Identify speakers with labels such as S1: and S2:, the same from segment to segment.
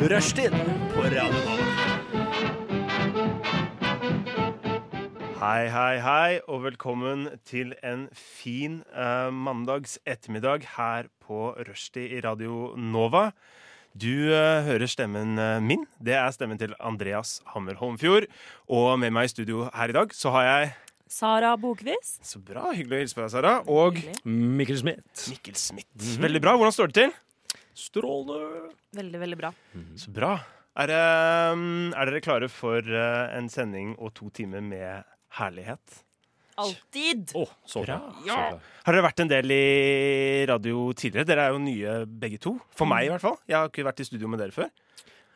S1: Rushtid på Radio Nova.
S2: Hei, hei, hei, og velkommen til en fin eh, mandags ettermiddag her på Rushdie i Radio Nova. Du eh, hører stemmen eh, min. Det er stemmen til Andreas Hammer Holmfjord. Og med meg i studio her i dag så har jeg
S3: Sara Bokvist.
S2: Så bra, hyggelig å hilse på deg, Sara. Og
S3: Hyggelig.
S4: Mikkel Smith.
S2: Mikkel Smith. Veldig bra. Hvordan står det til?
S4: Strålende.
S3: Veldig, veldig bra.
S2: Så bra. Er, eh, er dere klare for eh, en sending og to timer med herlighet?
S3: Alltid!
S4: Å, så bra. Så bra.
S2: Har dere vært en del i radio tidligere? Dere er jo nye begge to. For meg i hvert fall. Jeg har ikke vært i studio med dere før.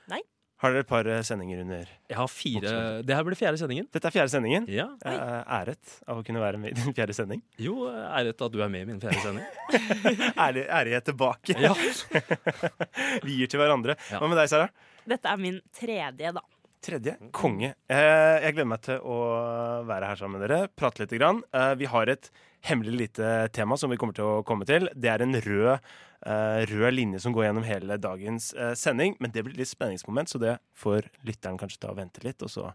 S3: Nei.
S2: Har dere et par eh, sendinger under
S4: Jeg har fire Det her blir fjerde sendingen.
S2: Dette er fjerde sendingen.
S4: Ja.
S2: Jeg er æret av å kunne være med i din fjerde sending.
S4: Jo, æret at du er med i min fjerde sending.
S2: Ærlig, ærlighet tilbake.
S4: Ja.
S2: Vi gir til hverandre.
S4: Ja.
S2: Hva med deg, Sara?
S3: Dette er min tredje, da.
S2: Tredje konge. Eh, jeg gleder meg til å være her sammen med dere, prate lite grann. Eh, vi har et hemmelig lite tema som vi kommer til å komme til. Det er en rød, eh, rød linje som går gjennom hele dagens eh, sending. Men det blir litt spenningsmoment, så det får lytteren kanskje ta og vente litt, og så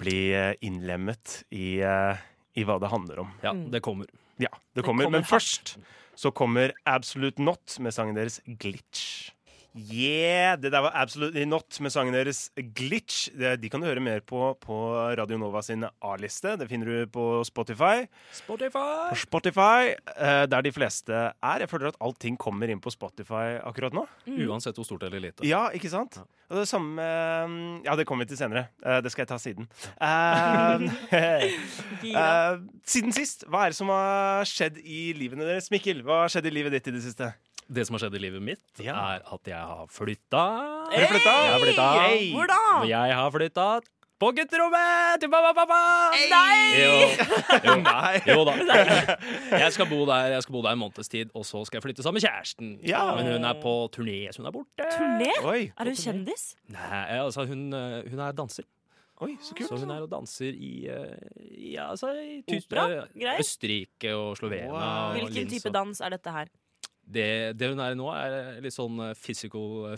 S2: bli eh, innlemmet i, eh, i hva det handler om.
S4: ja,
S3: Mm.
S4: det kommer.
S2: Ja, det kommer.
S3: kommer
S2: men først så kommer Absolute Not med sangen deres Glitch. Yeah! Det der var Absolutely Not med sangen deres Glitch. Det, de kan du høre mer på på Radio Nova sin A-liste. Det finner du på Spotify. På
S4: Spotify!
S2: Spotify, eh, Der de fleste er. Jeg føler at allting kommer inn på Spotify akkurat nå.
S3: Mm.
S4: Uansett hvor stort eller lite.
S2: Ja, ikke sant? Og det samme eh, Ja, det kommer vi til senere. Eh, Det skal jeg ta siden. Eh,
S3: Gira.
S2: Eh, siden sist, hva er det som har skjedd i livene deres? Mikkel, hva har skjedd i livet ditt i det siste?
S4: Det som har skjedd i livet mitt,
S2: Ja.
S4: er at jeg har flytta.
S2: Har du flytta?
S4: Jeg har flytta.
S2: Hey!
S3: Hvor da?
S4: Og jeg har flytta på gutterommet til mamma og pappa!
S3: Nei!
S4: Jo, jo,
S2: Nei.
S4: jo da. Jeg skal bo der Jeg skal bo der en måneds tid, og så skal jeg flytte sammen med kjæresten.
S2: Ja.
S4: Men hun er på turné, så hun er borte.
S3: Turné?
S2: Oi,
S3: Er hun kjendis?
S4: Nei, altså hun, eh, hun er danser.
S2: oi, så kult.
S4: Så hun er og danser i, eh, i, ja, altså, i Tys-
S3: Opera?
S4: eh,
S3: Greier?
S4: Østerrike og Slovenia.
S2: Wow.
S4: og
S3: Hvilken
S4: Linz
S3: type
S4: og-
S3: dans er dette her?
S4: Det, det hun er i nå, er eh, litt sånn eh, physical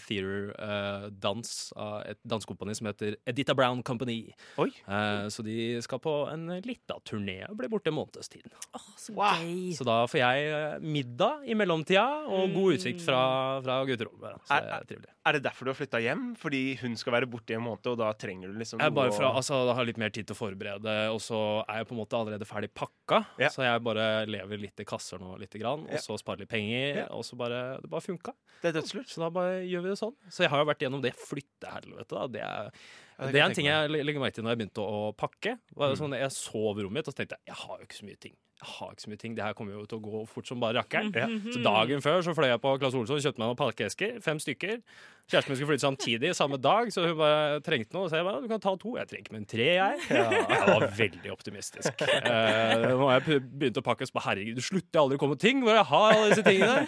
S4: theater-dans av et dansekompani som heter Editha Brown Company.
S2: Oi.
S4: Eh, Så de skal på en lita turné og blir borte en måneds tid.
S3: Åh, så
S2: Wow.
S3: gøy.
S4: Så da får jeg eh, middag i mellomtida og god
S3: Mm.
S4: utsikt fra, fra gutterommet. Så det
S2: Er-
S4: er trivelig.
S2: Er det derfor du har flytta hjem? Fordi hun skal være borte i en måned, og da trenger du liksom
S4: Jeg er bare
S2: noe
S4: fra,
S2: å-
S4: altså, jeg har litt mer tid til å forberede, og så er jeg på en måte allerede ferdig pakka.
S2: Ja.
S4: Så jeg bare lever litt i kasser nå, lite grann, og
S2: Ja.
S4: så sparer litt penger.
S2: Ja.
S4: Og så bare Det bare funka.
S2: Det er dødslurt.
S4: Så da bare gjør vi det sånn. Så jeg har jo vært gjennom det flyttehelvetet, da. Det er,
S2: Ja, det kan
S4: det er
S2: jeg
S4: en ting
S2: tenke Mm.
S4: jeg le- legger merke til når jeg begynte å pakke. Var jo sånn, jeg sov i rommet mitt, og så tenkte jeg jeg har jo ikke så mye ting. Jeg har ikke så mye ting, Det her kommer jo til å gå fort som bare rakkeren.
S2: Ja.
S4: Så dagen før så fløy jeg på Claes Olsson, kjøpte meg noen pakkeesker, fem stykker. Kjæresten min skulle flytte samtidig, samme dag, så hun bare trengte noe. Så jeg bare, du kan ta to. Jeg trenger ikke mer enn tre, jeg. Jeg var veldig optimistisk. Eh, Nå har jeg p- begynt å pakke, så bare herregud, det slutter aldri å komme ting hvor jeg har alle disse tingene.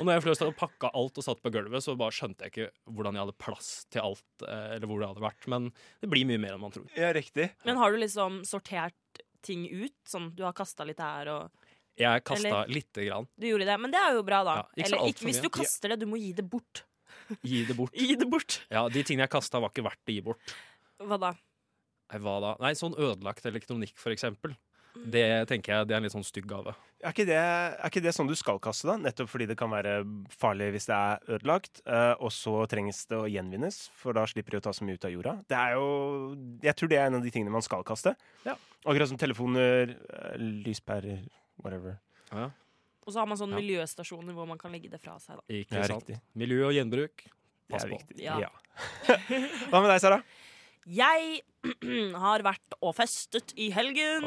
S4: Og når jeg fløy og pakka alt og satt på gulvet, så bare skjønte jeg ikke hvordan jeg hadde plass til alt, eh, eller hvor det hadde vært. Men det blir mye mer enn man tror.
S2: Ja, riktig.
S3: Men har du liksom sortert ting ut? Sånn, du har kasta litt her og
S4: Jeg kasta
S3: Eller-
S4: lite grann.
S3: Du gjorde det, men det er jo bra, da.
S4: Ja, ikke så
S3: Eller
S4: alt
S3: ikke,
S4: for
S3: hvis
S4: mye.
S3: du kaster det, du må gi det bort.
S4: Gi det bort.
S3: Gi det bort.
S4: Ja, de tingene jeg kasta, var ikke verdt å gi bort.
S3: Hva da?
S4: Nei, hva da? Nei, sånn ødelagt elektronikk, for eksempel. Det tenker jeg det er en litt sånn stygg gave.
S2: Er ikke, det, er ikke det sånn du skal kaste, da? Nettopp fordi det kan være farlig hvis det er ødelagt, eh, og så trengs det å gjenvinnes, for da slipper de å ta så mye ut av jorda. Det er jo Jeg tror det er en av de tingene man skal kaste.
S4: Ja.
S2: Akkurat som telefoner, eh, lyspærer, whatever.
S3: Og så har man sånne
S4: Ja.
S3: miljøstasjoner hvor man kan legge det fra seg, da.
S4: Ikke
S2: Ja,
S4: sant?
S2: riktig.
S4: Miljø og gjenbruk.
S2: Det
S4: Pass
S2: er
S4: på.
S2: viktig.
S3: Ja.
S2: Ja. Hva med deg, Sara?
S3: Jeg har vært og festet i helgen.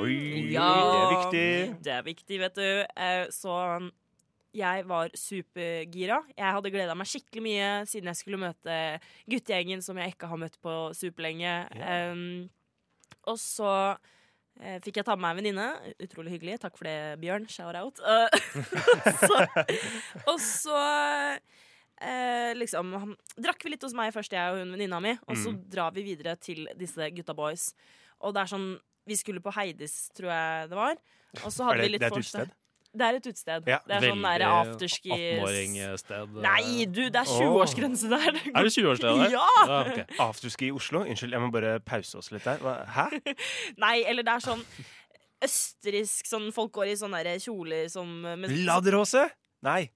S2: Det er viktig.
S3: Det er viktig, vet du. Eh, Så jeg var supergira. Jeg hadde gleda meg skikkelig mye siden jeg skulle møte guttegjengen som jeg ikke har møtt på superlenge.
S2: Ja.
S3: Um, og så eh, fikk jeg ta med meg en venninne. Utrolig hyggelig. Takk for det, Bjørn. Shout out. Eh, så, og så eh, liksom han, Drakk vi litt hos meg først, jeg og hun venninna mi, og så
S2: Mm.
S3: drar vi videre til disse gutta boys. Og det er sånn Vi skulle på Heidis, tror jeg det var. Og så
S2: Er
S3: hadde
S2: det-
S3: vi litt
S2: det er et
S3: vorse-
S2: utested?
S3: Det er et utested.
S2: Ja,
S3: det er sånn der afterski
S4: 18-åring-sted.
S3: Nei, du, det er 20-årsgrense der. Det
S4: eh, Er det 20-årsstedet der?
S3: Ja!
S4: ok.
S2: Afterski i Oslo? Unnskyld, jeg må bare pause oss litt der. Hva- Hæ?
S3: Nei, eller det er sånn østerriksk sånn Folk går i sånne der kjoler som eh, med,
S2: Laderhose? Nei.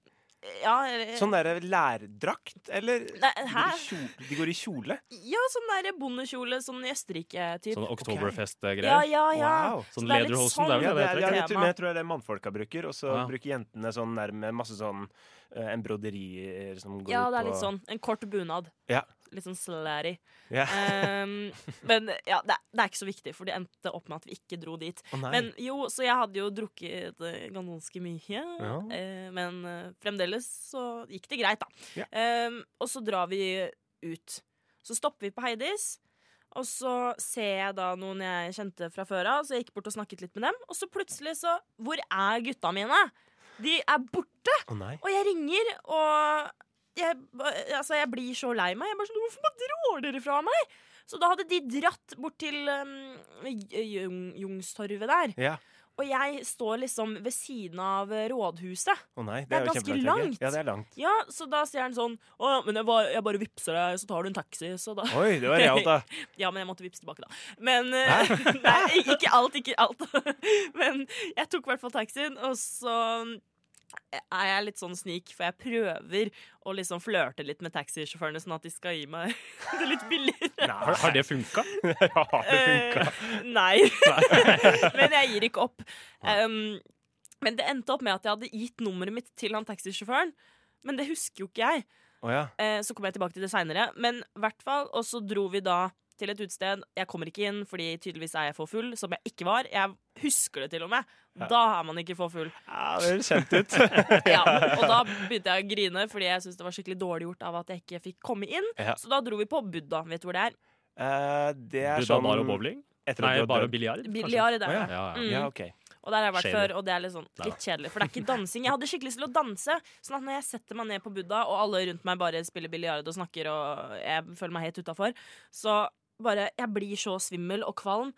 S3: Ja, eller-
S2: Sånn derre lærdrakt, eller?
S3: Eh.
S2: De går
S3: Nei, hæ?
S2: i kjole- De går i kjole?
S3: Ja, sånn der bondekjole sånn i Østerrike, typ.
S4: Sånn
S3: ja,
S4: Oktoberfest-greier.
S3: ja, ja.
S2: Wow.
S3: Så
S4: Sånn
S3: det er litt
S4: lederhosen,
S3: sånn-
S4: det er
S2: Ja,
S4: vel
S2: det er,
S4: det det
S2: ja,
S4: heter?
S2: jeg,
S3: tema.
S2: tror, men jeg tror det er det mannfolka bruker. Og så
S4: Ja.
S2: bruker jentene sånn nærme masse sånn eh, embroderier som går
S3: Ja,
S2: ut
S3: det er
S2: på
S3: litt sånn. En kort bunad.
S2: Ja.
S3: Litt sånn slatty.
S2: Ja.
S3: Um, men ja, det, er- det er ikke så viktig, for det endte opp med at vi ikke dro dit.
S2: Å, nei.
S3: Men jo, så jeg hadde jo drukket eh, ganske mye.
S2: Ja.
S3: Eh, men eh, fremdeles så gikk det greit, da.
S2: Ja.
S3: Eh, og så drar vi ut. Så stopper vi på Heidis. Og så ser jeg da noen jeg kjente fra før av, så jeg gikk bort og snakket litt med dem. Og så plutselig så Hvor er gutta mine? De er borte!
S2: Å, nei.
S3: Og jeg ringer, og jeg, altså, jeg blir så lei meg. Jeg bare sånn Hvorfor bare drar dere fra meg? Så da hadde de dratt bort til um, Jung, Jungstorvet der.
S2: Ja.
S3: Og jeg står liksom ved siden av eh, rådhuset.
S2: Å, nei. Det,
S3: Det er
S2: jo
S3: ganske
S2: kjempelangt, Jørgen.
S3: langt.
S2: Ja, det er langt.
S3: Ja, Så da sier han sånn Å ja, men jeg, var, jeg bare vippser deg, så tar du en taxi. Så da
S2: Oi, det var realt, da.
S3: Ja, men jeg måtte vippse tilbake, da. Men eh, Nei, ikke alt, ikke alt. men jeg tok i hvert fall taxien, og så mm, er jeg litt sånn snik, for jeg prøver å liksom flørte litt med taxisjåførene, sånn at de skal gi meg det litt billigere.
S4: Har, har det funka?
S2: Har det funka?
S3: Eh, nei. men jeg gir ikke opp. Um, men det endte opp med at jeg hadde gitt nummeret mitt til han taxisjåføren. Men det husker jo ikke jeg.
S2: Å ja.
S3: Eh, så kommer jeg tilbake til det seinere. Men i hvert fall, og så dro vi da til et utested. Jeg kommer ikke inn, fordi tydeligvis er jeg for full, som jeg ikke var. Jeg husker det til og med. Da er man ikke for full.
S2: ja. Det høres kjent ut.
S3: Ja, og da begynte jeg å grine, fordi jeg syntes det var skikkelig dårlig gjort av at jeg ikke fikk komme inn.
S2: Ja.
S3: Så da dro vi på Buddha. Vet du hvor det er?
S2: Eh, det er
S4: Buddha
S2: sånn
S4: bar og bowling?
S2: Etter
S4: Nei,
S2: at du har
S4: bare
S2: dødd.
S4: biljard? kanskje?
S2: Å,
S3: Biliard.
S2: ja.
S3: der.
S4: Ja, ja.
S3: Mm.
S2: Ja, OK.
S3: Og der har jeg vært
S4: Skjever.
S3: før, og det er litt, sånn,
S4: Nei
S3: litt kjedelig. For det er ikke dansing. Jeg hadde skikkelig lyst til å danse, sånn at når jeg setter meg ned på Buddha, og alle rundt meg bare spiller biljard og snakker, og jeg føler meg helt utafor, så bare Jeg blir så svimmel og kvalm.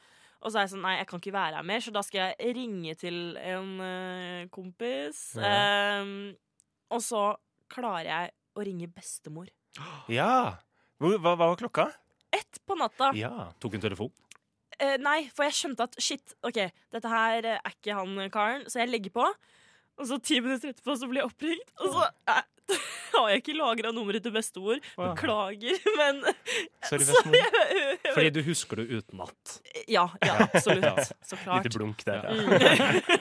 S3: Og så er jeg sånn Nei, jeg kan ikke være her mer, så da skal jeg ringe til en øh, kompis. Ehm, og så klarer jeg å ringe bestemor.
S2: Ja. Hvor, hva, hva var klokka?
S3: Ett på natta.
S2: Ja.
S4: Tok en telefon?
S3: Eh, nei, for jeg skjønte at shit, ok, dette her eh, er ikke han eh, karen, så jeg legger på. Og så ti minutter etterpå så blir jeg oppringt, og så eh, har jeg ikke lagra nummeret til bestemor. Beklager, men
S2: Sorry, sånn
S3: så
S2: Vesmo.
S3: jeg,
S4: Fordi du husker det utenat.
S3: Ja, ja, absolutt. Så klart.
S2: Lite blunk der. Ja.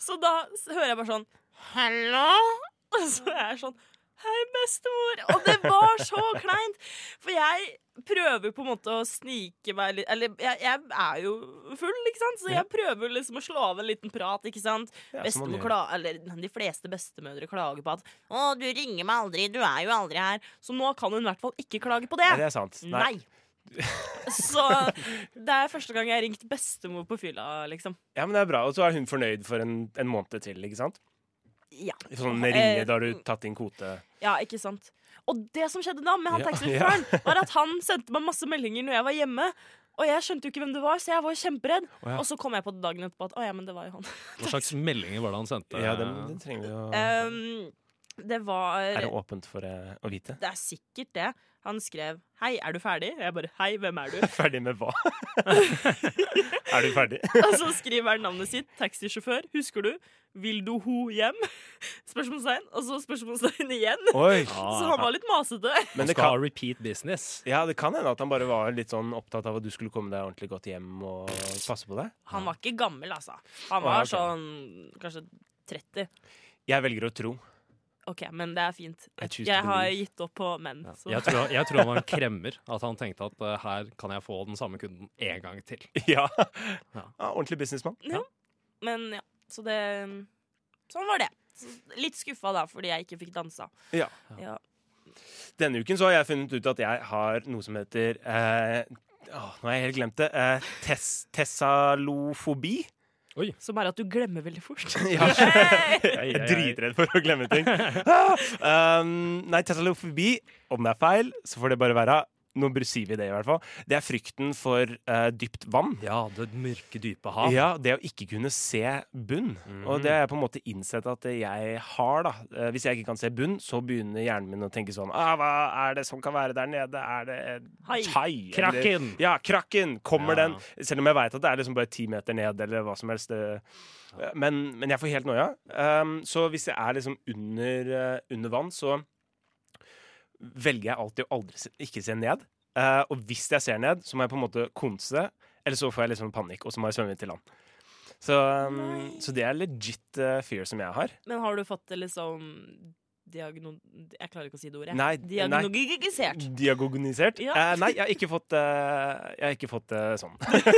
S3: Så da s- hører jeg bare sånn Hallo? Og så er jeg sånn Hei, bestemor. Og det var så kleint! For jeg prøver på en måte å snike meg litt Eller jeg, jeg er jo full, ikke sant? Så jeg prøver liksom å slå av en liten prat, ikke sant?
S2: Ja, som man
S3: Bestemor
S2: gjør.
S3: kla- eller De fleste bestemødre klager på at 'Å, du ringer meg aldri. Du er jo aldri her.' Så nå kan hun i hvert fall ikke klage på det.
S2: Nei, det er sant. Nei.
S3: Nei. Så det er første gang jeg har ringt bestemor på fylla, liksom.
S2: Ja, men det er bra. Og så er hun fornøyd for en, en måned til, ikke sant?
S3: Ja.
S2: Sånn ringe,
S3: Eh,
S2: da har du tatt inn kvote.
S3: Ja, ikke sant Og det som skjedde da med han
S2: Ja,
S3: taxisjåføren, var at han sendte meg masse meldinger når jeg var hjemme. Og jeg skjønte jo ikke hvem det var, så jeg var jo kjemperedd.
S2: Å, ja.
S3: Og så kom jeg på det dagen etterpå at å ja, men det var jo han.
S4: Hva slags meldinger var det han sendte?
S2: Ja, den, den trenger vi å
S3: Um, det var
S2: Er det
S3: det,
S2: åpent for eh, å vite?
S3: er sikkert det. Han skrev 'Hei, er du ferdig?' Og jeg bare 'Hei, hvem er du?'
S2: Ferdig med hva? er du ferdig?
S3: Og så skriver han navnet sitt. 'Taxisjåfør, husker du? Vil du ho hjem?' Spørsmålstegn. Og så spørsmålstegn igjen.
S2: Oi!
S4: Ah,
S3: Så han var litt masete.
S2: Men
S4: han
S2: det
S4: skal
S2: kan,
S4: repeat business.
S2: ja, det kan hende at han bare var litt sånn opptatt av at du skulle komme deg ordentlig godt hjem og passe på deg.
S3: Han var ikke gammel, altså.
S2: Å,
S3: Han
S2: ja,
S3: var
S2: ok.
S3: sånn kanskje 30.
S2: Jeg velger å tro.
S3: Ok, men det er fint.
S2: I choose to
S3: Jeg har
S2: believe.
S3: gitt opp på menn. Så.
S4: Jeg tror, jeg tror han var en kremmer. At han tenkte at eh, her kan jeg få den samme kunden en gang til.
S2: Ja.
S4: Ja.
S2: Ah, ordentlig businessmann.
S3: Men ja, så det Sånn var det. Så litt skuffa da, fordi jeg ikke fikk dansa.
S2: Ja.
S3: Ja.
S2: Denne uken så har jeg funnet ut at jeg har noe som heter eh, åh, Nå har jeg helt glemt det. Eh, tes tessalofobi.
S3: Som er at du glemmer veldig fort.
S2: Ja.
S4: Ei,
S2: Jeg er
S4: ei, ei.
S2: dritredd for å glemme ting. Ah! Um, nei, tetralofobi, om det er feil, så får det bare være. nå br- sier vi det i hvert fall, det er frykten for eh, dypt vann.
S4: Ja, det mørke, dype hav.
S2: Ja, det å ikke kunne se bunn. Og det har jeg på en måte innsett at jeg har, da. Eh, Hvis jeg ikke kan se bunn, så begynner hjernen min å tenke sånn ah, Hva er det som kan være der nede? Er det en
S3: Hai.
S2: hai?
S4: Kraken.
S2: Eller- Ja, krakken! Kommer
S4: Ja.
S2: den? Selv om jeg veit at det er liksom bare ti meter ned, eller hva som helst. det- eh, Men, men jeg får helt noia. Um, så hvis jeg er liksom under, eh, under vann, så velger jeg alltid å aldri se, ikke se ned. Eh, og hvis jeg ser ned, så må jeg på en måte konse, eller så får jeg liksom panikk, og så må jeg svømme ut til land. Så, um,
S3: Nei.
S2: så det er legit eh, fear som jeg har.
S3: Men har du fått det liksom diagno... Jeg klarer ikke å si det ordet.
S2: Nei, nei.
S3: Diagnogisert.
S2: Diagonisert?
S3: Ja.
S2: Eh, nei, jeg har ikke fått det Jeg har ikke fått det sånn. jeg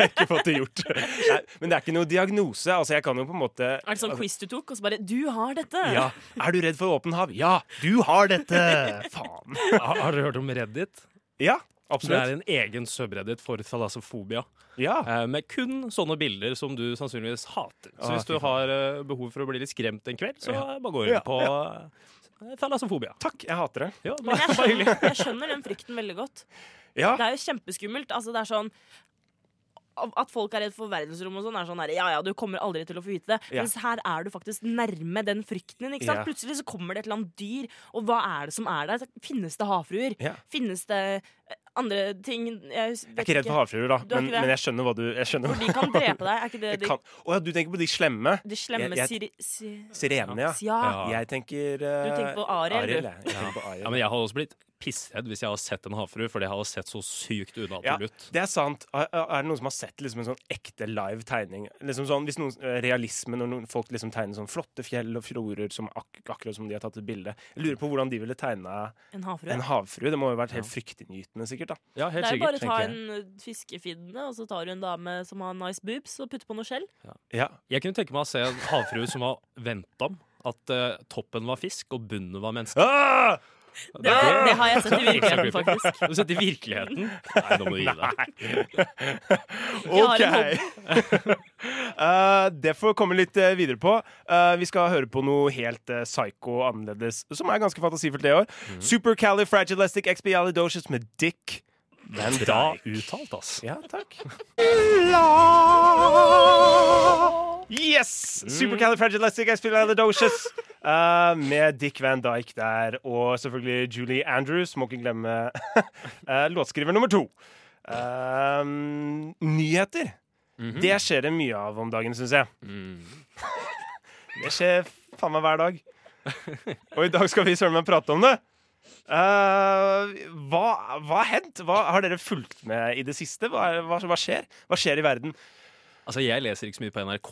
S2: har ikke fått det gjort. Nei, men det er ikke noe diagnose. Altså, jeg kan jo på en måte
S3: Er det sånn quiz du tok, og så bare 'Du har dette'?
S2: Altså- Ja. Er du redd for åpen hav? Ja, du har dette! Faen.
S4: Har, har dere hørt om Reddit?
S2: Ja,
S4: Det er
S2: absolutt.
S4: en egen subreddit for thalassofobia.
S2: Ja.
S4: Eh, med kun sånne bilder som du sannsynligvis hater. Så
S2: Ah,
S4: hvis
S2: fy
S4: du har eh, behov for å bli litt skremt en kveld, så eh, bare gå inn
S2: Ja,
S4: på eh, thalassofobia.
S2: Takk, jeg hater det.
S4: Ja,
S3: Men
S4: bare,
S3: jeg
S4: bare hyggelig.
S3: skjønner, jeg skjønner den frykten veldig godt.
S2: Ja.
S3: Det er jo kjempeskummelt. Altså, det er sånn at folk er redd for verdensrommet og sånn, er sånn her, ja ja, du kommer aldri til å få vite det.
S2: Ja.
S3: Mens her er du faktisk nærme den frykten din. ikke sant?
S2: Ja.
S3: Plutselig så kommer det et eller annet dyr, og hva er det som er der? Finnes det havfruer?
S2: Ja.
S3: Finnes det eh, andre ting? Jeg, hus-
S2: Jeg er
S3: vet
S2: ikke redd for havfruer, da,
S3: Du er
S2: men,
S3: ikke det?
S2: men jeg skjønner hva du jeg skjønner
S3: For de kan drepe deg. Er ikke det
S2: Jeg
S3: de,
S2: kan. Å ja, du tenker på de slemme
S3: de slemme
S2: Jeg-
S3: siri... Si,
S2: sirenene, ja.
S3: ja.
S4: Ja.
S2: Jeg tenker eh,
S3: Du tenker på Ariel, du.
S2: Ariel, jeg. jeg tenker på Ariel.
S4: Ja, men jeg hadde også blitt pissredd hvis jeg hadde sett en havfrue, for det hadde sett så sykt
S2: Ja,
S4: unaturlig ut.
S2: det er sant. Er er det noen som har sett liksom en sånn ekte live tegning? Liksom sånn, hvis noen, eh, realisme når noen, folk liksom tegner sånn flotte fjell og fjorder som ak akkurat som de har tatt et bilde. Jeg lurer på hvordan de ville tegna
S3: En havfrue.
S2: en havfrue. Det må jo vært helt fryktinngytende, sikkert. da.
S4: Ja, helt
S3: Det er jo bare å
S4: sikkert.
S3: ta
S2: tenker jeg.
S3: en eh, fiskefinne, og så tar du en dame som har nice boobs, og putter på noe skjell.
S2: Ja,
S4: Jeg kunne tenke meg å se en havfrue som var vendt om. At eh, toppen var fisk og bunnen var menneske.
S2: ah!
S3: Det, det har jeg sett i virkeligheten,
S4: Extra
S3: faktisk.
S4: Har Du sett i virkeligheten? Nei, nå må du gi deg.
S2: OK!
S3: Jeg har en
S2: Eh, det får komme litt eh, videre på. Eh, vi skal høre på noe helt eh, psycho og annerledes, som er ganske fantasifullt det i år. Supercalifragilisticexpialidocious med Dick.
S4: Den da uttalt, ass.
S2: Ja, takk. Yes! Supercalifragilisticexpialidocious. Uh, med Dick Van Dyke der, og selvfølgelig Julie Andrews. Må ikke glemme eh, låtskriver nummer to. Eh, nyheter. Det skjer det mye av om dagen, syns jeg. det skjer faen meg hver dag. Og i dag skal vi søren meg prate om det. Eh, hva, hva har hendt? Hva har dere fulgt med i det siste? Hva, er- hva, hva skjer? Hva skjer i verden?
S4: Altså, Jeg leser ikke så mye på NRK,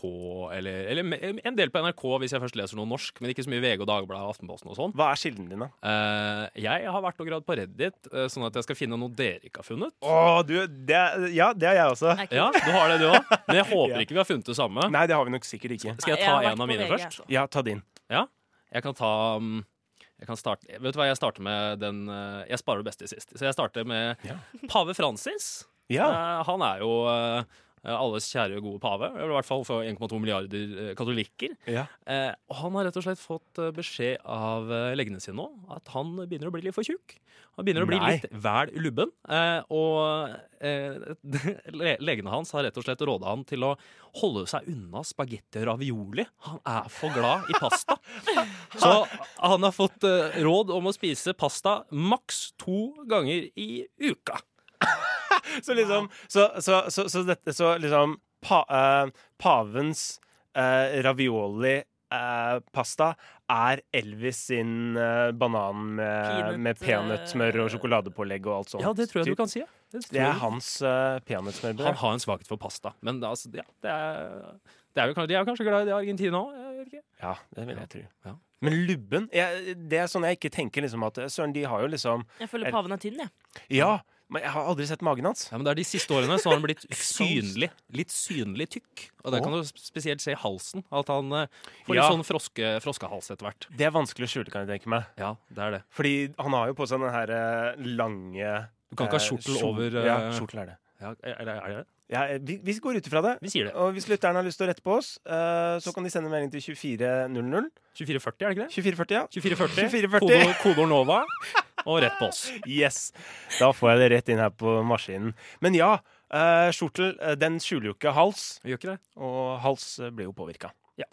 S4: eller, eller en del på NRK hvis jeg først leser noe norsk, men ikke så mye VG og Dagbladet og Aftenposten og sånn.
S2: Hva er kildene dine?
S4: Eh, jeg har vært og gravd på Reddit, eh, sånn at jeg skal finne noe dere ikke har funnet.
S2: Å, du, det, er- ja, det er jeg også.
S3: Nei,
S4: Ja, du har det, du òg. Men jeg håper
S2: Ja.
S4: ikke vi har funnet det samme.
S2: Nei, det har vi nok sikkert ikke.
S4: Skal jeg
S3: har
S4: ta
S3: vært
S4: en av
S3: på
S4: mine
S3: VG,
S4: først?
S3: altså.
S2: Ja, ta din.
S4: Ja. Jeg kan ta mm, jeg kan starte, Vet du hva, jeg starter med den eh, Jeg sparer det beste til sist. Så jeg starter med
S2: Ja.
S4: pave Francis.
S2: Ja.
S4: Eh, han er jo eh, alles kjære, gode pave. I hvert fall for 1,2 milliarder eh, katolikker.
S2: ja.
S4: Eh, og han har rett og slett fått eh, beskjed av eh, legene sine nå at han begynner å bli litt for tjukk. Han begynner å bli
S2: Nei.
S4: litt vel lubben. Eh, og eh, le legene hans har rett og slett råda han til å holde seg unna spagetti og ravioli. Han er for glad i pasta. Så han har fått eh, råd om å spise pasta maks to ganger i uka.
S2: Så liksom Så, så, så, så dette Så liksom pa, eh, Pavens eh, ravioli eh, Pasta er Elvis sin eh, banan med,
S3: Peanut,
S2: med peanøttsmør og
S3: eh,
S2: sjokoladepålegg og alt sånt.
S4: Ja, det tror jeg
S2: Typ.
S4: du kan si. Ja. Det, tror
S2: Det er
S4: jeg.
S2: hans uh, peanøttsmørbrød.
S4: Han har en svakhet for pasta. Men det, altså, ja, det er, det er jo, kan- de er jo kanskje glad i det i Argentina òg?
S2: Ja, det vil jeg tro.
S4: Ja.
S2: Men lubben jeg, Det er sånn jeg ikke tenker liksom at Søren, de har jo liksom
S3: Jeg føler paven er tynn, jeg.
S2: Ja, men jeg har aldri sett magen hans.
S4: Ja, men det er De siste årene så har han blitt synlig litt synlig tykk. Og Der
S2: Å.
S4: kan du spesielt se i halsen. At han eh, får litt
S2: Ja.
S4: sånn froske, froskehals etter hvert.
S2: Det er vanskelig å skjule, kan jeg tenke meg.
S4: Ja, det er det.
S2: Fordi han har jo på seg den her eh, lange
S4: Du kan ikke ha
S2: eh,
S4: skjortel
S2: skjor-
S4: over, eh,
S2: Ja, skjortel er det.
S4: Ja, er, er, er det?
S2: Ja, eh, vi, vi går ut ifra det.
S4: Vi sier det.
S2: Og hvis lytterne har lyst til å rette på oss, eh, så kan de sende melding til 2400.
S4: 2440, er det ikke det?
S2: 2440, ja.
S4: 2440.
S2: 2440.
S4: Kodeord- Kodeord Nova. og rett på oss.
S2: Yes! Da får jeg det rett inn her på maskinen. Men ja, eh, skjortel eh, den skjuler jo ikke hals,
S4: Gjør ikke det?
S2: og hals eh, blir jo påvirka.
S4: Ja.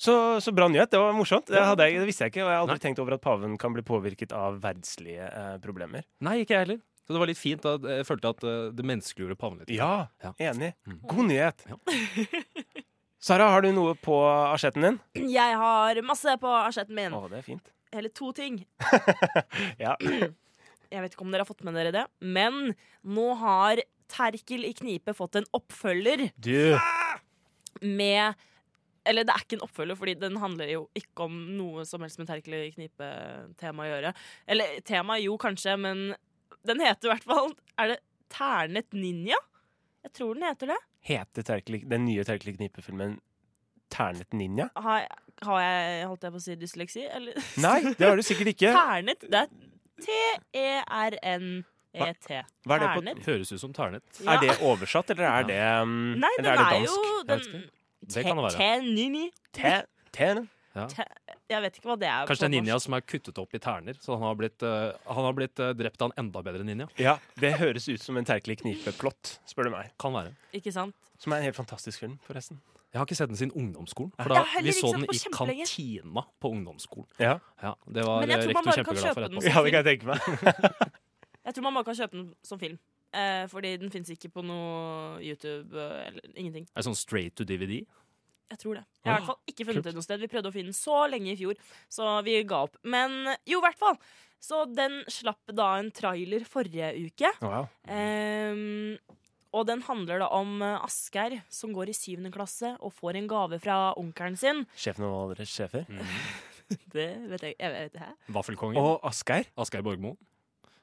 S2: Så, så bra nyhet. Det var morsomt. Det, hadde jeg, det visste jeg ikke. Og jeg har aldri
S4: Nei.
S2: tenkt over at paven kan bli påvirket av verdslige eh, problemer.
S4: Nei, ikke jeg heller. Så det var litt fint. Da jeg følte at eh, det menneskeliggjorde paven litt.
S2: Ja,
S4: Ja.
S2: enig.
S4: Mm.
S2: God nyhet. Sara, har du noe på asjetten din?
S3: Jeg har masse på asjetten min.
S2: Å, det er fint.
S3: Hele to ting.
S2: Ja.
S3: Jeg vet ikke om dere har fått med dere det, men nå har Terkel i knipe fått en oppfølger
S2: Du,
S3: med Eller det er ikke en oppfølger, fordi den handler jo ikke om noe som helst med Terkel i knipe-tema å gjøre. Eller tema jo, kanskje, men den heter i hvert fall Er det Ternet ninja? Jeg tror den heter det.
S2: heter Terkelig, den nye Terkelig Knipe-filmen Ternet ninja?
S3: Har, har jeg, holdt jeg på å si, dysleksi? Eller
S2: Nei, det har du sikkert ikke.
S3: Ternet. Det er E T-E-R-N-E-T.
S2: Hva er det på-
S3: Ternet.
S4: Høres ut som ternet.
S3: Ja.
S2: Er det oversatt, eller er det um,
S3: Nei, den
S2: eller
S3: er,
S2: er det
S3: jo
S2: dansk?
S3: den,
S4: Jeg vet Det kan det være.
S3: Te-nini.
S2: Te- Ten?
S3: Jeg vet ikke hva det er.
S4: Kanskje det er
S3: på
S4: ninja
S3: norsk.
S4: som er kuttet opp i terner. Så han har blitt, eh, han har blitt eh, drept av en enda bedre ninja.
S2: Ja, det høres ut som en Terkelig knipe-plott, spør du meg.
S4: Kan være.
S3: Ikke sant?
S2: Som er en helt fantastisk film, forresten.
S4: Jeg har ikke sett den siden ungdomsskolen. For
S3: Jeg
S4: da,
S3: har heller
S4: vi
S3: ikke
S4: så
S3: sett
S4: den
S3: på
S4: i
S3: kjempelenge.
S4: kantina på ungdomsskolen.
S2: Ja,
S4: Ja, det var
S3: Men jeg
S4: eh,
S3: tror man
S4: rektor
S3: bare kan
S4: kjempeglad for
S3: kjøpe den.
S4: etterpå.
S2: ja det kan jeg tenke meg.
S3: Jeg tror man bare kan kjøpe den som film. Eh, fordi den fins ikke på noe YouTube eh, eller ingenting.
S4: Er det sånn straight to DVD?
S3: Jeg tror det. Jeg har i hvert fall ikke funnet den noe sted. Vi prøvde å finne den så lenge i fjor, så vi ga opp. Men jo, i hvert fall. Så den slapp da en trailer forrige uke.
S2: Wow.
S3: Ehm, og den handler da om eh, Asgeir som går i syvende klasse og får en gave fra onkelen sin.
S2: Sjefen over alle deres sjefer.
S4: Mm.
S3: Det vet jeg, jeg vet, Hæ?
S4: Vaffelkongen?
S2: Og Asgeir.
S4: Asgeir Borgmo?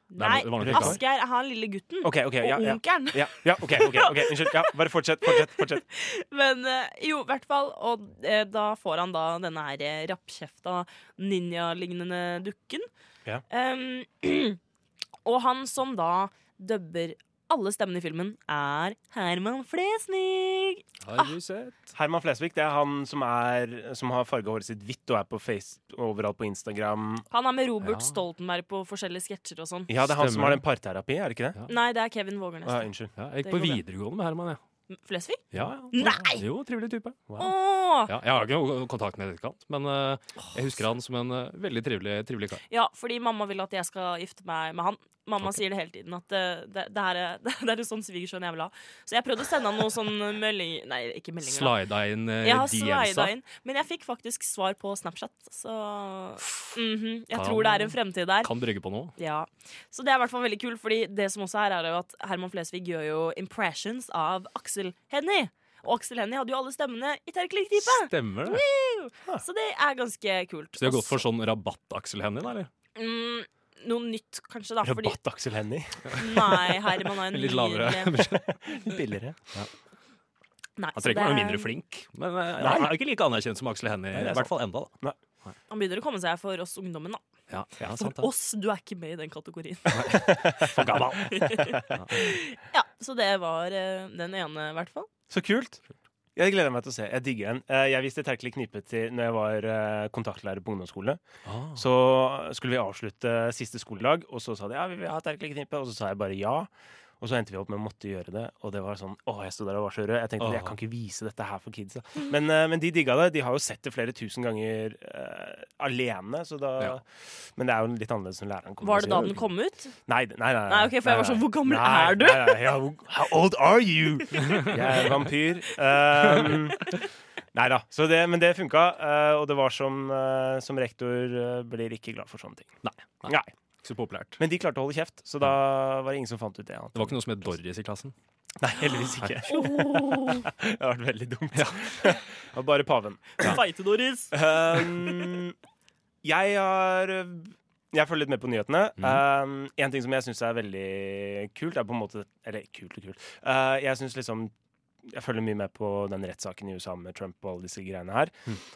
S3: Nei,
S4: det var nok ikke han.
S3: Asgeir er han lille gutten.
S2: OK, ok, ja,
S3: og
S2: ja.
S3: onkelen.
S2: Ja, ja ok, ok, ok, unnskyld. Ja, bare fortsett, fortsett. fortsett.
S3: Men eh, jo, i hvert fall. Og eh, da får han da denne her eh, rappkjefta ninjalignende dukken.
S2: Ja.
S3: Em, og han som da dubber alle stemmene i filmen, er Herman Flesvig.
S4: Har du sett?
S2: Herman Flesvig det er han som, er, som har farga håret sitt hvitt og er på face overalt på Instagram.
S3: Han er med Robert
S4: Ja.
S3: Stoltenberg på forskjellige sketsjer og sånn.
S2: Ja, det er han som
S4: Stemmer.
S2: har den parterapi, er det ikke det?
S3: Nei, det er Kevin Vågernes.
S2: Å, ja, unnskyld.
S4: Ja, jeg
S3: Det
S4: gikk på
S3: går bra.
S4: videregående med Herman, jeg.
S3: Flesvig?
S4: Ja. ja.
S3: Nei!
S4: Jo, trivelig type.
S2: Ja.
S3: Åh!
S4: Ja, jeg har ikke noe kontakt med ham i etterkant, men eh, jeg husker han som en eh, veldig trivelig, trivelig kar.
S3: Ja, fordi mamma vil at jeg skal gifte meg med han. Mamma
S4: Ok.
S3: sier det hele tiden, at det, det, det, her er, det er en sånn svigersønn jeg vil ha. Så jeg prøvde å sende han noe sånn melding Nei, ikke meldinger. da.
S4: Slida inn eh,
S3: Jeg har slida
S4: DMs-a.
S3: inn, men jeg fikk faktisk svar på Snapchat, så mhm, Jeg
S4: Kan-
S3: tror det er en fremtid der.
S4: Kan brygge på noe.
S3: Ja. Så det er i hvert fall veldig kult, fordi det som også er, er jo at Herman Flesvig gjør jo impressions av Aksel Hennie. Og Aksel Hennie hadde jo alle stemmene i Terkelig Knipe,
S4: Stemmer det.
S3: så det er ganske kult.
S4: Så de har gått for
S3: Og
S4: sånn rabatt-Aksel Hennie, da, eller?
S3: så- mm, noe nytt, kanskje, da. Fordi,
S2: Rabatt Aksel Hennie.
S3: nei, Herman er en
S4: Litt lavere.
S3: nydelig-
S2: Billigere.
S3: Nei,
S4: Han
S3: så
S4: trenger ikke være
S3: det-
S4: mindre flink, men eh, han er jo ikke like anerkjent som Aksel
S2: Nei,
S4: Hennie.
S2: det er
S4: I hvert fall enda, da.
S3: Han begynner å komme seg for oss ungdommen, da.
S4: Ja, ja,
S3: For
S4: sant, det.
S3: oss, du er ikke med i den kategorien.
S4: For gammel.
S3: Ja, Så det var eh, den ene, i hvert fall.
S2: Så kult. Jeg gleder meg til å se. Jeg digger den. Eh, Jeg viste Terkelig knipe til når jeg var eh, kontaktlærer på ungdomsskole.
S4: Ah.
S2: Så skulle vi avslutte siste skoledag, og så sa de ja, vi vil ha Terkelig knipe, og så sa jeg bare ja. Og så endte vi opp med å måtte gjøre det, og det var sånn Å, jeg sto der og var så rød. Jeg tenkte jeg kan ikke vise dette her for kidsa. Men, eh, men de digga det. De har jo sett det flere tusen ganger eh, alene, så da
S4: Ja.
S2: Men det er jo litt annerledes når læreren kommer.
S3: Var
S2: og sier
S3: det da
S2: det.
S3: den kom ut?
S2: Nei, nei, nei, nei.
S3: Nei, ok, for
S2: nei,
S3: jeg var sånn,
S2: nei.
S3: hvor gammel
S2: Nei,
S3: er du?
S2: Nei, nei, ja, hvor- how old are you? Jeg er vampyr. Um, nei da. Så det, men det funka, eh, og det var som, eh, som rektor eh, blir ikke glad for sånne ting.
S4: Nei, nei.
S2: Nei.
S4: Ikke så populært.
S2: Men de klarte å holde kjeft, så da var det ingen som fant ut det. annet.
S4: Det var ikke noe som het Doris i klassen.
S2: Nei, heldigvis ikke.
S3: Oh,
S2: Det har vært veldig dumt. Det var bare paven.
S3: Feite, Doris.
S2: Um, jeg har Jeg følger litt med på nyhetene. Um, en ting som jeg syns er veldig kult, er på en måte Eller kult og kult. Uh, jeg syns liksom jeg følger mye med på den rettssaken i USA med Trump og alle disse greiene her.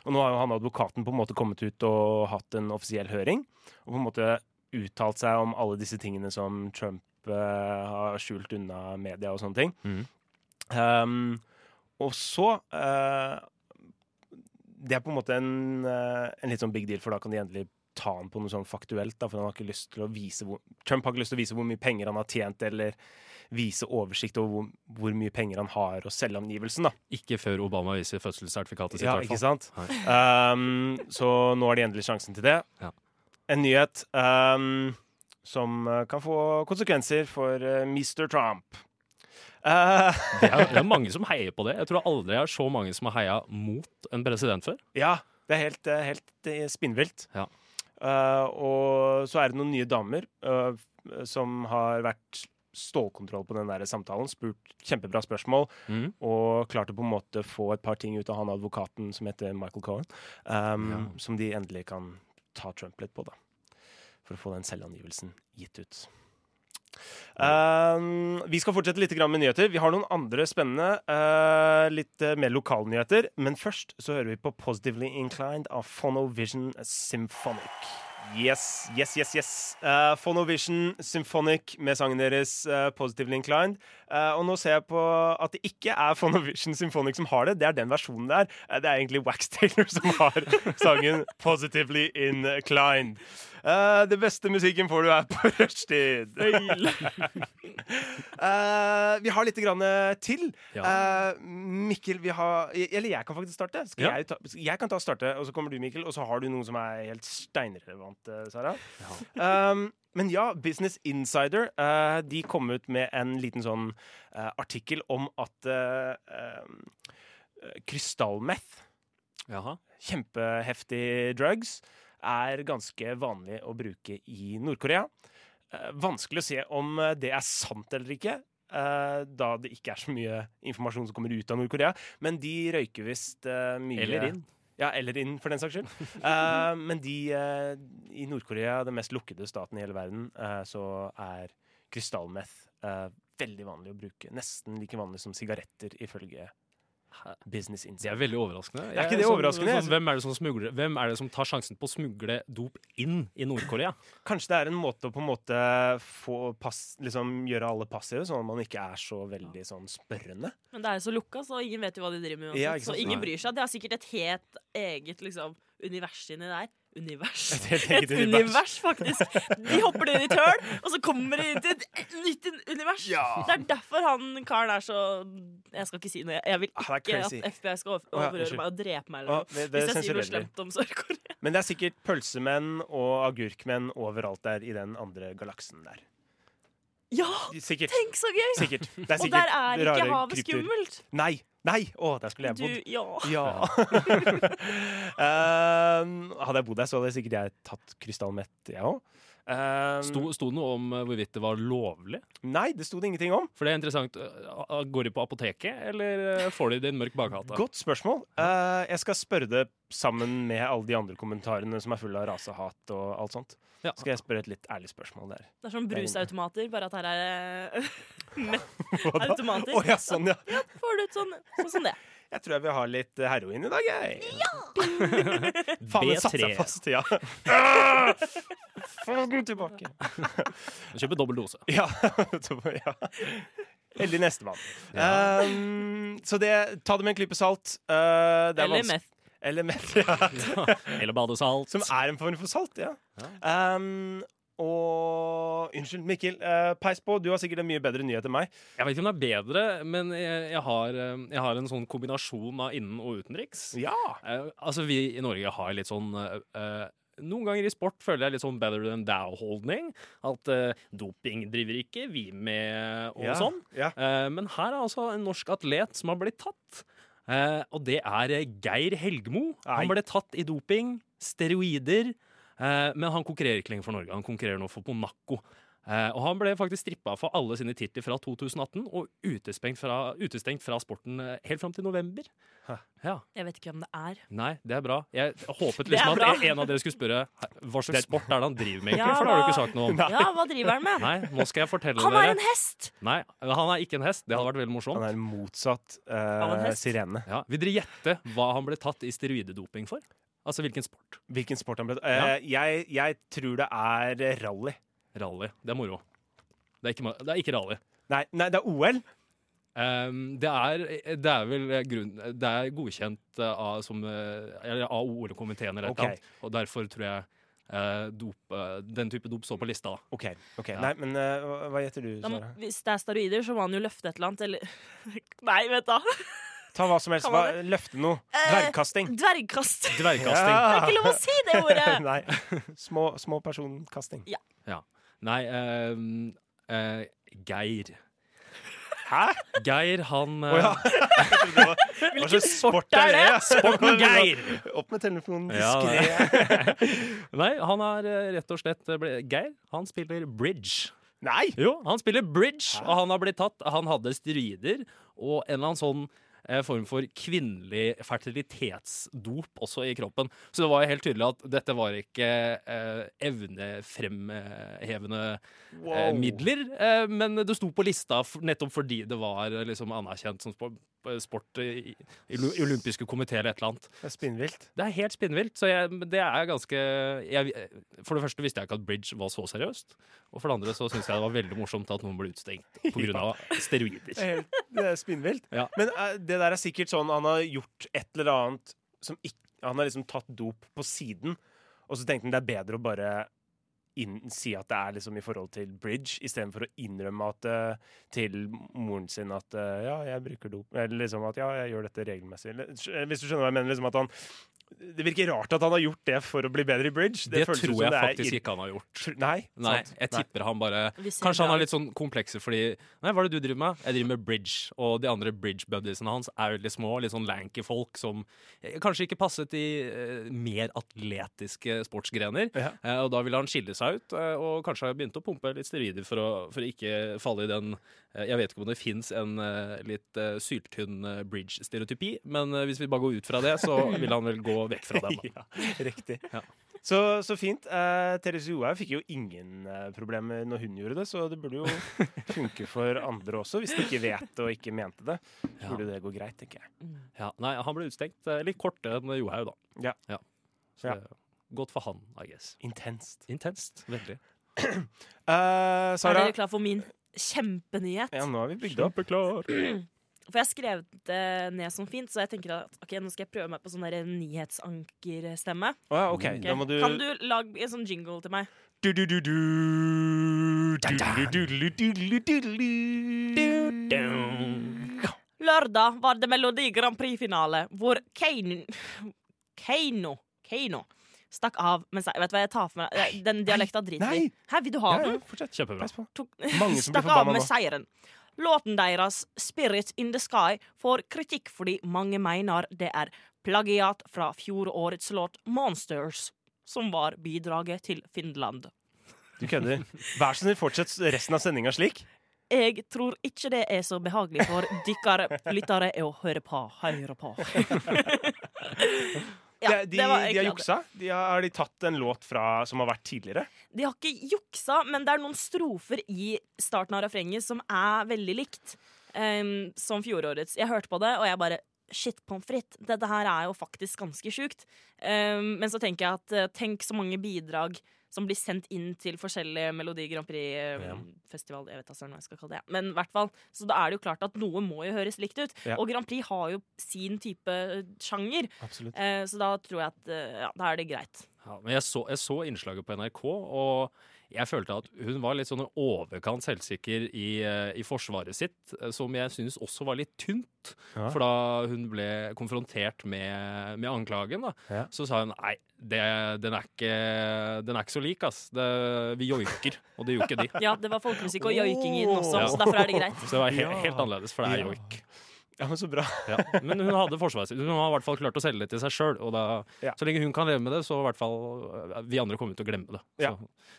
S2: Og nå har jo han advokaten på en måte kommet ut og hatt en offisiell høring. Og på en måte uttalt seg om alle disse tingene som Trump eh, har skjult unna media og sånne ting.
S4: Mhm.
S2: Um, og så eh, det er på en måte en, eh, en litt sånn big deal, for da kan de endelig ta han på noe sånn faktuelt, da, for han har ikke lyst til å vise hvor, Trump har ikke lyst til å vise hvor mye penger han har tjent, eller vise oversikt over hvor, hvor mye penger han har, og selvangivelsen. da.
S4: Ikke før Obama viser fødselssertifikatet sitt,
S2: Ja,
S4: i
S2: ikke
S4: hvert fall.
S2: sant? Um, så nå har de endelig sjansen til det.
S4: Ja.
S2: En nyhet um, som uh, kan få konsekvenser for uh, Mr. Trump. Uh,
S4: Det er, det er mange som heier på det. Jeg tror aldri jeg har så mange som har heia mot en president før.
S2: ja, det er helt, uh, helt uh, spinnvilt.
S4: Ja.
S2: Uh, og så er det noen nye damer uh, som har vært stålkontroll på den der samtalen. Spurt kjempebra spørsmål.
S4: Mm.
S2: og klarte på en måte få et par ting ut av han advokaten som heter Michael Cohen, um,
S4: Ja.
S2: som de endelig kan ta Trump litt på, da. For å få den selvangivelsen gitt ut. Um, vi skal fortsette litt grann med nyheter. Vi har noen andre spennende, eh, litt eh, mer lokalnyheter. Men først så hører vi på Positively Inclined av Phonovision Symphonic. Yes, yes, yes. yes. Eh, Phonovision Symphonic med sangen deres eh, Positively Inclined. Eh, og nå ser jeg på at det ikke er Phonovision Symphonic som har det. Det er den versjonen der. Eh, det er egentlig Wax Taylor som har sangen Positively Inclined. Eh, det beste musikken får du her på rushtid. Eh, vi har litt grann eh, til. Eh, Mikkel, vi har Eller jeg kan faktisk starte. Skal
S4: Ja.
S2: jeg, ta, jeg kan ta og starte, og så kommer du, Mikkel, og så har du noe som er helt steinrelevant, eh, Sara. Um, men ja, Business Insider eh, De kom ut med en liten sånn eh, artikkel om at uh, krystallmeth,
S4: Jaha.
S2: kjempeheftig drugs, er ganske vanlig å bruke i Nord-Korea. Eh, vanskelig å se om eh, det er sant eller ikke, eh, da det ikke er så mye informasjon som kommer ut av Nord-Korea. Men de røyker visst eh, mye
S4: Eller inn.
S2: ja, eller inn, for den saks skyld. Eh, men de eh, i Nord-Korea, den mest lukkede staten i hele verden, eh, så er krystallmeth eh, veldig vanlig å bruke. Nesten like vanlig som sigaretter, ifølge Business
S4: Det
S2: Insight.
S4: er veldig overraskende.
S2: Er ikke
S4: Jeg-
S2: det
S4: sånn-
S2: overraskende?
S4: Sånn, hvem, er det som smugler, hvem er det som tar sjansen på å smugle dop inn i Nord-Korea?
S2: Kanskje det er en måte å på en måte få pass, liksom, gjøre alle passive, sånn at man ikke er så veldig sånn spørrende.
S3: Men det er jo så lukka, så ingen vet jo hva de driver med.
S2: Ja,
S3: uansett,
S2: ikke
S3: så
S2: sant?
S3: ingen
S4: Nei.
S3: bryr seg. Det er sikkert et helt eget liksom, univers inni der. Univers.
S2: helt eget
S3: et univers. faktisk. De hopper inn i tøl, og så kommer de inn til et nytt univers. Det er derfor han karen er så Jeg skal ikke si noe. Jeg vil
S2: Ah, det er
S3: ikke
S2: crazy.
S3: at FBI skal over-
S2: Å, ja,
S3: overhøre
S2: unnskyld.
S3: meg og drepe meg.
S2: Å,
S3: Eller noe.
S2: det, det
S3: Hvis jeg sier noe
S2: sensurerer vi.
S3: slemt om Sør-Korea.
S2: Men det er sikkert pølsemenn og agurkmenn overalt der i den andre galaksen der.
S3: Ja!
S2: Sikkert.
S3: Tenk så gøy!
S2: sikkert. Det er
S3: Og
S2: sikkert
S3: der er ikke
S2: rare
S3: havet
S2: krypdyr.
S3: skummelt.
S2: Nei! Nei! Å, der skulle jeg
S3: Du,
S2: bodd.
S3: ja.
S2: Ja. Ehm, hadde jeg bodd der, så hadde sikkert jeg tatt krystallmett, jeg òg.
S4: Sto, sto det noe om eh, hvorvidt det var lovlig?
S2: Nei, det sto det ingenting om.
S4: For det er interessant. Eh, Går de på apoteket, eller eh, får de det i en mørk bakgate?
S2: Godt spørsmål. Eh, jeg skal spørre det sammen med alle de andre kommentarene som er fulle av rasehat og alt sånt.
S4: Ja.
S2: Skal jeg spørre et litt ærlig spørsmål der.
S3: Det er som brusautomater, bare at her er det
S2: Hva da?
S3: automatisk.
S2: Å ja, sånn, ja.
S3: Får du ut sånn, sånn som det.
S2: Jeg tror jeg vil ha litt eh, heroin i dag, jeg. Faen, den satte
S4: B3.
S2: seg fast. Ja. Få den tilbake.
S4: Kjøper dobbel dose.
S2: Ja. nettopp, ja. Eller nestemann. Um, så det, ta det med en klype salt. Uh, det er
S3: Eller
S2: vanskelig-
S3: meth.
S2: Eller meth, ja.
S4: Eller badesalt.
S2: Som er en form for salt, ja. Um, og Unnskyld, Mikkel. Uh, peis på, du har sikkert en mye bedre nyhet enn meg.
S4: Jeg vet ikke om det er bedre, men jeg, jeg, har, eh, jeg har en sånn kombinasjon av innen- og utenriks.
S2: Ja!
S4: Eh, altså, vi i Norge har litt sånn eh, eh, Noen ganger i sport føler jeg litt sånn better than thou-holdning. At eh, doping driver ikke vi med, og
S2: ja.
S4: sånn.
S2: Ja.
S4: Eh, men her er altså en norsk atlet som har blitt tatt. Eh, og det er eh, Geir Helgmo.
S2: Nei.
S4: Han ble tatt i doping, steroider. eh, men han konkurrerer ikke lenger for Norge, han konkurrerer nå for Monaco. Eh, og han ble faktisk strippa for alle sine titler fra 2018 og utestengt fra, utestengt fra sporten eh, helt fram til november.
S2: Hæ.
S4: Ja,
S3: Jeg vet ikke hvem det er.
S4: Nei, det er bra. Jeg håpet
S3: Det er
S4: liksom
S3: bra.
S4: at en- en av dere skulle spørre hva slags sport er det han driver med, egentlig?
S3: Ja,
S4: for det har du
S3: hva-
S4: ikke sagt noe om.
S3: Ja, hva driver han med?
S4: Nei, nå skal jeg fortelle
S3: Han
S4: dere.
S3: er en hest!
S4: Nei, han er ikke en hest. Det hadde vært veldig morsomt.
S2: Han er motsatt uh,
S3: en hest.
S2: sirene.
S4: Ja. Vil dere gjette hva han ble tatt i steroidedoping for? Altså hvilken sport?
S2: Hvilken sport han ble uh, jeg, jeg tror det er rally.
S4: Rally. Det er moro. Det er ikke, ma- det er ikke rally.
S2: Nei, nei, det er OL.
S4: Ehm, det, er, det er vel grunn, Det er godkjent eh, av, som, eh, eller av OL-komiteen eller et eller
S2: Ok.
S4: annet, og derfor tror jeg eh, dop, eh, den type dop står på lista. da.
S2: OK. ok.
S4: Ja.
S2: Nei, men eh, hva- hva gjetter du,
S3: Da må,
S2: Sara?
S3: hvis det er steroider, så må han jo løfte et eller annet, eller Nei, vet da.
S2: Ta hva som helst.
S3: Kan man
S2: Hva, løfte noe.
S3: Eh,
S2: Dvergkasting.
S3: Dvergkast.
S4: Dvergkasting.
S3: Det er ikke lov å si det ordet!
S2: Nei. Små, små personkasting.
S4: Nei, eh, eh, Geir.
S2: Hæ?
S4: Geir, han eh,
S2: Å ja. Hva slags sport er sånn. det?
S4: Sporten Geir!
S2: Opp med telefonen.
S4: Ja,
S2: Diskret.
S4: Nei, han er eh, rett og slett eh, ble- Geir, han spiller bridge.
S2: Nei!
S4: Jo, han spiller bridge, og han har blitt tatt. Han hadde steroider og en eller annen sånn eh, form for kvinnelig fertilitetsdop også i kroppen. Så det var jo helt tydelig at dette var ikke eh, evnefremhevende eh,
S2: Wow.
S4: midler, eh, men det sto på lista f nettopp fordi det var eh, liksom anerkjent som sport, sport i, i Olu- olympiske komité eller et eller annet.
S2: Det er spinnvilt.
S4: Det er helt spinnvilt. Så jeg, men det er ganske jeg, eh, For det første visste jeg ikke at bridge var så seriøst. Og for det andre så syns jeg det var veldig morsomt at noen ble utestengt pga.
S2: Det
S4: steroider.
S2: er, helt, det er spinnvilt.
S4: Ja.
S2: Men eh, det der er sikkert sånn han har gjort et eller annet som ikke Han har liksom tatt dop på siden, og så tenkte han det er bedre å bare inn, si at det er liksom i forhold til bridge, istedenfor å innrømme at, eh, til moren sin at eh, ja, jeg bruker dop, eller liksom at ja, jeg gjør dette regelmessig. Eller, skj- Hvis du skjønner hva jeg mener, liksom at han Det virker rart at han har gjort det for å bli bedre i bridge.
S4: Det,
S2: føles ut
S4: tror
S2: som
S4: jeg
S2: det er
S4: faktisk
S2: irr-
S4: ikke han har gjort.
S2: Tr- Nei,
S4: Nei,
S2: sant?
S4: jeg tipper han bare
S3: Vi ser
S4: Kanskje
S3: bra
S4: han har
S3: ut.
S4: litt sånn komplekser fordi Nei, hva er det du driver med? Jeg driver med bridge. Og de andre bridge-buddiesene hans er veldig små, litt sånn lanky folk som eh, kanskje ikke passet i eh, mer atletiske sportsgrener.
S2: Ja.
S4: Eh, og da ville han skille seg ut, eh, og kanskje begynte å pumpe litt steroider for å, for å ikke falle i den eh, Jeg vet ikke om det fins en eh, litt eh, syltynn eh, bridge-stereotypi, men eh, hvis vi bare går ut fra det, så vil han vel gå vekk fra den. Da.
S2: ja, riktig.
S4: Ja.
S2: Så, så fint. Eh, Therese Johaug fikk jo ingen eh, problemer når hun gjorde det, så det burde jo funke for andre også, hvis de ikke vet og ikke mente det. Så burde det gå greit, tenker jeg.
S3: Mm.
S4: Ja, nei, han ble utstengt eh, litt kortere enn Johaug, da.
S2: Ja.
S4: Så
S2: Ja.
S4: det er godt for han, I guess.
S2: Intenst.
S4: Intenst. Veldig.
S2: Eh,
S3: Er
S2: Sara,
S3: dere klar for min kjempenyhet?
S2: ja, nå har vi bygd opp.
S3: For jeg skrev det ned som fint, så jeg tenker at ok, nå skal jeg prøve meg på sånn der nyhetsankerstemme.
S2: Å ja, OK.
S3: Ok.
S2: Da må du
S3: Kan du lage en sånn jingle til meg?
S2: Du-du-du-du. Du-du-du-du-du-du-du.
S3: Lørdag var det Melodi Grand Prix-finale, hvor Kane Kano Kano stakk av med seg Vet du hva, jeg tar for meg jeg- Den dialekta driter vi i.
S2: nei.
S3: Hæ, vil du ha
S2: Ja, ja,
S3: den?
S2: fortsett.
S4: Kjempebra.
S2: Pass på.
S3: Tok,
S2: Mange som blir
S3: stakk av
S2: forbanna nå.
S3: med seieren. Låten deres, 'Spirit in the Sky', får kritikk fordi mange mener det er plagiat fra fjorårets låt 'Monsters', som var bidraget til Finland.
S2: Du kødder. Vær så snill, fortsett resten av sendinga slik.
S3: Jeg tror ikke det er så behagelig for dykkere lyttere å høre på. Høre på. Ja,
S2: Det- de,
S3: det var
S2: de har
S3: egentlig alt.
S2: juksa? De har, har de tatt en låt fra, som har vært tidligere?
S3: De har ikke juksa, men det er noen strofer i starten av refrenget som er veldig likt em, som fjorårets. Jeg hørte på det, og jeg bare Shit, pommes frites. Dette her er jo faktisk ganske sjukt. Em, men så tenker jeg at eh, tenk så mange bidrag som blir sendt inn til forskjellige Melodi Grand Prix-festival Jeg vet da søren hva jeg skal kalle det. Men i hvert fall, så da er det jo klart at noe må jo høres likt ut.
S2: Ja.
S3: Og Grand Prix har jo sin type sjanger,
S2: Absolutt.
S3: eh, så da tror jeg at eh, ja, da er det greit.
S4: Ja, men jeg så, jeg så innslaget på NRK, og jeg følte at hun var litt sånn i overkant selvsikker i, eh, i forsvaret sitt, eh, som jeg syns også var litt tynt.
S2: Ja.
S4: For da hun ble konfrontert med, med anklagen, da,
S2: Ja.
S4: så sa hun nei, det, den, er ikke, den er ikke så lik, ass. Det, vi joiker, og det gjorde ikke de.
S3: Ja, det var folkemusikk
S2: Oh.
S3: og joiking i den også,
S4: Ja.
S3: så derfor er det greit.
S4: Så det var he
S2: Ja.
S4: helt annerledes, for det er
S2: Ja.
S4: joik.
S2: Ja, men Så bra.
S4: Ja. Men hun hadde forsvaret sitt. Hun har i hvert fall klart å selge det til seg sjøl. Og da,
S2: Ja.
S4: så lenge hun kan leve med det, så i hvert fall eh, vi andre kommer til å glemme det. Så,
S2: Ja.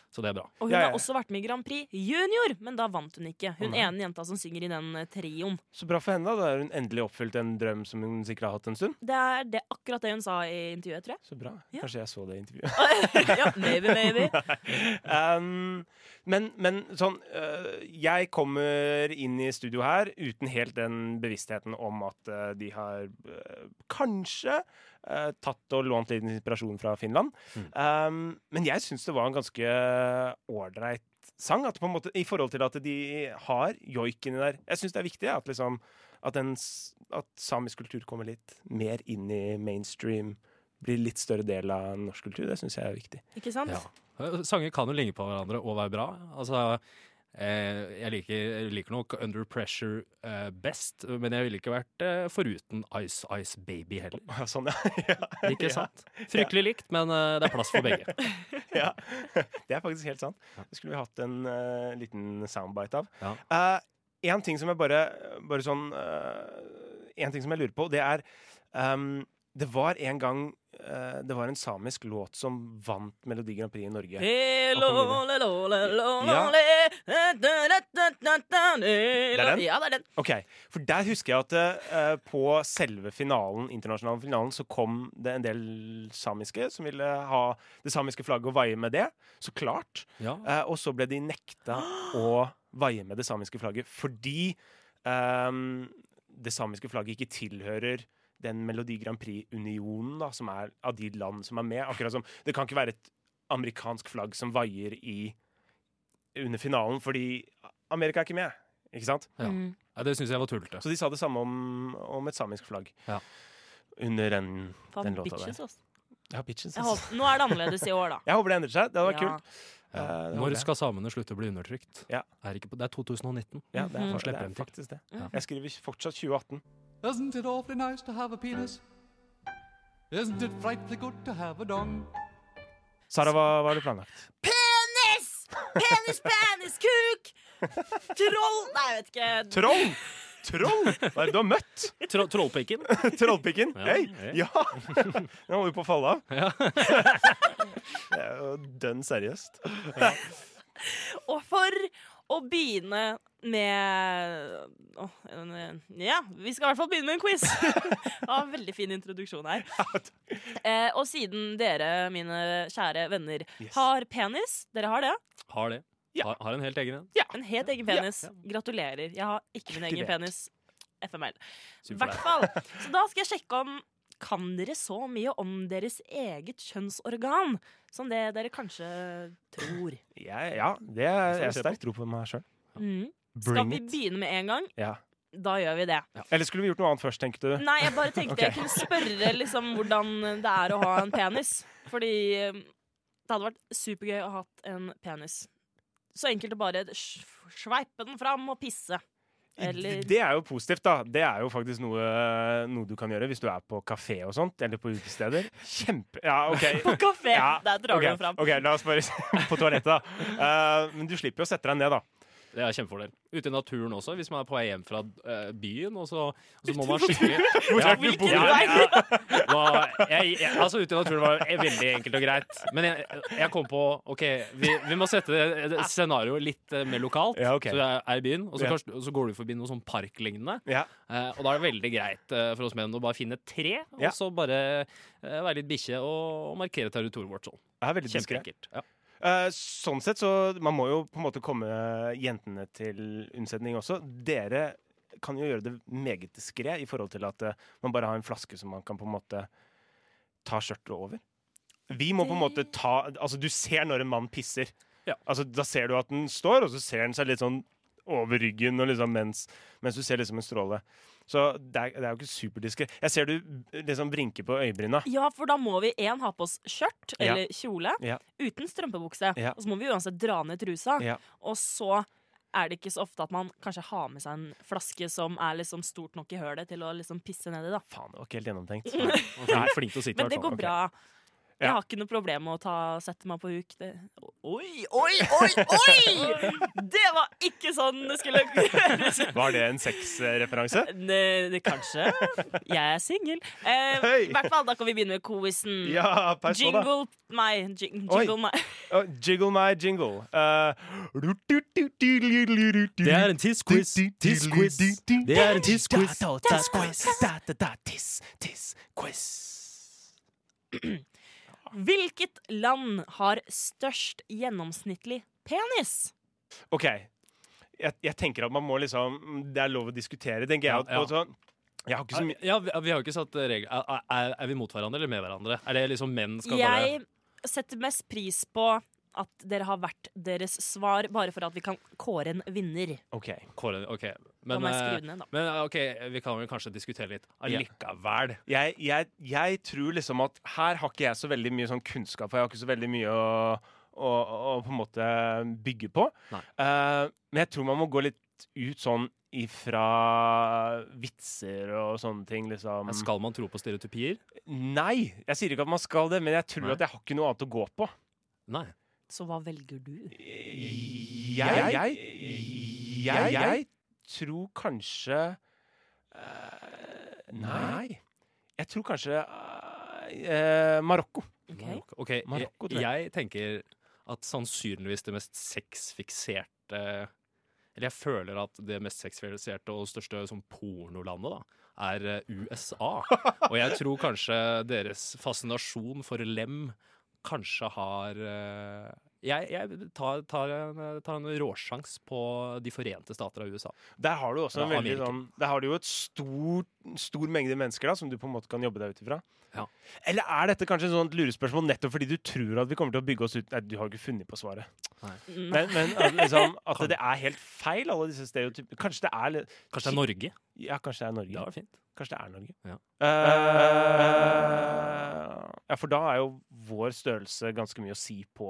S4: så det er bra.
S3: Og hun
S2: Ja, ja,
S3: har
S2: ja.
S3: også vært med i Grand Prix Junior, men da vant hun ikke. Hun
S2: Å, nei.
S3: ene jenta som synger i den eh, trioen.
S2: Så bra for henne. Da Da har hun endelig oppfylt en drøm som hun sikkert har hatt en stund.
S3: Det er det, akkurat det hun sa i intervjuet, tror jeg.
S2: Så bra.
S3: Ja.
S2: Kanskje jeg så det intervjuet.
S3: ja, maybe, maybe.
S2: Um, men, men sånn øh, Jeg kommer inn i studio her uten helt den bevisstheten om at øh, de har øh, kanskje øh, tatt og lånt litt inspirasjon fra Finland. Um, men jeg syns det var en ganske ålreit sang. At på en måte, I forhold til at de har joiken i der. Jeg syns det er viktig ja, at, liksom, at, den, s- at samisk kultur kommer litt mer inn i mainstream blir litt større del av norsk kultur. Det syns jeg er viktig.
S3: Ikke sant?
S4: Ja. Sanger kan jo ligne på hverandre og være bra. Altså, eh, jeg, liker, jeg liker nok Under Pressure eh, best, men jeg ville ikke vært eh, foruten Ice Ice Baby heller.
S2: Ja, sånn, ja. ja.
S4: Ikke sant? Fryktelig likt, men eh, det er plass for begge.
S2: ja. Det er faktisk helt sant. Det skulle vi hatt en eh, liten soundbite av.
S4: Ja.
S2: Eh, en ting som jeg bare, bare sånn eh, En ting som jeg lurer på, det er ehm, Det var en gang eh, Det var en samisk låt som vant Melodi Grand Prix i Norge. Ja.
S3: Det
S2: er den?
S3: Ja, det er den.
S2: Ok, For der husker jeg at eh, på selve finalen, internasjonale finalen så kom det en del samiske som ville ha det samiske flagget og vaie med det. Så klart.
S4: Ja.
S2: Eh, og så ble de nekta å vaie med det samiske flagget fordi ehm, det samiske flagget ikke tilhører den Melodi Grand Prix-unionen da, som er av de land som er med. Akkurat som Det kan ikke være et amerikansk flagg som vaier i, under finalen, fordi Amerika er ikke med. Ikke sant?
S4: Ja.
S3: Mm.
S4: Ja, det syns jeg var tullete.
S2: Så de sa det samme om, om et samisk flagg
S4: Ja.
S2: under den,
S3: Faen,
S2: den låta
S3: bitches,
S2: der.
S3: ass.
S2: Ja, bitches,
S3: Jeg
S2: ass.
S3: håper, nå er det annerledes i år, da.
S2: Jeg håper det endrer seg. Det hadde vært
S3: Ja.
S2: kult.
S4: Ja.
S2: Eh, det håper
S4: Når
S2: jeg.
S4: skal samene slutte å bli undertrykt?
S2: Ja.
S4: Er ikke på, det er 2019.
S2: Ja, det er,
S4: Mhm.
S2: fa- det
S4: Slipper
S2: er
S4: dem til.
S2: faktisk det.
S4: Ja.
S2: Jeg skriver fortsatt 2018.
S5: Isn't it awfully nice to have a penis? Isn't it frightfully good to have a dong?
S2: Sara, hva, hva har du planlagt?
S3: Penis! Penis, penis, kuk! Troll! Nei, jeg vet ikke.
S2: Troll! Troll! Hva er det du har møtt?
S4: Tro, trollpikken?
S2: Trollpikken?
S4: Ja,
S2: Hei!
S4: hei.
S2: Ja! Den holder på å falle av.
S4: Ja.
S2: Det er jo dønn seriøst.
S3: Og for å begynne med Åh, en- Ja, vi skal i hvert fall begynne med en quiz. Det var en veldig fin introduksjon her. Eh, og siden dere, mine kjære venner,
S2: Yes.
S3: har penis Dere har det?
S4: Har det.
S2: Ja.
S4: Har, har en helt egen en.
S3: En helt egen penis. Gratulerer. Jeg har ikke min egen
S2: Kultivert.
S3: penis. FML. I
S4: Super
S3: hvert
S4: deg.
S3: fall. Så da skal jeg sjekke om kan dere så mye om deres eget kjønnsorgan som det dere kanskje tror?
S2: Ja, ja det er,
S4: Det får vi
S2: jeg
S4: se
S2: sterkt tro på meg sjøl.
S3: Mm. Skal
S2: Bring
S3: vi
S2: it.
S3: begynne med en gang?
S2: Ja.
S3: Da gjør vi det.
S2: Eller skulle vi gjort noe annet først, tenkte du?
S3: Nei, jeg bare tenkte
S2: Ok.
S3: jeg kunne spørre liksom hvordan det er å ha en penis. Fordi eh, det hadde vært supergøy å ha hatt en penis. Så enkelt å bare sj- sveipe den fram og pisse. Eller
S2: Det er jo positivt, da. Det er jo faktisk noe, noe du kan gjøre hvis du er på kafé og sånt, eller på utesteder. Kjempe... Ja, OK.
S3: på kafé!
S2: Ja,
S3: Der drar
S2: ok,
S3: du den fram.
S2: OK, la oss bare på toalettet, da. Eh, men du slipper jo å sette deg ned, da.
S4: Det er kjempefordel. Ute i naturen også, hvis man er på vei hjem fra eh, byen, og så, og så må man skikkelig Hvor
S2: er det du bor?
S4: Hva- jeg, jeg, altså, ute i naturen var det veldig enkelt og greit. Men jeg, jeg kom på OK, vi, vi må sette det- det scenarioet litt eh, mer lokalt.
S2: Ja, ok.
S4: Så jeg er i byen, og så,
S2: Ja.
S4: kanskje, og så går du forbi noe sånn parklignende.
S2: Ja.
S4: Eh, og da er det veldig greit eh, for oss menn å bare finne et tre, og
S2: Ja.
S4: så bare eh, være litt bikkje og, og markere territoriet vårt sånn.
S2: Det er veldig diskret.
S4: Kjempeenkelt. Ja.
S2: Eh, sånn sett så Man må jo på en måte komme jentene til unnsetning også. Dere kan jo gjøre det meget diskré i forhold til at eh, man bare har en flaske som man kan på en måte ta skjørtet over. Vi må på en måte ta Altså, du ser når en mann pisser.
S4: Ja.
S2: Altså, da ser du at den står, og så ser den seg litt sånn over ryggen og liksom mens, mens du ser liksom en stråle. Så det er, det er jo ikke superdiskret. Jeg ser du liksom brinker på øyebryna.
S3: Ja, for da må vi en ha på oss skjørt
S2: Ja.
S3: eller kjole
S2: Ja.
S3: uten strømpebukse.
S2: Ja.
S3: Og så må vi uansett dra ned trusa.
S2: Ja.
S3: Og så er det ikke så ofte at man kanskje har med seg en flaske som er liksom stort nok i hølet til å liksom pisse ned i. da
S2: Faen, det var ikke helt gjennomtenkt.
S4: Og Flink, flink til å sitte, i
S3: Men
S4: hvert
S3: det
S4: fall.
S3: går bra. Jeg
S2: Ja.
S3: har ikke noe problem med å ta, sette meg på huk. Det. Oi, oi, oi, oi! Det var ikke sånn det skulle gjøres.
S2: Var det en sexreferanse?
S3: Ne- det- Kanskje. Jeg er singel. Eh,
S2: Hei!
S3: I hvert fall, da kan vi begynne med quizen.
S2: Ja, pass på, da.
S3: Jingle meg. Jing,
S2: Oi.
S3: jingle meg.
S2: Å, Jiggle my jingle. Eh,
S4: Det er en tiss-quiz. Tiss-quiz. Det er en tiss-quiz.
S2: Da, da, quiz. Da, da, da, Tiss, tiss, quiz.
S3: Hvilket land har størst gjennomsnittlig penis?
S2: OK. Jeg, jeg tenker at man må liksom Det er lov å diskutere, tenker jeg.
S4: Ja,
S2: at på sånn- Jeg har ikke så mye
S4: Ja, vi, vi har jo ikke satt regler er, er, er vi mot hverandre eller med hverandre? Er det liksom menn skal
S3: Jeg setter mest pris på at dere har vært deres svar, bare for at vi kan kåre en vinner.
S2: OK.
S4: bare kåre OK.
S3: Da
S4: Men,
S3: må jeg
S4: eh,
S3: skrive den ned, da.
S4: men eh, ok, vi kan vel kanskje diskutere litt allikevel.
S2: Jeg, jeg, jeg tror liksom at her har ikke jeg så veldig mye sånn kunnskap, og jeg har ikke så veldig mye å, å, å på en måte bygge på.
S4: Nei.
S2: Eh, men jeg tror man må gå litt ut sånn ifra vitser og sånne ting, liksom.
S4: Men Skal man tro på stereotypier?
S2: Nei! Jeg sier ikke at man skal det, men jeg tror
S4: Nei.
S2: at jeg har ikke noe annet å gå på.
S4: Nei.
S3: Så hva velger du?
S2: Jeg Jeg, jeg, jeg tror kanskje eh, Nei. Jeg tror kanskje eh, eh, Marokko.
S3: Ok.
S4: Marokko. Ok, jeg-
S2: Marokko, tror jeg.
S4: jeg tenker at sannsynligvis det mest sexfikserte Eller jeg føler at det mest sexfikserte og største sånn pornolandet, da, er eh, USA. Og jeg tror kanskje deres fascinasjon for lem kanskje har eh, Jeg, jeg tar, tar, en, tar en råsjans på De forente stater av USA.
S2: Der har du også en
S4: Ja,
S2: veldig
S4: Amerika.
S2: sånn Der har du jo et stor, stor mengde mennesker da som du på en måte kan jobbe deg ut ifra.
S4: Ja.
S2: Eller er dette kanskje et sånt lurespørsmål nettopp fordi du tror at vi kommer til å bygge oss ut Nei, du har jo ikke funnet på svaret.
S3: Nei.
S2: Men, men at, liksom, at det er helt feil, alle disse stereotypene. Kanskje det er litt-
S4: Kanskje det er Norge?
S2: Ja, kanskje det er Norge.
S4: Det var fint.
S2: Kanskje det er Norge.
S4: Ja.
S2: Eh, ja, for da er jo vår størrelse ganske mye å si på,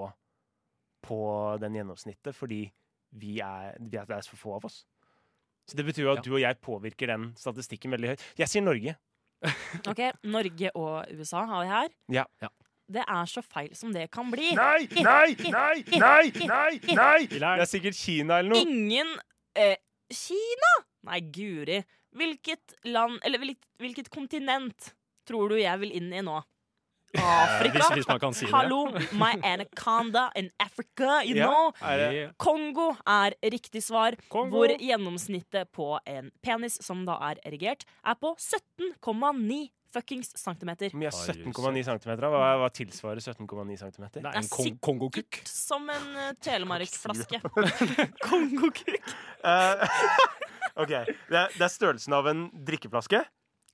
S2: på den gjennomsnittet, fordi vi er, vi er, det er for få av oss. Så det betyr jo at
S4: Ja.
S2: du og jeg påvirker den statistikken veldig høyt. Jeg sier Norge.
S3: Ok, Norge og USA har vi her.
S2: Ja.
S4: Ja.
S3: Det er så feil som det kan bli.
S2: Nei, nei, nei, nei, nei, nei! Det er sikkert Kina eller noe.
S3: Ingen eh, Kina? Nei, guri. Hvilket land, eller hvilket, hvilket kontinent, tror du jeg vil inn i nå? Afrika?
S4: Hvis, hvis man kan si det.
S3: Hallo, my anaconda in Africa, you
S2: Ja.
S3: know?
S2: Er det,
S3: Kongo er riktig svar,
S2: Kongo.
S3: hvor gjennomsnittet på en penis, som da er erigert, er på 17,9 fuckings centimeter.
S2: vi er 17,9 cm. Hva, hva tilsvarer 17,9 cm?
S4: Det
S3: Det er
S4: er en kong kongokukk.
S3: Som en uh, telemarksflaske. Kongokuk.
S2: Eh, OK. Det er, det er størrelsen av en drikkeflaske.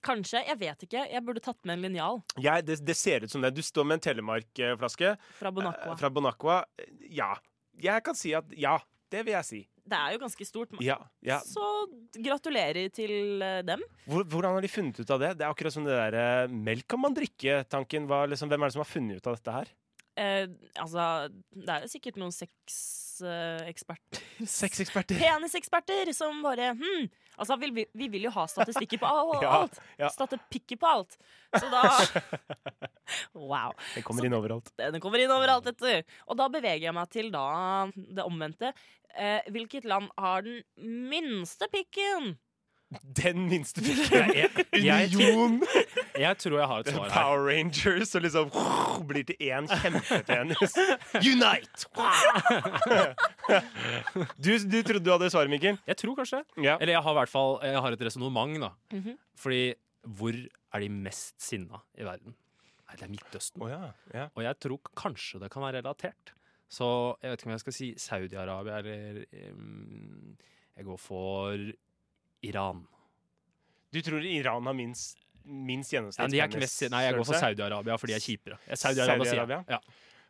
S3: Kanskje, jeg vet ikke. Jeg burde tatt med en linjal
S2: Jeg, det, det ser ut som det. Du står med en Telemark-flaske eh,
S3: fra Bonacqua.
S2: fra Bonacqua. Ja. Jeg kan si at ja. Det vil jeg si.
S3: Det er jo ganske stort. men-
S2: Ja, ja.
S3: Så gratulerer til eh, dem.
S2: Hvor, hvordan har de funnet ut av det? Det er akkurat som det der eh, melk kan man drikke-tanken. Hva, liksom, hvem er det som har funnet ut av dette her?
S3: Eh, altså, det er jo sikkert noen sexeksperter
S2: Sexeksperter.
S3: Peniseksperter som bare hm, Altså, vi, vi, vi vil jo ha statistikker på all,
S2: Ja,
S3: alt.
S2: ja.
S3: Statipikker på alt. Så da Wow.
S2: Det kommer inn overalt.
S3: Den kommer inn overalt, vet du. Og da beveger jeg meg til da det omvendte. Eh, hvilket land har den minste pikken?
S2: Den minste
S4: Jeg,
S2: fisken.
S4: jeg, jeg,
S2: Union
S4: jeg tror jeg har et svar her.
S2: Power Rangers og liksom blir til én kjempepenis. Unite! Du, du trodde du hadde svaret, Mikkel?
S4: Jeg tror kanskje det.
S2: Ja.
S4: Eller jeg har i hvert fall jeg har et resonnement, da. Fordi hvor er de mest sinna i verden? Nei, det er Midtøsten.
S2: Å ja, ja.
S4: Og jeg tror kanskje det kan være relatert. Så jeg vet ikke om jeg skal si Saudi-Arabia eller em, Jeg går for Iran.
S2: Du tror Iran har minst, minst
S4: Ja, men de er ikke mest,
S2: gjennomsnittspenisstørrelse?
S4: nei, jeg går for Saudi-Arabia, for de er kjipere. Eh, Saudi-Arabia, sier jeg.
S2: Saudi-Arabia?
S4: Ja.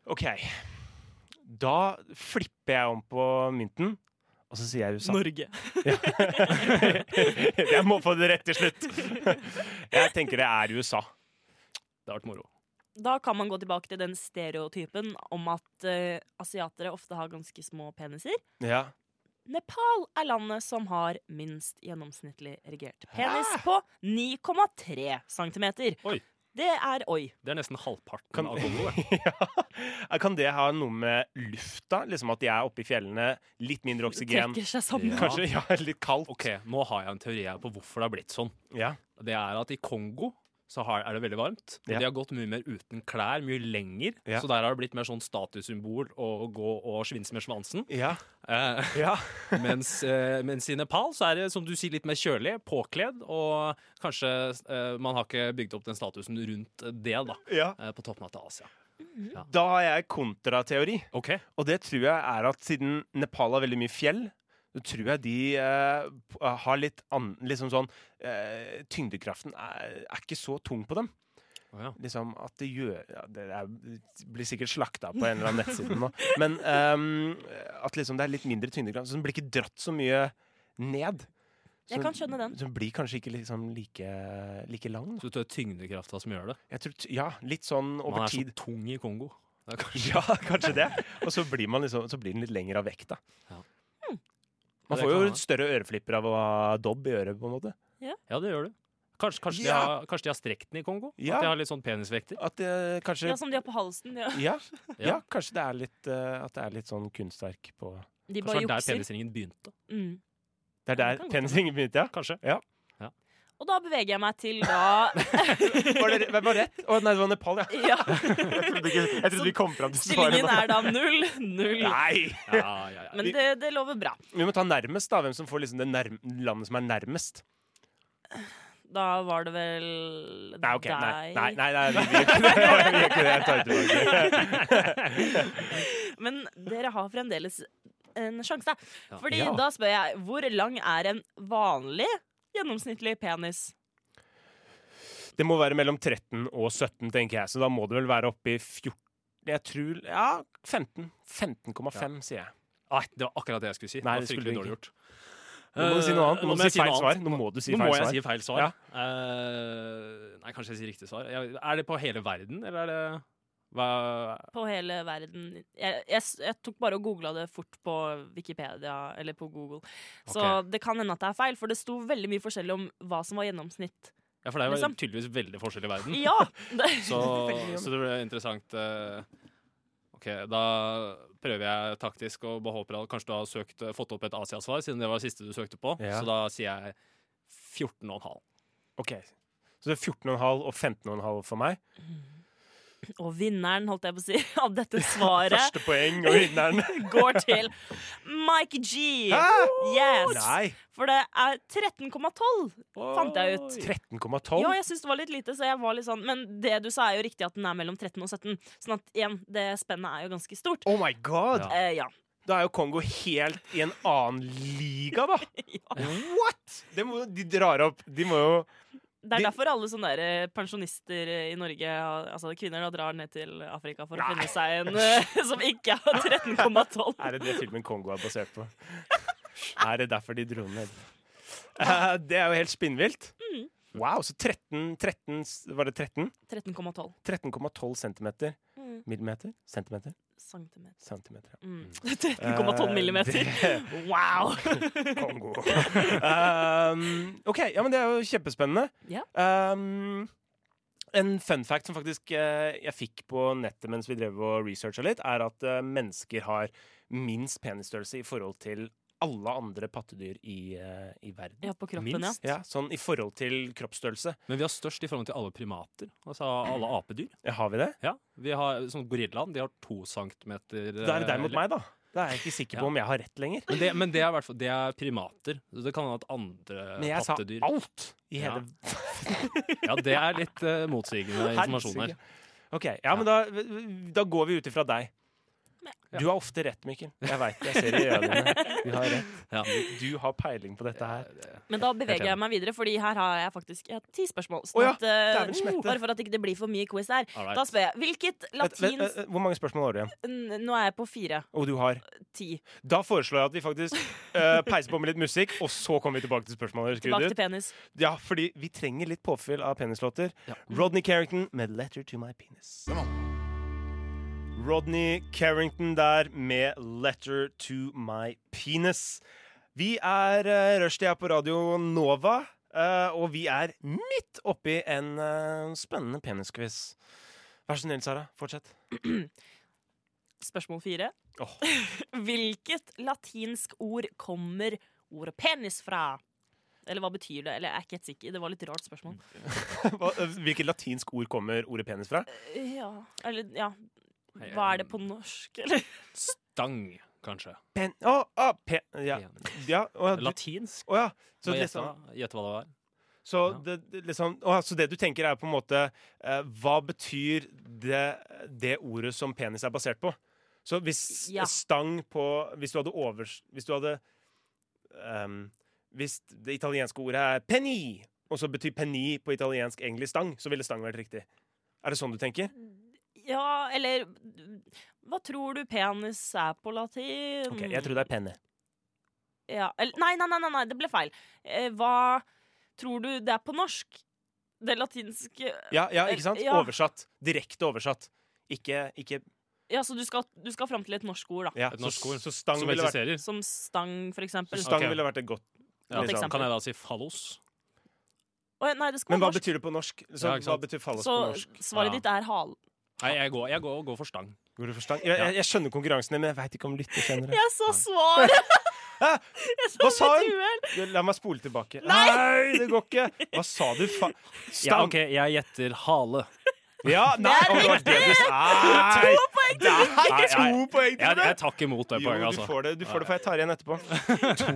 S2: OK. Da flipper jeg om på mynten, og så sier jeg USA.
S3: Norge.
S2: jeg må få det rett til slutt. Jeg tenker det er USA.
S4: Det har vært moro.
S3: Da kan man gå tilbake til den stereotypen om at eh, asiatere ofte har ganske små peniser.
S2: Ja.
S3: Nepal er landet som har minst gjennomsnittlig erigert penis på 9,3 cm.
S4: Oi.
S3: Det er oi.
S4: Det er nesten halvparten
S2: Kan-
S4: av Kongo. det.
S2: ja. Kan det ha noe med lufta? Liksom at de er oppe i fjellene, litt mindre oksygen?
S3: Trekker seg sammen.
S4: Ja.
S2: Kanskje ja, litt kaldt?
S4: Ok, Nå har jeg en teori her på hvorfor det har blitt sånn.
S2: Ja.
S4: Det er at i Kongo så har, er det veldig varmt. Og
S2: Ja.
S4: de har gått mye mer uten klær, mye lenger.
S2: Ja.
S4: Så der har det blitt mer sånn statussymbol å gå og svinse med svansen.
S2: Ja.
S4: Eh,
S2: ja.
S4: mens, eh, mens i Nepal så er det, som du sier, litt mer kjølig, påkledd, og kanskje eh, man har ikke bygd opp den statusen rundt det, da.
S2: ja.
S4: eh, På toppen av Asia.
S2: Da har jeg kontrateori.
S4: OK.
S2: Og det tror jeg er at siden Nepal har veldig mye fjell, så tror jeg de eh, p- har litt annen Liksom sånn eh, Tyngdekraften er, er ikke så tung på dem.
S4: Å ja.
S2: Liksom at det gjør ja, Det er, blir sikkert slakta på en eller annen nettside nå. Men ehm, at liksom det er litt mindre tyngdekraft, så den blir ikke dratt så mye ned.
S3: Jeg kan skjønne den.
S2: Så den blir kanskje ikke liksom like, like lang. Da.
S4: Så det er tyngdekrafta som gjør det.
S2: Jeg tror, t- ja, litt sånn
S4: Man
S2: over
S4: er så
S2: tid.
S4: tung i Kongo. Det er kanskje
S2: Ja, kanskje det. Og så blir, man liksom, så blir den litt lengre av vekta.
S4: Ja.
S2: Man
S4: Det
S2: får jo
S4: kan
S2: et større øreflipper av å ha dobb i øret, på en måte.
S4: Ja, det gjør du. Kanskje, kanskje, de,
S2: Ja.
S4: har, kanskje de har strekt den i Kongo?
S2: Ja.
S4: At de har litt sånn penisvekter?
S2: At det kanskje
S3: Ja, Som de har på halsen. Ja.
S2: ja, ja,
S4: Ja.
S2: kanskje det er litt eh, At det er litt sånn kunstverk på
S3: De bare
S4: Kanskje det var der
S3: jukser.
S4: penisringen begynte?
S3: Mm.
S2: Det er
S3: Ja, det
S2: der
S3: kan godt
S2: penisringen begynte, ja?
S4: Kanskje.
S2: Ja.
S3: Og da beveger jeg meg til da
S2: Var det, var det rett? Å nei, det var Nepal, ja.
S3: ja,
S2: Jeg trodde, ikke, jeg trodde vi kom fram til svaret.
S3: Stillingen er da null. Null.
S2: Nei!
S4: Ja, ja, ja.
S3: Men det, det lover bra.
S2: Vi må ta nærmest, da. Hvem som får liksom det nærm landet som er nærmest.
S3: Da var det vel
S2: Nei, ok. Nei,
S3: deg
S2: nei, nei, nei vi gjør ikke det. Vi gjør ikke det. Jeg tar det tilbake.
S3: Men dere har fremdeles en sjanse.
S4: Ja.
S3: Fordi
S2: Ja.
S3: da spør jeg hvor lang er en vanlig gjennomsnittlig penis?
S2: Det må være mellom 13 og 17, tenker jeg. Så da må det vel være oppe i 14 Jeg tror Ja, 15. 15,5, sier jeg.
S4: Nei, det var akkurat det jeg skulle si.
S2: Nei,
S4: det
S2: det
S4: var
S2: skulle
S4: fryktelig
S2: du
S4: dårlig gjort. Eh,
S2: Nå må du si noe annet. Nå må du
S4: jeg
S2: si feil
S4: noe
S2: svar.
S4: annet.
S2: Nå må du si
S4: Nå må
S2: feil
S4: jeg si
S2: svar.
S4: feil svar.
S2: Ja.
S4: Eh, nei, kanskje jeg sier riktig svar. Jeg, er det på hele verden, eller er det hva,
S3: På hele verden. Jeg, jeg, s- jeg tok bare og googla det fort på Wikipedia eller på Google. Så
S4: Ok.
S3: det kan hende at det er feil, for det sto veldig mye forskjellig om hva som var gjennomsnitt.
S4: Ja, for det er jo
S3: Liksom.
S4: tydeligvis veldig forskjell i verden.
S3: Ja! Det,
S4: Så,
S2: Veldig.
S4: så det blir interessant. eh, ok, da prøver jeg taktisk og bare håper at kanskje du har søkt, fått opp et Asiasvar, siden det var det siste du søkte på.
S2: Ja.
S4: Så da sier jeg 14,5.
S2: Ok. Så det er 14,5 og 15,5 for meg.
S3: og vinneren, holdt jeg på å si, av dette svaret
S2: Første poeng og vinneren.
S3: går til Mike G. Yes!
S2: Nei.
S3: For det er 13,12, fant jeg ut.
S2: 13,12?
S3: Ja, jeg syns det var litt lite, så jeg var litt sånn Men det du sa, er jo riktig at den er mellom 13 og 17. Sånn at igjen, det spennet er jo ganske stort.
S2: Oh my god!
S4: Ja.
S3: Eh, ja.
S2: Da er jo Kongo helt i en annen liga, da! What?! Det må, jo- de drar opp De må jo
S3: Det er
S2: Det-
S3: derfor alle sånne der eh, pensjonister eh, i Norge, har- altså kvinner, da drar ned til Afrika for å
S2: Nei.
S3: finne seg en eh, som ikke har 13,12.
S2: Er det det filmen Kongo er basert på? er det derfor de dro ned? Eh, det er jo helt spinnvilt. Wow, så 13, 13 s- Var det 13?
S3: 13,12
S2: 13,12 centimeter.
S3: Mm.
S2: Millimeter? Centimeter?
S3: centimeter.
S2: Centimeter, ja.
S3: Mm. 13,12
S2: Eh,
S3: millimeter.
S2: det-
S3: Wow!
S2: Kongo. um, ok, ja, men det er jo kjempespennende.
S3: Ja.
S2: Um, en fun fact som faktisk eh, jeg fikk på nettet mens vi drev og researcha litt, er at eh, mennesker har minst penisstørrelse i forhold til alle andre pattedyr i, eh, i verden.
S3: Ja, på kroppen, ja.
S4: Minst.
S2: Ja, sånn i forhold til kroppsstørrelse.
S4: Men vi har størst i forhold til alle primater, altså alle apedyr.
S2: Ja, Har vi det?
S4: Ja, vi har sånn Gorillaen de har to centimeter
S2: Da er det deg mot
S4: eller-
S2: meg, da. Da er jeg ikke sikker
S4: Eh, Ja.
S2: på om jeg har rett lenger.
S4: Men det, men det er i hvert fall det er primater. Så det kan hende at andre
S2: Men jeg sa
S4: Eh, pattedyr
S2: alt i hele
S4: Ja, det er litt eh, motsigende informasjon her.
S2: Helsike. Ok, ja, men da, da går vi ut ifra deg. Du har ofte rett, Mikkel. Jeg veit det. Jeg ser det i øynene dine. Du har rett.
S4: Ja.
S2: Du har peiling på dette her.
S3: Men da
S4: Helt
S3: beveger
S4: enig.
S3: jeg meg videre, Fordi her har jeg faktisk jeg har ti spørsmål.
S2: Å
S3: Sånn
S2: ja,
S3: at, eh,
S2: dæven smette.
S3: bare for at det ikke blir for mye quiz her.
S4: All right.
S3: Da spør jeg hvilket
S2: Vent, vent,
S3: latinsk
S2: vent, Hvor mange spørsmål har du igjen?
S3: N- Nå er jeg på fire.
S2: Og du har
S3: Ti.
S2: Da foreslår jeg at vi faktisk eh, peiser på med litt musikk, og så kommer vi tilbake til spørsmålet. høres
S3: Tilbake
S2: good
S3: til
S2: ut?
S3: penis.
S2: Ja, fordi vi trenger litt påfyll av penislåter.
S4: Ja.
S2: Rodney Carrington med 'Letter to My Penis'. Rodney Carrington der med 'Letter to My Penis'. Vi er uh, rushtida på Radio Nova, eh, og vi er midt oppi en eh, spennende penisquiz. Vær så snill, Sara. Fortsett.
S3: Spørsmål fire.
S2: Åh.
S3: Hvilket latinsk ord kommer ordet penis fra? Eller hva betyr det? Eller jeg er ikke helt sikker. Det var litt rart spørsmål.
S2: Hva- eh, Hvilket latinsk ord kommer ordet penis fra?
S3: Ja, eller ja Hva er det på norsk, eller?
S4: Stang, kanskje.
S2: Pen... Å, å, pe... Ja. ja, å, ja, du-
S4: Latinsk.
S2: å, ja. Så
S4: Må jeg
S2: liksom
S4: gjette- Gjette hva det var.
S2: Så det, det liksom, å, så det du tenker er på en måte eh, Hva betyr det, det ordet som penis er basert på? Så hvis
S3: Ja.
S2: stang på Hvis du hadde overs... Hvis du hadde ehm, Hvis det italienske ordet er penny, og så betyr penny på italiensk egentlig stang, så ville stang vært riktig. Er det sånn du tenker?
S3: Ja, eller Hva tror du penis er på latin?
S2: Ok, Jeg tror det er penne.
S3: Ja. Eller, nei, nei, nei, nei, nei, det ble feil. Eh, hva tror du det er på norsk? Det latinske
S2: Ja, ja ikke sant?
S3: Eh, Ja.
S2: Oversatt. Direkte oversatt. Ikke, ikke
S3: Ja, så du skal, du skal fram til et norsk ord, da.
S2: ja.
S4: Et
S2: Så,
S4: norsk ord
S2: så stang,
S4: som
S2: ville vært,
S4: eksisterer.
S3: Som stang, for eksempel.
S2: stang
S4: Ok.
S2: ville vært et godt
S3: Ja,
S2: liksom.
S3: eksempel.
S4: Kan jeg da si fallos?
S3: Å, nei, det skal
S2: Men hva
S3: være norsk.
S2: betyr det på norsk? Så,
S4: Ja, ikke
S2: hva
S4: sant.
S2: betyr fallos
S3: Så
S2: på norsk?
S3: svaret
S4: Ja.
S3: ditt er hal.
S4: Nei, jeg går, jeg går, går for stang.
S2: Går du for stang? Jeg, jeg, jeg skjønner konkurransen, men jeg veit ikke om lytter skjønner det.
S3: Jeg sa svaret!
S2: Hæ?
S3: Jeg
S2: Hva
S3: sa
S2: sa
S3: mitt
S2: hun?
S3: uhell!
S2: La meg spole tilbake. Nei, det går ikke! Hva sa du? Fa stang.
S4: Ja, ok, jeg gjetter hale.
S2: Ja, nei,
S3: Det er
S2: å, det var det du sa. Nei, nei,
S4: Nei, nei.
S2: to poeng
S4: Jeg,
S2: til
S4: jeg
S2: deg!
S4: tar ikke imot det
S2: Jo,
S4: poenget,
S2: du
S4: altså.
S2: får det, du får det, for jeg tar igjen etterpå.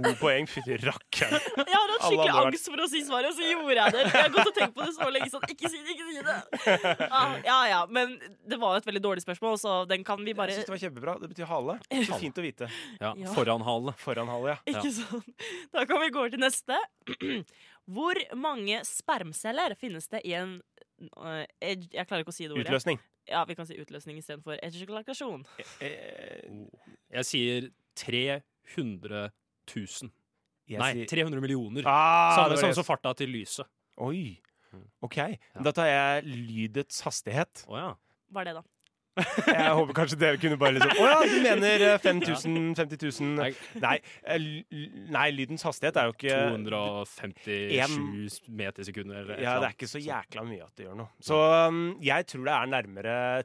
S2: To poeng, fytti rakkeren.
S3: Jeg har hatt
S2: Alle
S3: skikkelig
S2: hadde vært-
S3: angst for å si svaret, og så gjorde jeg det. Jeg har gått og tenkt på det så lenge sånn. Ikke si det, ikke si det! Ah, ja ja, men det var jo et veldig dårlig spørsmål, så den kan vi
S2: Jeg
S3: bare
S2: synes det var kjempebra. Det betyr hale. Så fint å vite.
S4: Ja,
S3: Ja.
S4: foran hale.
S2: Foran hale, ja.
S3: Ikke sånn. Da kan vi gå over til neste. Hvor mange spermceller finnes det i en eh, edg- Jeg klarer ikke å si det ordet.
S2: Utløsning.
S3: Ja, Vi kan si utløsning istedenfor ejakulasjon.
S2: Eh,
S4: Jeg sier 300 000.
S2: jeg
S4: Nei,
S2: sier-
S4: 300 millioner.
S2: ah,
S4: Samme
S2: det var
S4: som
S2: det jeg
S4: så Mm. farta til lyset.
S2: Oi. OK. Da tar jeg lydets hastighet.
S4: Å ja.
S3: Hva er det, da?
S2: Jeg håper kanskje dere kunne bare liksom Å ja, du mener eh, 5000, 50 000
S4: Nei,
S2: Nei, eh, l- nei, lydens hastighet er jo ikke
S4: 257 meter i sekundet eller et
S2: Ja, det
S4: eller
S2: er
S4: annet.
S2: ikke så jækla mye at det gjør noe. Så um, jeg tror det er nærmere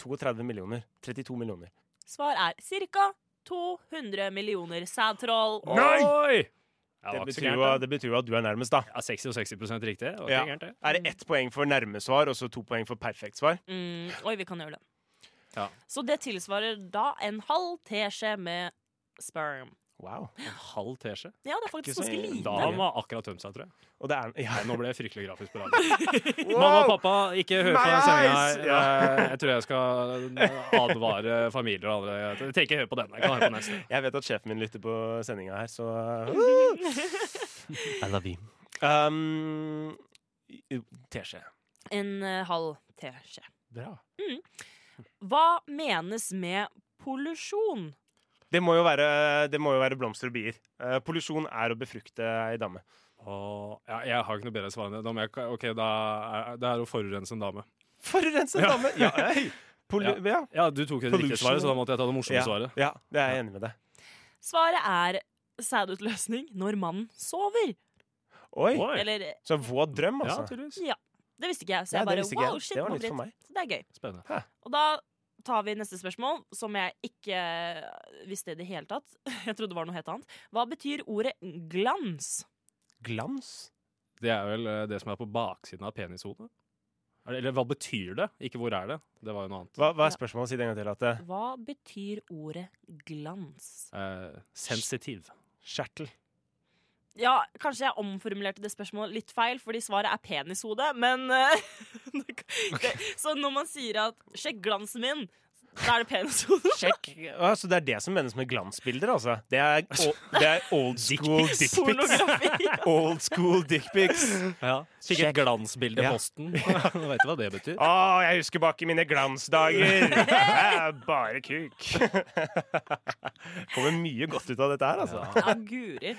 S2: 32 millioner. 32 millioner.
S3: Svar er ca. 200 millioner sædtroll.
S2: Nei!
S4: Oi! Ja, det,
S2: Det
S4: var ikke så
S2: betyr, jo,
S4: gærent. da.
S2: det betyr jo at du er nærmest, da.
S4: Ja, 60 og 60 riktig. Det var ikke
S2: Ja.
S4: gærent, det.
S2: Er det ett poeng for nærme svar og så to poeng for perfekt svar?
S3: Mm, oi, vi kan gjøre det.
S4: Ja.
S3: Så det tilsvarer da en halv teskje med sperm.
S2: Wow.
S4: En halv teskje.
S3: Ja, det er faktisk
S2: Ikke så-
S3: ganske lite.
S4: Da har man akkurat tømt seg, tror jeg.
S2: Og det er ja,
S4: Nei, nå ble jeg fryktelig grafisk på radio. Mamma og pappa, ikke hør på
S2: My
S4: den sendinga
S2: eyes!
S4: her. Eh, Jeg tror jeg skal advare familier og andre. Jeg trenger ikke høre på denne. Jeg kan høre på neste.
S2: Jeg vet at sjefen min lytter på sendinga her, så I love you. Um, Teskje.
S3: En eh, halv teskje.
S2: Bra.
S3: Hva menes med pollusjon?
S2: Det må jo være, det må jo være blomster og bier. Eh, pollusjon er å befrukte ei dame.
S4: Åh, ja, jeg har ikke noe bedre svar enn det. Da må jeg, ok, da er, det er å forurense en dame.
S2: Forurense en dame! Ja, hei. Polu ja.
S4: Ja, Du tok det riktige
S2: Pollution.
S4: svaret, så da måtte jeg ta det morsomme
S2: Ja,
S4: svaret.
S2: Ja, det er jeg enig med deg.
S3: Svaret er sædutløsning når mannen sover.
S2: Oi,
S4: Oi.
S3: Eller
S2: Så våt drøm,
S4: Ja,
S2: altså.
S4: tydeligvis.
S3: Ja. Det visste ikke jeg, så
S2: Nei,
S3: jeg
S2: det
S3: bare
S2: visste ikke jeg.
S3: wow, shit,
S2: Det var
S3: nå
S2: nytt for
S3: ble-
S2: meg.
S3: Så det er gøy.
S4: Spennende.
S3: Og da tar vi neste spørsmål, som jeg ikke visste i det hele tatt. Jeg trodde det var noe helt annet. Hva betyr ordet glans?
S2: Glans?
S4: Det er vel eh, det som er på baksiden av penishodet. Eller, eller hva betyr det? Ikke hvor er det? Det var jo noe annet.
S2: Hva, hva
S3: Ja.
S2: er spørsmålet? Si det en gang til. At eh, det
S3: Hva betyr ordet glans?
S4: Eh, sensitiv.
S2: Skjertel.
S3: Ja, kanskje jeg omformulerte det spørsmålet litt feil, fordi svaret er penishode, men eh, det, det, Så når man sier at 'sjekk glansen min', da er det penishodet.
S2: Sjekk. Ja, så det er det som menes med glansbilder, altså? Det er, o- det er old school dickpics.
S3: Pornografi.
S2: Old school dickpics.
S4: Fikk et glansbilde i
S2: Ja.
S4: posten. Nå vet du hva det betyr.
S2: Å, jeg husker bak i mine glansdager. Det er bare kuk. Kommer mye godt ut av dette her, altså.
S3: Ja, guri.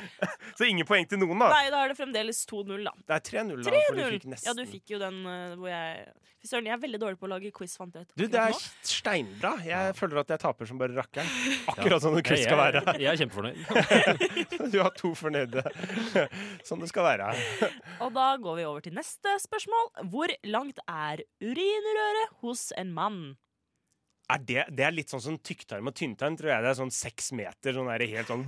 S2: Så ingen poeng til noen, da.
S3: Nei, da er det fremdeles 2-0, da.
S2: Det er 3-0, da. For du
S3: 3-0.
S2: fikk nesten.
S3: Ja, du fikk jo den eh, hvor jeg Fy søren, jeg er veldig dårlig på å lage quiz, fant jeg ut.
S2: Du, det er
S3: akkurat nå.
S2: steinbra. Jeg føler at jeg taper som bare rakkeren. Akkurat sånn det skal
S4: jeg,
S2: være.
S4: jeg, jeg er kjempefornøyd.
S2: Du har to fornøyde. Sånn det skal være.
S3: Og da går vi over til neste spørsmål. Hvor langt er urinrøret hos en mann?
S2: Er det, det er litt sånn som tykktarm og tynntarm, tror jeg. Det er sånn seks meter, sånn er det helt sånn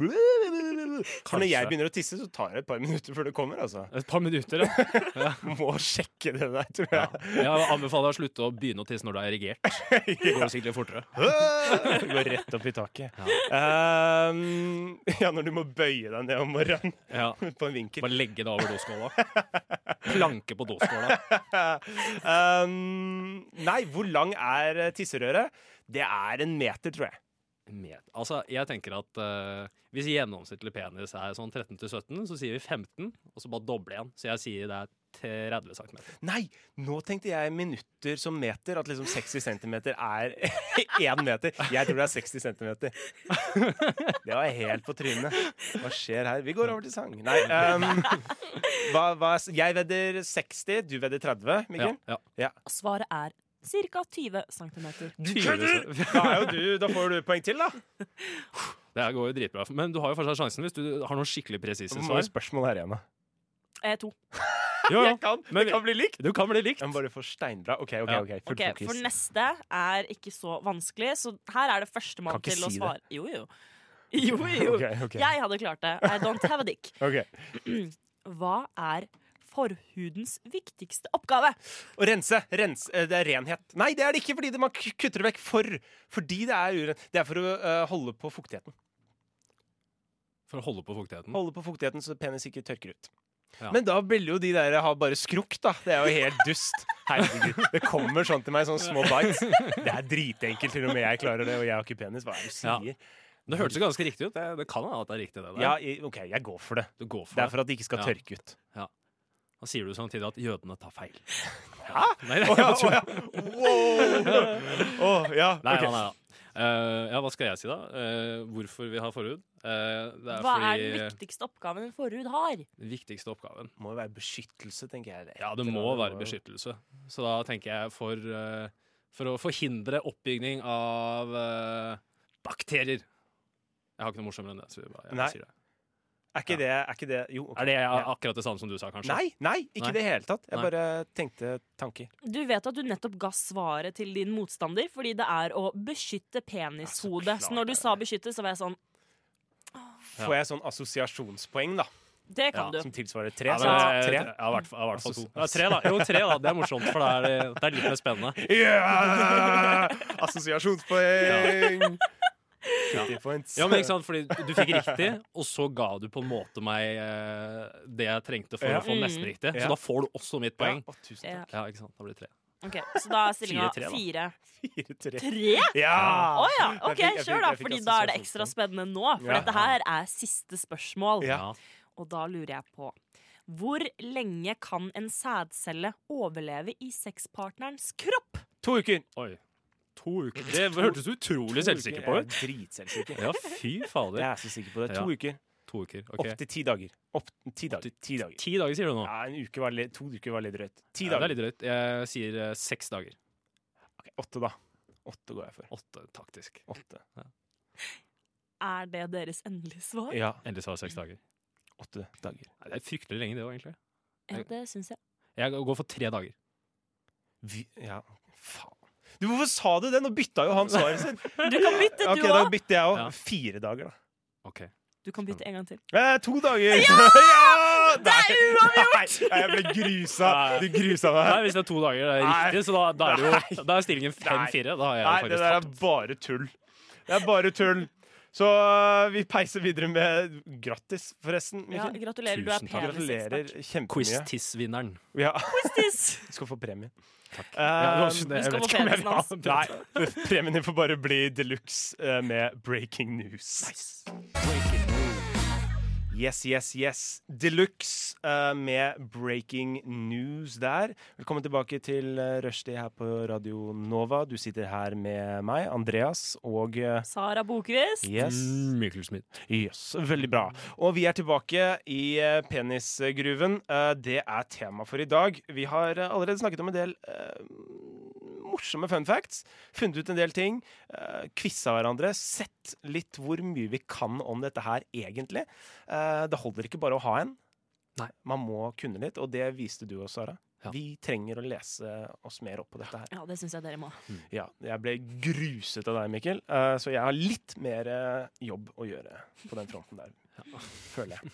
S2: For når jeg begynner å tisse, så tar det et par minutter før det kommer, altså.
S4: Et par minutter, ja.
S2: Må sjekke det der, tror
S4: ja.
S2: jeg.
S4: Jeg anbefaler å slutte å begynne å tisse når du er erigert. Det går sikkert litt fortere.
S2: Det går rett opp i taket. Ehm, ja, når du må bøye deg ned om morgenen
S4: Ja.
S2: på en vinkel.
S4: Bare legge det over doskåla. Planke på doskåla.
S2: Ehm, nei, hvor lang er eh, tisserøret? Det er en meter, tror jeg.
S4: Med. Altså, jeg tenker at eh, Hvis gjennomsnittlig penis er sånn 13-17, så sier vi 15, og så bare doble igjen. Så jeg sier det er 30 cm.
S2: Nei, nå tenkte jeg minutter som meter. At liksom 60 centimeter er én meter. Jeg tror det er 60 centimeter. Det var helt på trynet. Hva skjer her? Vi går over til sang. Nei, ehm, hva, hva, jeg vedder 60, du vedder 30,
S4: Ja,
S2: Mikkel.
S4: ja.
S3: Og svaret er ca. 20 cm.
S2: Da, er jo du, da får du poeng til, da.
S4: Det her går jo dritbra. Men du har jo fortsatt sjansen hvis du har noen skikkelig presise
S2: Så må
S4: svar.
S2: jo spørsmål her igjen, da.
S3: Eh, to.
S4: Jo, jo.
S2: Jeg kan,
S4: Men
S2: det kan bli likt.
S4: Du kan bli likt.
S2: Jeg må bare få steinbra. OK, OK.
S4: Ja.
S2: ok, Full
S3: Ok, For
S2: fokus.
S3: neste er ikke så vanskelig, så her er det førstemann
S2: Kan ikke
S3: til å
S2: si det.
S3: svare. Jo, jo. Jo, jo.
S2: Ok, ok.
S3: Jeg hadde klart det. I don't have a dick.
S2: Ok.
S3: Hva er forhudens viktigste oppgave?
S2: Å rense. rense eh, det er renhet. Nei, det er det ikke, fordi det man k- kutter det vekk for. Fordi det er uren. Det er for å eh, holde på fuktigheten.
S4: For å holde på fuktigheten.
S2: Holde på fuktigheten så penis ikke tørker ut.
S4: Ja.
S2: Men da ville jo de der ha bare skrukt, da. Det er jo helt dust. Herregud. Det kommer sånn til meg, sånne små bites. Det er dritenkelt, til og med jeg klarer det, og jeg har ikke penis. Hva er det du sier? Ja,
S4: Det hørtes jo ganske riktig ut. Det, det kan hende at det er riktig, det der.
S2: i- OK, jeg går for det.
S4: Du går for
S2: Det er
S4: det.
S2: for at det ikke skal
S4: Ja.
S2: tørke ut.
S4: Da sier du samtidig at jødene tar feil. Nei,
S2: Å ja,
S4: nei,
S2: å ja. Wow! Å, ja.
S4: nei,
S2: ok.
S4: nei, nei. Eh, ja, hva skal jeg si, da? Eh, hvorfor vi har forhud? Eh, det er
S3: Hva er
S4: fordi
S3: den viktigste oppgaven en forhud har?
S4: den viktigste oppgaven
S2: Det må jo være beskyttelse, tenker jeg.
S4: Ja, det må være beskyttelse. Så da tenker jeg for, eh, for å forhindre oppbygning av eh, bakterier. Jeg har ikke noe morsommere enn det. Så vi bare, jeg
S2: Nei.
S4: bare sier det.
S2: Er ikke det, er ikke det Jo, ok.
S4: Er det akkurat det samme som du sa, kanskje?
S2: Nei, nei, ikke
S4: Nei.
S2: i det hele tatt. Jeg
S4: Nei.
S2: bare tenkte tanker.
S3: Du vet at du nettopp ga svaret til din motstander fordi det er å beskytte penishodet. Så når du sa beskytte, så var jeg sånn
S2: Får jeg sånn assosiasjonspoeng, da,
S3: Det kan
S4: Ja,
S3: du.
S2: som tilsvarer tre?
S4: Ja,
S2: Så
S4: men, eh,
S2: tre. Altså,
S4: Ja, i hvert fall- i hvert fall to. Ja, tre, da. Jo, tre, da. Det er morsomt, for det er, det er litt mer spennende.
S2: Yeah! Assosiasjonspoeng! 50 points.
S4: Ja, men ikke sant, fordi Du fikk riktig, og så ga du på en måte meg eh, det jeg trengte for
S2: Ja.
S4: å få nesten
S3: Mm.
S4: riktig.
S2: Ja.
S4: Så da får du også mitt poeng.
S2: Ja, å, tusen
S3: Ja.
S2: takk.
S4: Ja, ikke sant, da blir det tre
S3: Ok, Så da er stillinga
S4: Fire-tre, da.
S3: fire.
S2: Fire, tre.
S3: Tre?
S2: Ja!
S3: Å ja.
S2: Jeg
S3: OK,
S2: fikk- jeg fikk-
S3: kjør, da.
S2: jeg fikk
S3: Fordi da er det ekstra
S2: assosiasjonspoeng.
S3: spennende nå. For
S2: Ja.
S3: dette her er siste spørsmål.
S2: Ja.
S3: Og da lurer jeg på Hvor lenge kan en sædcelle overleve i sexpartnerens kropp?
S2: To uker.
S4: Oi. To uker. Det hørtes utrolig selvsikker på
S2: Jeg
S4: ut.
S2: er Dritselvsikker.
S4: Ja, fy fader.
S2: Jeg er så sikker på det. To
S4: Ja.
S2: uker.
S4: To uker. ok.
S2: Opp til ti dager. Opp ti dager. Ti dager.
S4: Ti dager, sier du nå?
S2: Ja, en uke var litt, to uker var litt drøyt. Ti
S4: Ja, det er
S2: dager.
S4: litt drøyt. Jeg sier eh, seks dager.
S2: Ok, åtte, da. Åtte går jeg for.
S4: Åtte, taktisk.
S2: Åtte.
S3: Er det deres endelige svar?
S2: Ja,
S4: Endelig svar seks dager.
S2: åtte dager.
S4: Nei, det er fryktelig lenge, det òg, egentlig.
S2: Eh,
S3: Ja, det syns jeg.
S4: Jeg går for tre dager.
S2: Vi, ja, faen. Du, hvorfor sa du det? Nå bytta jo han svaret sitt.
S3: Du kan bytte,
S2: Ok,
S3: du
S2: Da
S3: òg.
S2: bytter jeg òg.
S4: Ja.
S2: Fire dager, da.
S4: Ok.
S3: Du kan bytte en gang til.
S2: Eh, to dager! Ja!
S3: Det er
S2: uavgjort! Nei, jeg ble grusa. Du grusa meg.
S4: Nei, hvis det er to dager, det er
S2: Nei.
S4: riktig, så da, da er det jo Da er stillingen fem-fire. Da har jeg
S2: Nei, det
S4: faktisk
S2: der er
S4: tapt.
S2: bare tull. Det er bare tull. Så øh, vi peiser videre med Grattis, forresten.
S3: Ja,
S2: Mikkel.
S3: gratulerer, du er
S4: Tusen takk.
S2: Gratulerer
S3: penisekspert.
S2: kjempemye.
S4: Quiz-tiss-vinneren.
S2: Ja,
S3: Quiz-tiss.
S2: du skal få Eh, premie. Takk.
S4: Ja, det var-
S3: Du skal
S4: jeg vet
S3: få
S4: ikke om jeg
S3: penisen
S4: vil ha
S3: hans.
S4: den.
S2: Nei, premien din får bare bli deluxe eh, med breaking news. Breaking news. Yes, yes, yes. Deluxe eh, med breaking news der. Velkommen tilbake til uh, Rushdie her på Radio Nova. Du sitter her med meg, Andreas, og eh,
S3: Sara Bokvist.
S2: Yes.
S4: Mm, Mikkel Smith.
S2: Yes, veldig bra. Og vi er tilbake i eh, penisgruven. Eh, Det er tema for i dag. Vi har eh, allerede snakket om en del eh, morsomme fun facts. Funnet ut en del ting. eh, Quiza hverandre. Sett litt hvor mye vi kan om dette her egentlig. Eh, Det holder ikke bare å ha en.
S4: Nei.
S2: Man må kunne litt, og det viste du også, Sara.
S4: Ja.
S2: Vi trenger å lese oss mer opp på dette her.
S3: Ja, det syns jeg dere må.
S2: Ja, jeg ble gruset av deg, Mikkel. eh, så jeg har litt mer eh, jobb å gjøre på den fronten der, føler jeg.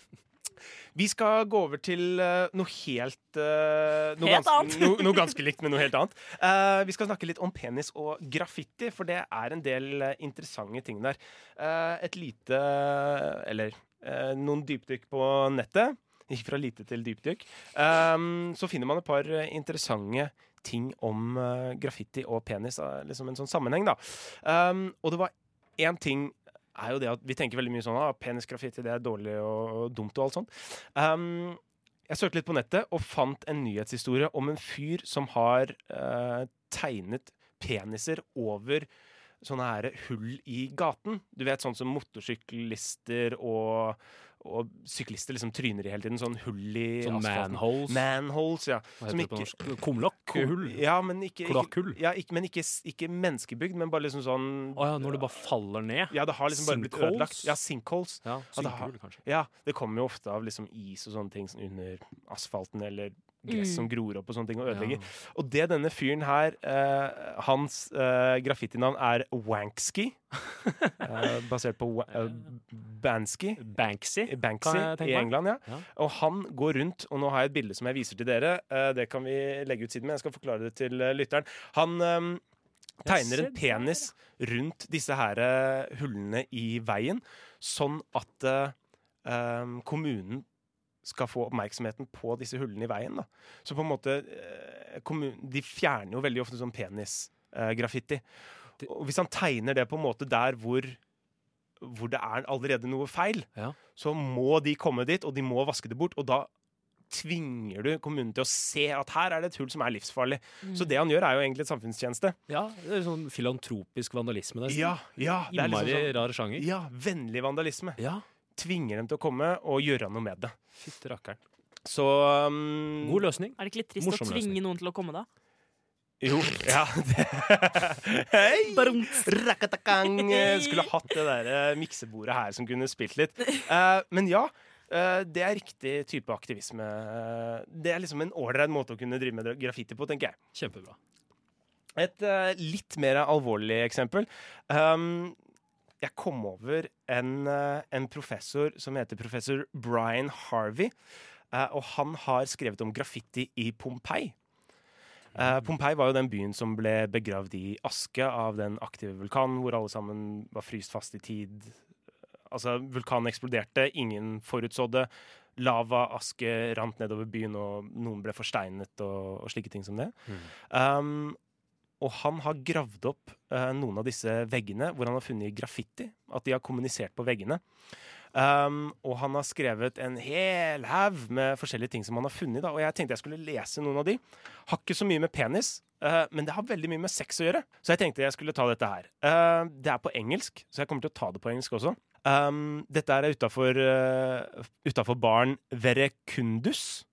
S2: Vi skal gå over til eh, noe helt eh, noe,
S3: Helt
S2: gans
S3: annet.
S2: no, noe ganske likt, men noe helt annet. Eh, vi skal snakke litt om penis og graffiti, for det er en del eh, interessante ting der. Eh, et lite Eller eh, noen dypdykk på nettet. Gikk fra lite til dypdykk. Eh, så finner man et par eh, interessante ting om eh, graffiti og penis, eh, liksom en sånn sammenheng, da. Um, og det var én ting er jo det at Vi tenker veldig mye sånn ah, penisgraffiti det er dårlig og, og dumt og alt sånt. Um, jeg Jeg søkte litt på nettet og fant en nyhetshistorie om en fyr som har eh, tegnet peniser over sånne her hull i gaten. Du vet sånn som motorsyklister og, og syklister liksom tryner i hele tiden. Sånn hull i
S4: Sånn
S2: asfalten.
S4: manholes.
S2: Manholes, ja.
S4: Hva
S2: som
S4: heter det på norsk? Kumlokkhull.
S2: Ja, men ikke, ikke,
S4: Kloakkhull.
S2: ja, ikke, men ikke, s- ikke menneskebygd, men bare liksom sånn
S4: Å ja, når du bare faller ned.
S2: Ja, det har liksom bare blitt
S4: Sinkholes?
S2: ødelagt. Ja, sinkholes.
S4: Ja,
S2: det har-
S4: synkehull, kanskje.
S2: Ja, det kommer jo ofte av liksom is og sånne ting som under asfalten, eller gress som gror opp og sånne ting og ødelegger. Og det denne fyren her, eh, hans eh, graffitinavn er Wanksky, eh, basert på Wa eh, Bansky.
S4: Banksy.
S2: Banksy
S4: Kan jeg tenke
S2: i
S4: meg?
S2: England, ja.
S4: Ja.
S2: Og han går rundt, og nå har jeg et bilde som jeg viser til dere. eh, Det kan vi legge ut siden, men jeg skal forklare det til eh, lytteren. Han eh, tegner
S4: se
S2: en penis rundt disse her eh, hullene i veien, sånn at eh, eh, kommunen skal få oppmerksomheten på disse hullene i veien. Da. Så på en måte eh, kommun- De fjerner jo veldig ofte sånn penisgraffiti.
S4: Det-
S2: Og hvis han tegner det på en måte der hvor, hvor det er allerede noe feil,
S4: Ja.
S2: så må de komme dit, og de må vaske det bort. Og da tvinger du kommunen til å se at her er det et hull som er livsfarlig. Så det han gjør, er jo egentlig et samfunnstjeneste.
S4: Ja, det er sånn filantropisk vandalisme. nesten.
S2: Ja, ja, det er
S4: Innmari
S2: liksom sånn,
S4: rar sjanger.
S2: ja, vennlig vandalisme.
S4: Ja,
S2: Tvinger dem til å komme og gjøre noe med det.
S4: fytti rakkeren.
S2: Så um,
S4: God løsning.
S3: Er det ikke litt trist
S4: Morsom
S3: å tvinge
S4: løsning.
S3: noen til å komme, da?
S2: Jo, ja. Det. Hei!
S3: Barums.
S2: Rakatakang! Eh, Skulle hatt det der eh, miksebordet her som kunne spilt litt. Eh, men ja, eh, det er riktig type aktivisme. Eh, det er liksom en ålreit måte å kunne drive med graffiti på, tenker jeg.
S4: Kjempebra.
S2: Et eh, litt mer alvorlig eksempel. Um, jeg kom over en, eh, en professor som heter professor Brian Harvey. eh, og han har skrevet om graffiti i Pompeii. Eh, Pompeii var jo den byen som ble begravd i aske av den aktive vulkanen, hvor alle sammen var fryst fast i tid. Altså, vulkanen eksploderte, ingen forutså det. Lava, aske rant nedover byen, og noen ble forsteinet og, og slike ting som det. Um, og han har gravd opp eh, noen av disse veggene hvor han har funnet graffiti. At de har kommunisert på veggene. Um, og han har skrevet en hel haug med forskjellige ting som han har funnet. Da. Og jeg tenkte jeg skulle lese noen av de. Har ikke så mye med penis, eh, men det har veldig mye med sex å gjøre. Så jeg tenkte jeg skulle ta dette her. Eh, det er på engelsk, så jeg kommer til å ta det på engelsk også. Um, dette er utafor uh, baren Verekundus.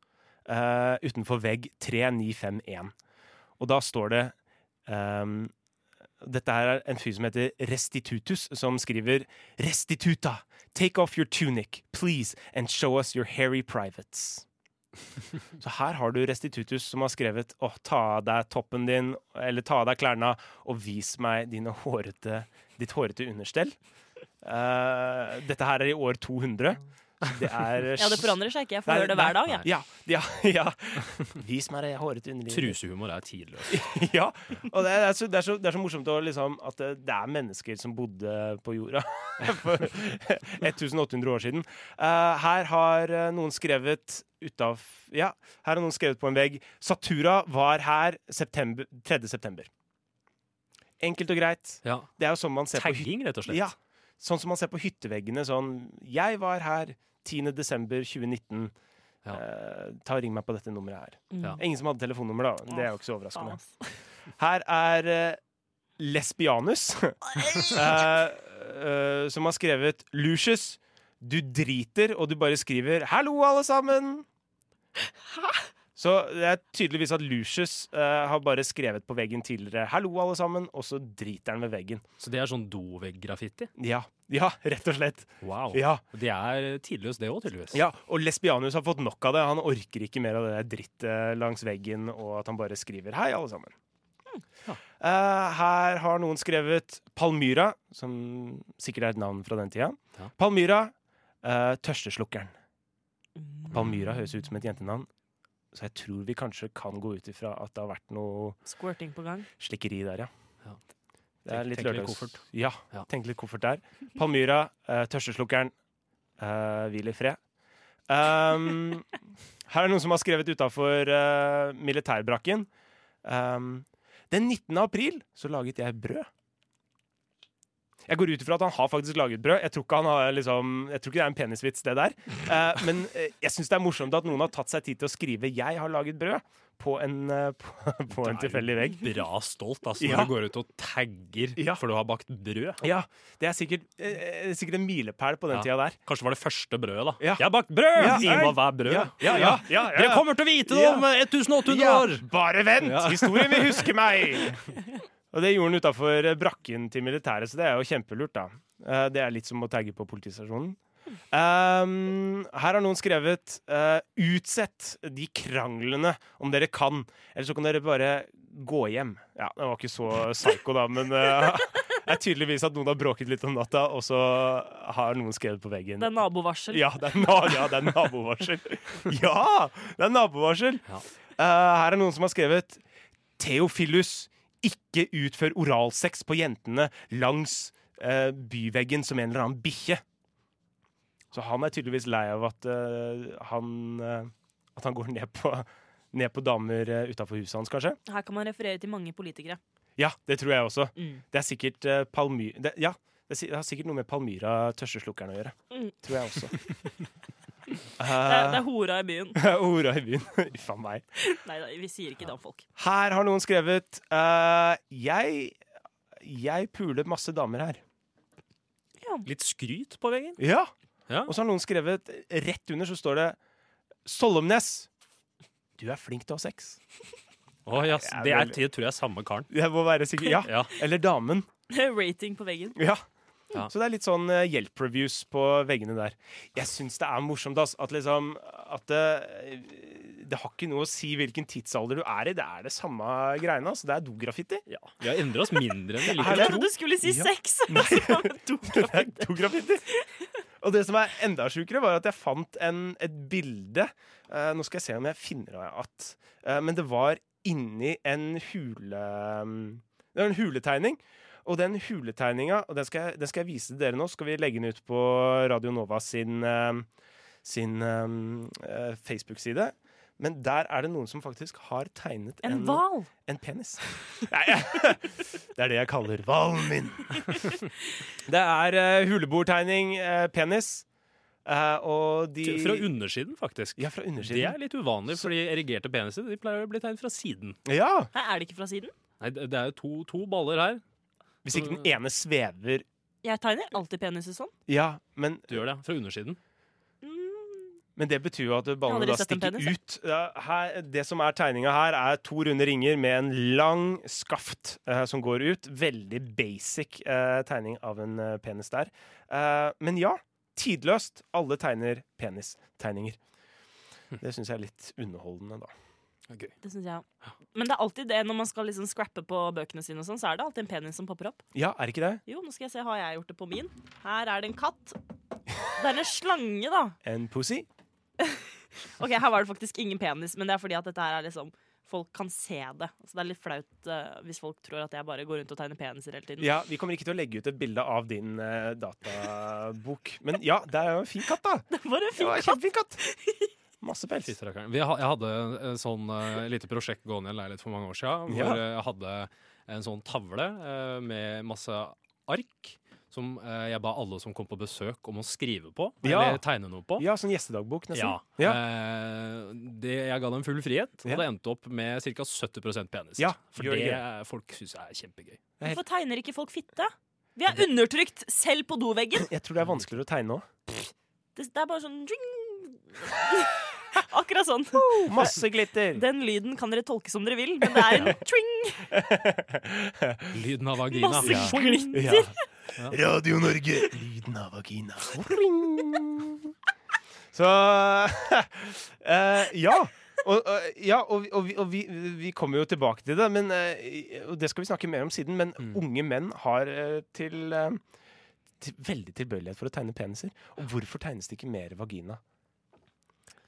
S2: eh, utenfor vegg 3951. Og da står det Ehm, dette her er en fyr som heter Restitutus, som skriver Restituta, take off your tunic, please, and show us your hairy privates. Så her har du Restitutus som har skrevet Å, ta av deg toppen din, eller ta av deg klærne, og vis meg dine hårete, ditt hårete understell. Eh, dette her er i år 200. Så Det er
S3: Ja, det forandrer seg ikke. Jeg
S2: Nei,
S3: får gjøre det
S2: nei,
S3: hver dag, jeg.
S2: Ja, ja, ja. Vis meg det hårete underlivet.
S4: Trusehumor er tidløs.
S2: Ja, og det er, så, det, er så, det er så morsomt å, liksom, at det, det er mennesker som bodde på jorda for 1800 år siden. Eh, her har eh, noen skrevet utav, ja, her har noen skrevet på en vegg Satura var her september, 3. september. Enkelt og greit.
S4: Ja.
S2: Det er jo sånn man ser på hytta.
S4: Tagging, rett og slett.
S2: Ja, sånn som man ser på hytteveggene. Sånn, jeg var her 10. desember 2019.
S4: Ja. Mm.
S2: Eh, ta og Ring meg på dette nummeret her.
S4: Ja.
S2: Ingen som hadde telefonnummer, da. Det er jo ikke så
S3: Faen,
S2: overraskende.
S3: ass.
S2: Her er eh, Lesbianus, eh, eh, som har skrevet Lucius, du driter, og du bare skriver 'hallo, alle sammen'. Så det er tydeligvis at Lucius eh, har bare skrevet på veggen tidligere 'hallo, alle sammen', og så driter han ved veggen.
S4: Så det er sånn dovegg-graffiti.
S2: Ja, ja, rett og slett.
S4: Wow.
S2: Ja,
S4: Det er tidløst, det òg, tydeligvis.
S2: ja, og Lesbianus har fått nok av det. Han orker ikke mer av det der drittet langs veggen, og at han bare skriver 'hei, alle sammen'. Eh, her har noen skrevet Palmyra, som sikkert er et navn fra den tida.
S4: Ja.
S2: Palmyra, eh, tørsteslukkeren.
S3: Mm.
S2: Palmyra høres ut som et jentenavn, så jeg tror vi kanskje kan gå ut ifra at det har vært noe
S3: Squirting på gang.
S2: slikkeri der, ja.
S4: Ja.
S2: Det er litt
S4: Tenk- tenk litt
S2: lørdags-
S4: koffert.
S2: Ja,
S4: Ja.
S2: tenk litt koffert der. Palmyra, eh, tørsteslukkeren, eh, hvil i fred. Um, her er noen som har skrevet utafor eh, militærbrakken. Ehm, Um, den 19. april så laget jeg brød. Jeg går ut ifra at han har faktisk laget brød. Jeg tror ikke, han har, liksom, jeg tror ikke det er en penisvits, det der. Eh, men eh, jeg syns det er morsomt at noen har tatt seg tid til å skrive 'Jeg har laget brød' på en, eh, på, på en tilfeldig vegg.
S4: Bra stolt, altså,
S2: Ja.
S4: når du går ut og tagger
S2: Ja.
S4: for du har bakt brød.
S2: Ja, det er sikkert, eh, eh, sikkert en milepæl på den
S4: Ja.
S2: tida der.
S4: Kanskje det var det første brødet, da.
S2: Ja.
S4: Jeg har bakt brød!
S2: Ja,
S4: Gi
S2: ja.
S4: meg hver brød.
S2: Ja, ja, ja, ja, ja.
S4: Dere kommer til å vite det
S2: Ja.
S4: om eh, 1800 år!
S2: Bare vent!
S4: Ja.
S2: Historien vil huske meg! Og det gjorde han utafor eh, brakken til militæret, så det er jo kjempelurt, da. Eh, Det er litt som å tagge på politistasjonen. Ehm, her har noen skrevet eh, 'Utsett de kranglene om dere kan', eller så kan dere bare gå hjem. Ja, det var ikke så psycho, da, men eh, det er tydeligvis at noen har bråket litt om natta, og så har noen skrevet på veggen
S3: Det er nabovarsel.
S2: ja, det er, na ja, det er nabovarsel. Ja, det er nabovarsel. Eh, her er noen som har skrevet Theophilus, ikke utfør oralsex på jentene langs eh, byveggen som en eller annen bikkje. Så han er tydeligvis lei av at, eh, han, eh, at han går ned på, ned på damer uh, utafor huset hans, kanskje.
S3: Her kan man referere til mange politikere.
S2: Ja, det tror jeg også.
S3: Mm.
S2: Det er sikkert eh, Palmy... Det, ja, det, er si- det har sikkert noe med Palmyra-tørsteslukkeren å gjøre.
S3: Mm.
S2: Tror jeg også.
S3: Det er, det er hora i byen.
S2: Orda i byen. Uff a meg.
S3: Nei, nei, vi sier ikke damfolk.
S2: Her har noen skrevet eh, Jeg Jeg pulet masse damer her.
S4: Litt skryt på veggen.
S2: Ja.
S4: Ja.
S2: Og så har noen skrevet Rett under så står det Sollomnes. Du er flink til å ha sex.
S4: Å, ja, s- det
S2: Ja,
S4: er
S2: vel.
S4: det tror jeg er samme karen.
S2: Det må være sikkert Ja.
S4: Ja.
S2: Eller damen.
S3: Rating på veggen.
S2: Ja.
S4: Ja.
S2: Så det er litt sånn eh, hjelp-reviews på veggene der. Jeg syns det er morsomt ass, at liksom At det, det har ikke noe å si hvilken tidsalder du er i. Det er det samme greiene. ass. Det er dograffiti.
S4: Ja. Vi har endra oss mindre enn vi
S2: Er det?
S4: liker å
S3: Jeg
S4: tro.
S3: trodde du skulle si
S2: Ja.
S3: sex! Så var det to.
S2: Det er to graffitier. Og det som er enda sjukere, var at jeg fant en, et bilde. Eh, nå skal jeg se om jeg finner av at eh, Men det var inni en hule... mm, Det var en huletegning. Og den huletegninga, og den skal, jeg, den skal jeg vise til dere nå, skal vi legge den ut på Radio Nova sin, eh, sin eh, Facebook-side. Men der er det noen som faktisk har tegnet
S3: En hval!
S2: en penis. Nei, jeg- det er det jeg kaller hvalen min. Det er eh, huleboertegning, eh, penis, eh, og de
S4: Fra undersiden, faktisk.
S2: Ja, fra undersiden.
S4: Det er litt uvanlig, fordi erigerte peniser de pleier å bli tegnet fra siden.
S2: Ja!
S3: Nei, er det ikke fra siden?
S4: Nei, det det er jo to, to baller her.
S2: Hvis ikke den ene svever
S3: Jeg tegner alltid peniser sånn. Mm,
S2: Ja, men,
S4: Du gjør det, fra undersiden.
S2: men det betyr jo at ballene
S3: aldri
S2: da
S3: sett en
S2: stikker
S3: penis, jeg.
S2: ut. Ja, her, det som er tegninga her, er to runde ringer med en lang skaft eh, som går ut. Veldig basic eh, tegning av en eh, penis der. Eh, men ja, tidløst. Alle tegner penistegninger. Det syns jeg er litt underholdende, da.
S3: Det synes jeg også. Men det er alltid det når man skal liksom scrappe på bøkene sine, og sånn, så er det alltid en penis som popper opp.
S2: Ja, er det ikke det?
S3: Jo, nå skal jeg se, har jeg gjort det på min? Her er det en katt. Det er en slange, da.
S2: En pussy?
S3: Ok, Her var det faktisk ingen penis, men det er fordi at dette her er liksom Folk kan se det. Så det er litt flaut eh, hvis folk tror at jeg bare går rundt og tegner peniser hele tiden.
S2: Ja, Vi kommer ikke til å legge ut et bilde av din eh, databok. Men ja, det er jo en fin katt, da.
S3: Det var en
S2: Det
S3: fin
S2: var en
S3: katt!
S2: Kjempefin katt. Masse pels.
S4: Siste rakkeren. Vi ha, jeg hadde et sånn eh, lite prosjekt gående i en leilighet for mange år siden, hvor
S2: Ja.
S4: eh, jeg hadde en sånn tavle eh, med masse ark som eh, jeg ba alle som kom på besøk om å skrive på,
S2: Ja.
S4: eller tegne noe på.
S2: Ja, sånn gjestedagbok, nesten.
S4: Ja. Eh, det, jeg ga dem full frihet,
S2: Ja.
S4: og det endte opp med ca. 70 peniser.
S2: Ja,
S4: for
S2: gjør
S4: det,
S2: det
S4: folk syns er kjempegøy.
S3: Hvorfor tegner ikke folk fitte? Vi er undertrykt selv på doveggen!
S2: Jeg tror det er vanskeligere å tegne òg.
S3: Det, det er bare sånn djing. Akkurat sånn.
S2: Masse glitter.
S3: Den lyden kan dere tolke som dere vil, men det er en twing!
S4: Lyden av vagina.
S3: Masse
S4: Ja.
S3: glitter!
S2: Ja. Radio Norge, lyden av vagina. Så eh, Ja. Og, og- ja, og, vi- og, vi- og vi, vi kommer jo tilbake til det, men, eh, og det skal vi snakke mer om siden. Men unge menn har eh, til, eh, til veldig tilbøyelighet for å tegne peniser. Og hvorfor tegnes det ikke mer vagina?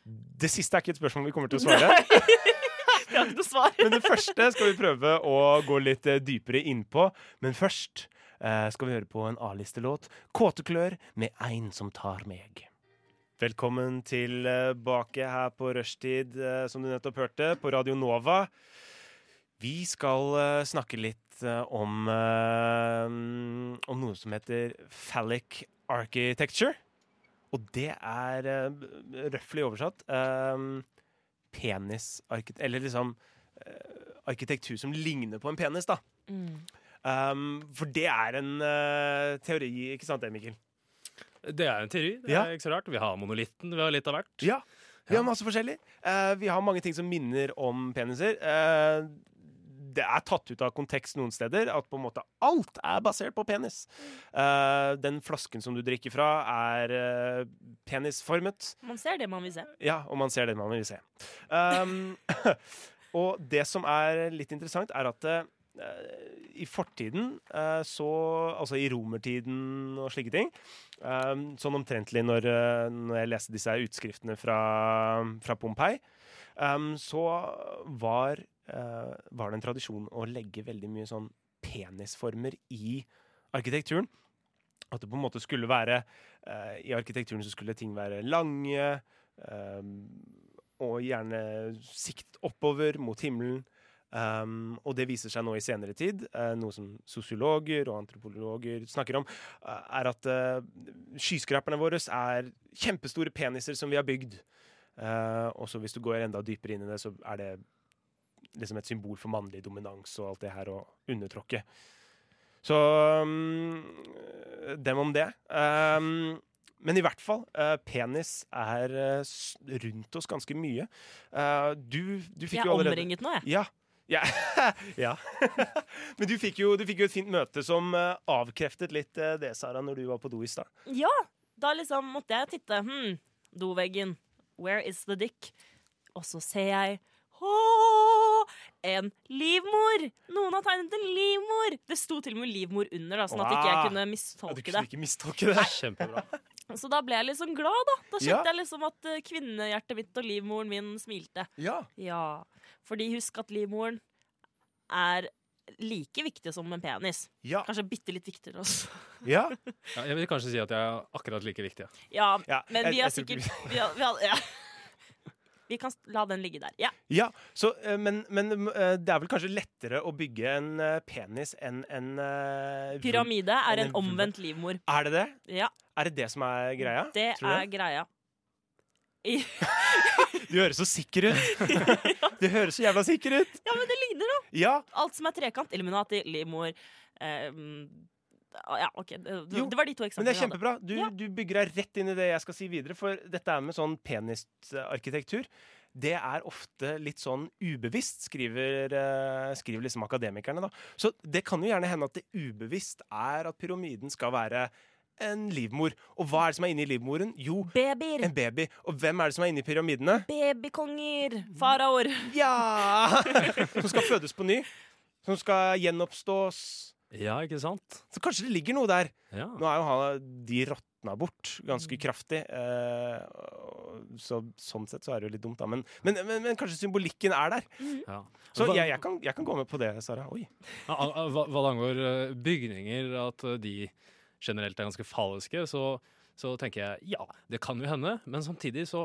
S2: Det siste er ikke et spørsmål vi kommer til å svare.
S3: Jeg har ikke noe svar.
S2: Men det første skal vi prøve å gå litt eh, dypere innpå. Men først eh, skal vi høre på en A-listelåt. 'Kåteklør' med 'Ein som tar meg'. Velkommen tilbake her på rushtid, eh, som du nettopp hørte, på Radio Nova. Vi skal eh, snakke litt litt eh, om, eh, om noe som heter phallic architecture. Og det er uh, røftlig oversatt eh, penisarkitekt... Eller liksom eh, arkitektur som ligner på en penis, da. Um, for det er en eh, teori, ikke sant det, Mikkel?
S4: Det er en teori. Det
S2: Ja.
S4: er ikke så rart. Vi har monolitten, vi har litt av hvert.
S2: Ja. Vi har masse forskjellig. Eh, vi har mange ting som minner om peniser. Eh, det er tatt ut av kontekst noen steder at på en måte alt er basert på penis. Eh, den flasken som du drikker fra, er eh, penisformet.
S3: Man ser det man vil se.
S2: Ja, og man ser det man vil se. Um, og det som er litt interessant, er at eh, i fortiden, eh, så, altså i romertiden og slike ting, um, sånn omtrentlig når, eh, når jeg leste disse her utskriftene fra, fra Pompeii, um, så var, eh, var det en tradisjon å legge veldig mye sånn penisformer i arkitekturen. At det på en måte skulle være eh, I arkitekturen så skulle ting være lange, Um, og gjerne sikt oppover mot himmelen. Um, og det viser seg nå i senere tid, eh, noe som sosiologer og antropologer snakker om, eh, er at eh, skyskraperne våre er kjempestore peniser som vi har bygd. Eh, og så hvis du går enda dypere inn i det, så er det liksom et symbol for mannlig dominans og alt det her, og undertråkke. Så um, dem om det. Um, men i hvert fall, eh, penis er eh, s- rundt oss ganske mye. Eh, du, du fikk
S3: Jeg er
S2: jo allerede
S3: omringet nå, jeg.
S2: ja. Ja. ja. Men du fikk, jo, du fikk jo et fint møte som eh, avkreftet litt eh, det, Sara, når du var på do i stad.
S3: Ja, da liksom måtte jeg titte. Hm, doveggen. Where is the dick? Og så ser jeg Åh, en livmor! Noen har tegnet en livmor! Det sto til og med livmor under, da, sånn at ikke jeg
S2: Wow.
S3: kunne
S2: Ja, Du
S3: mistolke det.
S2: kunne ikke mistolke det.
S4: Kjempebra.
S3: Så da ble jeg liksom glad, da. Da
S2: Ja.
S3: kjente jeg liksom at eh, kvinnehjertet mitt og livmoren min smilte.
S2: Ja.
S3: Ja, fordi husk at livmoren er like viktig som en penis.
S2: Ja.
S3: Kanskje bitte litt viktigere også.
S2: ja.
S4: Ja, jeg vil kanskje si at jeg er akkurat like viktig. ja.
S3: Ja,
S2: Ja,
S3: men
S2: jeg-
S3: vi har
S2: jeg tror ikke
S3: sikkert vi, har, vi, har, ja. vi kan s- la den ligge der. Ja.
S2: ja. Så, eh, men, men eh, det er vel kanskje lettere å bygge en eh, penis enn en eh, vul-
S3: Pyramide er
S2: Den
S3: en
S2: er vul-
S3: omvendt livmor.
S2: Er det det?
S3: Ja,
S2: Er det det som er greia?
S3: det
S2: Tror du
S3: er greia. I,
S2: Du høres så sikker ut. du høres så jævla sikker ut.
S3: ja, men det ligner da.
S2: Ja.
S3: Alt som er trekant. Illuminati, livmor ehm, Ja, OK. Det,
S2: Jo,
S3: det var de to
S2: Men det er
S3: eksemplene. jeg hadde.
S2: kjempebra. Du,
S3: Ja.
S2: du bygger deg rett inn i det jeg skal si videre, for dette er med sånn penisarkitektur. Det er ofte litt sånn ubevisst, skriver, eh, skriver liksom akademikerne. da. Så det kan jo gjerne hende at det ubevisst er at pyramiden skal være en livmor. Og hva er det som er inni livmoren? Jo,
S3: Babyer.
S2: en baby. Og hvem er det som er inni pyramidene?
S3: Babykonger. Faraoer.
S2: Ja! Som skal fødes på ny. Som skal gjenoppstås.
S4: Ja, ikke sant?
S2: Så kanskje det ligger noe der.
S4: Ja.
S2: Nå er jo han De råtna bort ganske kraftig. eh, og- så, sånn sett så er det jo litt dumt, da. Men, men, men, men kanskje symbolikken er der.
S4: Ja.
S2: Så
S4: Hva-
S2: jeg, jeg, kan, jeg kan gå med på det, Sara. Oi.
S4: Ja, a- a- Hva, hva det angår eh, bygninger, at eh, de generelt er ganske falske, så, så tenker jeg ja, det kan jo hende. Men samtidig så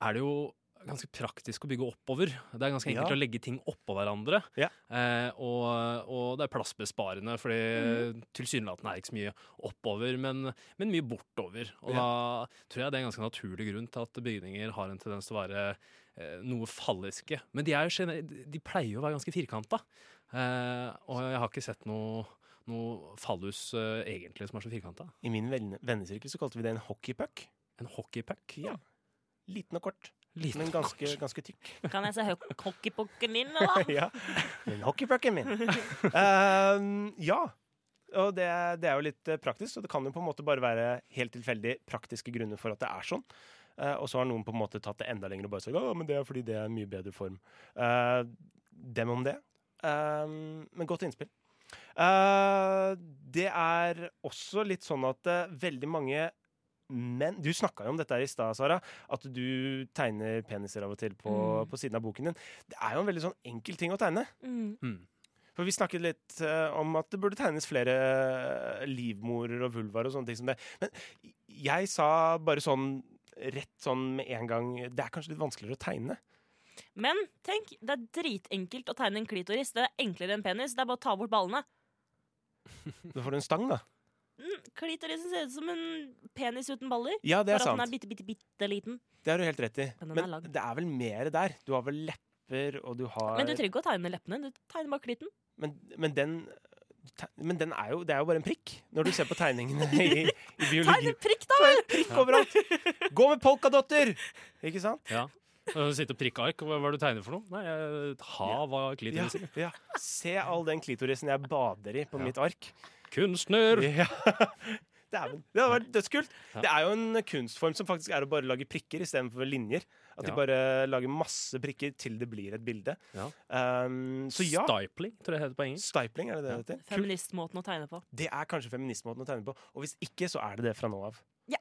S4: er det jo ganske praktisk å bygge oppover. Det er ganske enkelt
S2: Ja.
S4: å legge ting oppå hverandre.
S2: Ja.
S4: Eh, og, og det er plassbesparende, for
S2: Mm.
S4: tilsynelatende er det ikke så mye oppover, men, men mye bortover. Og da tror jeg det er en ganske naturlig grunn til at bygninger har en tendens til å være eh, noe falliske. Men de, er jo gener- de pleier jo å være ganske firkanta. Eh, og jeg har ikke sett noe, noe fallus eh, egentlig som er så firkanta.
S2: I min venne- vennesirkel så kalte vi det en hockeypuck.
S4: En hockeypuck?
S2: Ja. Liten og kort,
S4: Liten
S2: men ganske, ganske tykk.
S3: Kan jeg se hø- hockeypucken din, eller?
S2: ja. Men hockeypucken min. Eh, ja. Og det, det er jo litt eh, praktisk, så det kan jo på en måte bare være helt tilfeldig praktiske grunner for at det er sånn. Eh, og så har noen på en måte tatt det enda lenger og bare sagt at men det er fordi det er en mye bedre form. Eh, dem om det. Eh, men godt innspill. Eh, det er også litt sånn at eh, veldig mange menn Du snakka jo om dette her i stad, Sara. At du tegner peniser av og til på, på siden av boken din. Det er jo en veldig sånn enkel ting å tegne.
S3: Mm.
S4: Mm.
S2: For vi snakket litt eh, om at det burde tegnes flere eh, livmorer og vulvar og sånne ting som det. Men jeg sa bare sånn rett sånn med en gang Det er kanskje litt vanskeligere å tegne.
S3: Men tenk, det er dritenkelt å tegne en klitoris. Det er enklere enn penis. Det er bare å ta bort ballene.
S2: Da får du en stang, da.
S3: Mm, Klitorisen ser ut som en penis uten baller.
S2: Ja, det er
S3: bare at den er
S2: sant.
S3: bitte, bitte, bitte liten.
S2: Det har du helt rett i.
S3: Men den er
S2: Men
S3: lang.
S2: det er vel mer der. Du har vel lepper, og du har
S3: Men du trenger ikke å tegne leppene. Du tegner bare klitten.
S2: Men, men den te- men den er jo, det er jo bare en prikk, når du ser på tegningene i, i biologi.
S3: Tegn en prikk, da!
S2: Prikk overalt! Gå med polkadotter! Ikke sant?
S4: Ja. Og Sitte og prikke ark. Hva er det du tegner for noe? Nei, jeg- Et hav av
S2: Ja,
S4: klitoriser.
S2: ja. Se all den klitorisen jeg bader i på mitt ark.
S4: Kunstner!
S2: Ja. Dæven. Det hadde vært dødskult.
S4: Ja.
S2: Det er jo en kunstform som faktisk er å bare lage prikker istedenfor linjer. At de
S4: Ja.
S2: bare lager masse prikker til det blir et bilde.
S4: Ja.
S2: Um, så ja,
S4: Stipling, tror jeg det heter på engelsk.
S2: stipling er det det det heter.
S3: Feministmåten å tegne på.
S2: Det er kanskje feministmåten å tegne på. Og hvis ikke, så er det det fra nå av.
S3: Ja.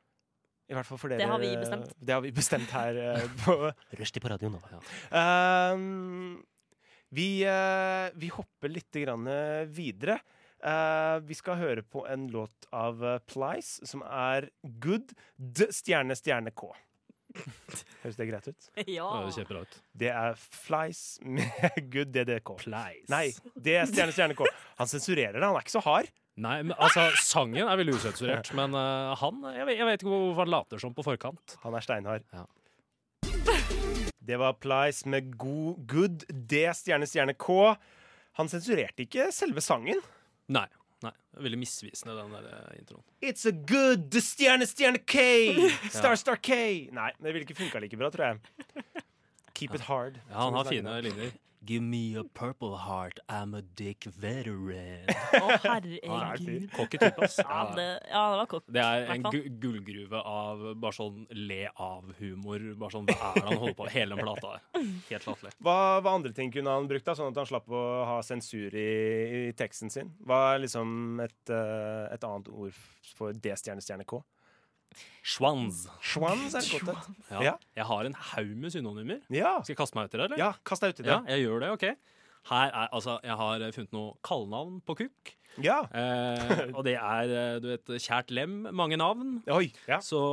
S2: I hvert fall for dere.
S3: Det har vi bestemt.
S2: Det har vi bestemt her eh, på Rushtid på radioen nå. Um, vi, eh, vi hopper litt grann eh, videre. Eh, vi skal høre på en låt av eh, Plies som er Good D stjerne stjerne K. Høres det greit ut?
S3: ja.
S4: Ja, det ser bra ut.
S2: Det er Flies med Good DDK.
S4: Pleis.
S2: Nei, det er stjerne stjerne K. Han sensurerer det, han er ikke så hard.
S4: Nei, men altså, sangen er veldig usensurert, men eh, han jeg vet, jeg vet ikke hvorfor han later som på forkant.
S2: Han er steinhard.
S4: Ja.
S2: Det var Plies med god, good, D, stjerne, stjerne, K. Han sensurerte ikke selve sangen.
S4: Nei. nei det er veldig misvisende, den der eh, introen.
S2: It's a good stjerne, stjerne, K! Star, star, K! Nei, det ville ikke funka like bra, tror jeg. Keep it hard.
S4: Ja, han
S2: som
S4: har
S2: vi
S4: fine
S2: snakket om.
S4: linjer. Give me a purple heart, I'm a dick veteran.
S3: Å,
S2: Han er
S3: herregud.
S2: fyr.
S4: Cocky type, ass.
S3: Ja, det, ja, det var kokk.
S4: Det er
S3: i
S4: en
S3: hvert fall.
S4: gu gullgruve av bare sånn le av-humor. Bare sånn, Hva er det han holder på med? Hele den plata der. Helt latterlig.
S2: Hva, hva andre ting kunne han brukt, da, sånn at han slapp å ha sensur i, i teksten sin? Hva er liksom et, eh, et annet ord for D, stjerne, stjerne, K?
S4: Schwanz.
S2: Schwanz er et godt et.
S4: Ja.
S2: Ja.
S4: Jeg har en haug med synonymer.
S2: Ja.
S4: Skal jeg kaste meg ut i det, eller?
S2: ja, kast deg uti det.
S4: Ja, jeg gjør det, OK. Her er, altså, jeg har funnet noe kallenavn på kukk.
S2: Ja.
S4: Eh, og det er, eh, du vet, kjært lem, mange navn.
S2: Oi. Ja.
S4: Så,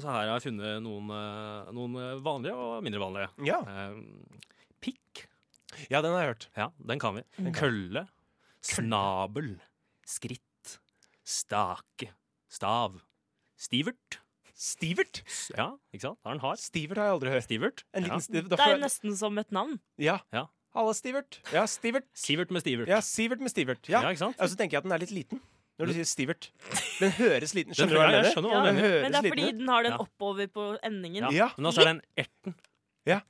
S4: så her har jeg funnet noen, eh, noen vanlige og mindre vanlige.
S2: Ja.
S4: Eh, pikk.
S2: ja, den har jeg hørt.
S4: Ja, den kan vi. Kølle. Snabel. Skritt. Stake. Stav. Stivert.
S2: Stivert?
S4: S- Ja, ikke sant? Da er den hard.
S2: Stivert har jeg aldri hørt.
S4: Stivert.
S2: En
S4: Ja.
S2: liten stiv-
S3: Det er jo nesten som et navn.
S2: Ja.
S4: Ja.
S2: Halla, Stivert. Ja, Stivert.
S4: Sivert med stivert.
S2: Ja, Sivert med Stivert.
S4: Ja,
S2: Ja.
S4: ikke sant?
S2: Og så tenker jeg at den er litt liten. Når du sier Stivert. Den høres liten
S4: Den-
S2: Skjønner du hva
S4: ja,
S2: jeg mener?
S4: jeg skjønner hva du
S2: Den
S4: mener.
S2: høres
S3: Men det er fordi
S2: liten ut.
S3: den har den
S4: Ja.
S3: oppover på endingen.
S4: Ja.
S2: Ja.
S4: Men altså er den erten.
S2: Ja.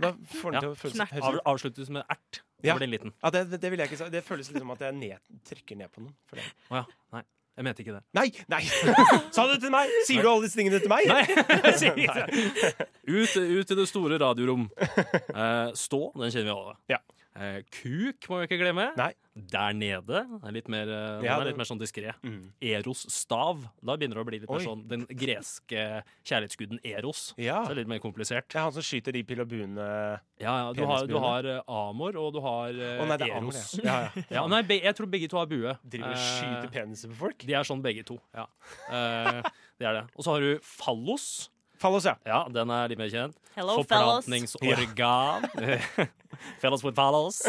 S2: Da får den til å føles
S3: Knert.
S2: høres
S4: Av,
S2: ut.
S4: avsluttes med ert. Da
S2: Ja.
S4: blir den liten.
S2: Ja, det, det, det vil jeg ikke si. Det føles litt som at jeg ned, trykker ned på noen. føler jeg.
S4: Å ja. Nei, jeg mente ikke det.
S2: Nei! Nei! Sa du det til meg? Sier du alle disse tingene til meg?
S4: Jeg sier ikke det. Ut, ut i det store radiorom. Eh, stå, den kjenner vi alle.
S2: Ja.
S4: Eh, kuk må vi ikke glemme.
S2: Nei.
S4: Der nede. Den er litt mer, eh, den
S2: Ja,
S4: er
S2: den-
S4: litt mer sånn diskré.
S2: Mm.
S4: Eros stav. Da begynner det å bli litt
S2: Oi.
S4: mer sånn den greske kjærlighetsguden Eros.
S2: Ja.
S4: Så det er litt mer komplisert.
S2: Det er han som skyter de pil og buene Å
S4: Ja, ja, du, har, du
S2: Penisbuene.
S4: har eh, Amor, og du har eh,
S2: nei, det er Amor,
S4: Eros.
S2: ja. Ja, ja.
S4: Ja, nei, be, jeg tror begge to har bue.
S2: Driver og
S4: Eh,
S2: skyter peniser på folk?
S4: De er sånn begge to. Ja. Eh, det er det. Og så har du fallos.
S2: Fallos, ja.
S4: Ja, den er litt mer kjent.
S3: Hello, fellas.
S4: Forplantningsorgan. fellas with fallos.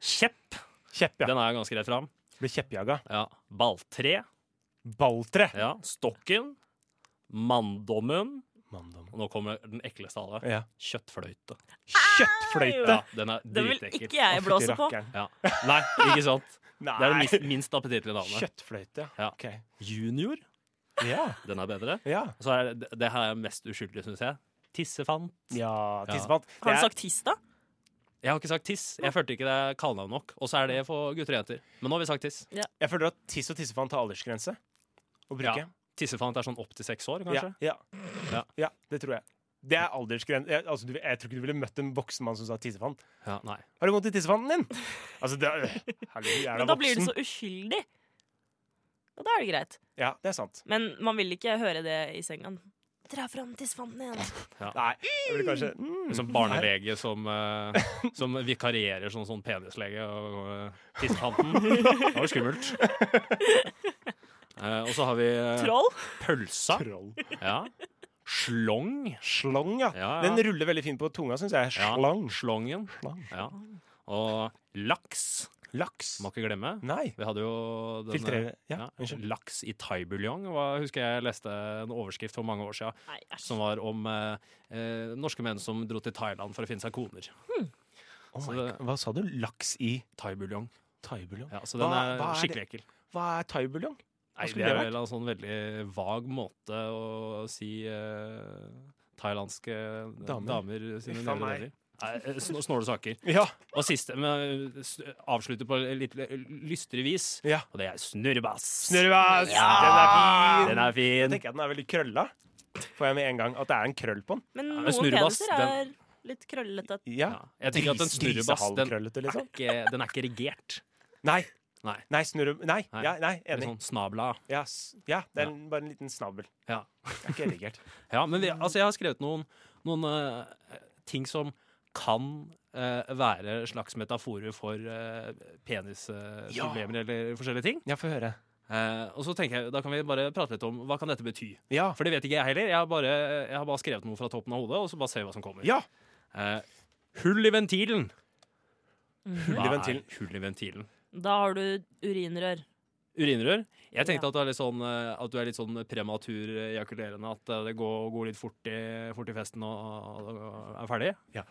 S4: Kjepp.
S2: Kjepp, ja.
S4: Den er ganske rett fram.
S2: Blir kjeppjaga.
S4: Ja. Balltre.
S2: Balltre.
S4: Ja. Stokken. Manndommen.
S2: Manndom.
S4: Og nå kommer den ekleste av alle.
S2: Ja.
S4: Kjøttfløyte.
S2: Kjøttfløyte!
S4: Ja, den er
S3: Den vil
S4: dritekkel.
S3: ikke jeg blåse på.
S2: Rakkeren.
S4: Ja. Nei, ikke sant. Det er den
S2: Nei!
S4: minst, minst appetittlige navnet.
S2: Kjøttfløyte, ja.
S4: Ja.
S2: Ok.
S4: Junior.
S2: Ja.
S4: Den er bedre.
S2: ja.
S4: Og Så er det, det her er mest uskyldig, syns jeg. Tissefant.
S2: ja tissefant.
S3: Har du
S2: Det er-
S3: sagt tiss, da?
S4: Jeg har ikke sagt tiss. Jeg følte ikke det er kallenavn nok. Og så er det for gutter og jenter. Men nå har vi sagt tiss.
S2: Jeg føler at tiss og tissefant har aldersgrense å bruke.
S4: Ja, Tissefant er sånn opp til seks
S2: Ja,
S4: år, kanskje?
S2: ja.
S4: Ja.
S2: ja det tror jeg. Det er aldersgrense jeg, altså, du, jeg tror ikke du ville møtt en voksen mann som sa tissefant.
S4: Ja, nei.
S2: Har det vondt i tissefanten din? Altså, det er, Hallo, jeg er
S3: Men
S2: da
S3: da blir du
S2: voksen.
S3: så uskyldig. Og da er det greit.
S2: Ja, det er sant.
S3: Men man vil ikke høre det i senga. Dra fram tissefanten igjen.
S2: Nei, jeg ville kanskje mm.
S4: Som barnelege som, eh, som vikarierer som sånn penislege. Og uh, tissefanten. Det var jo skummelt. Eh, og så har vi eh,
S3: Troll.
S4: pølsa.
S2: Troll.
S4: Ja. Slong.
S2: Slong, ja.
S4: Ja, ja.
S2: Den ruller veldig fint på tunga, syns jeg.
S4: Ja,
S2: Slang.
S4: Slongen.
S2: Slang.
S4: Ja. Og laks.
S2: Laks.
S4: Må ikke glemme.
S2: Nei.
S4: Vi hadde jo denne-
S2: Filtrere Ja,
S4: eh, Ja,
S2: unnskyld.
S4: laks i thaibuljong. var- Husker jeg leste en overskrift for mange år siden
S3: Nei, æsj.
S4: som var om eh, eh, norske menn som dro til Thailand for å finne seg koner.
S2: Oh
S4: Så
S2: my
S4: det-
S2: God. Hva sa du? Laks i
S4: Thaibuljong.
S2: thaibuljong?
S4: Ja, så den
S2: Hva-
S4: er
S2: hva er
S4: skikkelig ekkel.
S2: Hva er thaibuljong?
S4: Nei,
S2: skulle
S4: det er
S2: det vært?
S4: vel en sånn veldig vag måte å si eh, thailandske eh,
S2: Damer.
S4: damer, sine
S2: Uff a
S4: nedre
S2: meg.
S4: deler. Nei, eh, sn- Snåle saker.
S2: Ja.
S4: Og siste, men eh, s- avslutter på litt lystere vis,
S2: ja.
S4: og det er snurrebass.
S2: Snurrebass! Den er fin!
S4: Den er
S2: Jeg
S4: fin.
S2: tenker at den er veldig krølla. Får jeg med en gang at det er en krøll på den.
S3: Men
S4: Ja,
S3: noen
S4: snurrebass,
S3: peniser er litt krøllete.
S2: Ja.
S4: Ja. Jeg tenker at en
S2: Gris-
S4: snurrebass, den er
S2: grisehalvkrøllete, liksom.
S4: ikke, den er ikke regert.
S2: Nei.
S4: Nei.
S2: Nei, snurre... Nei,
S4: Nei.
S2: ja, nei
S4: Det er
S2: enig.
S4: Sånn snabla.
S2: Ja, s- ja, det er en- bare en liten snabel.
S4: Ja.
S2: Det er ikke erigert.
S4: ja, men vi, altså, jeg har skrevet noen, noen eh, ting som kan eh, være slags metaforer for
S2: Ja.
S4: eh, penisproblemer eller forskjellige ting.
S2: Ja, få høre.
S4: Eh, og så tenker jeg, Da kan vi bare prate litt om hva kan dette bety.
S2: Ja.
S4: For det vet ikke jeg heller. Jeg har bare, jeg har bare skrevet noe fra toppen av hodet, og så bare ser vi hva som kommer.
S2: ja.
S4: Eh, hull i ventilen.
S2: Hull i
S4: Hva er
S2: ventilen.
S4: Hull i ventilen.
S3: Da har du urinrør.
S4: Urinrør? Jeg
S3: Ja.
S4: tenkte at, du er litt sånn, eh, at du er litt sånn prematur eh, ejakulerende. At eh, det går, går litt fort i, fort i festen og, og er ferdig.
S2: Ja.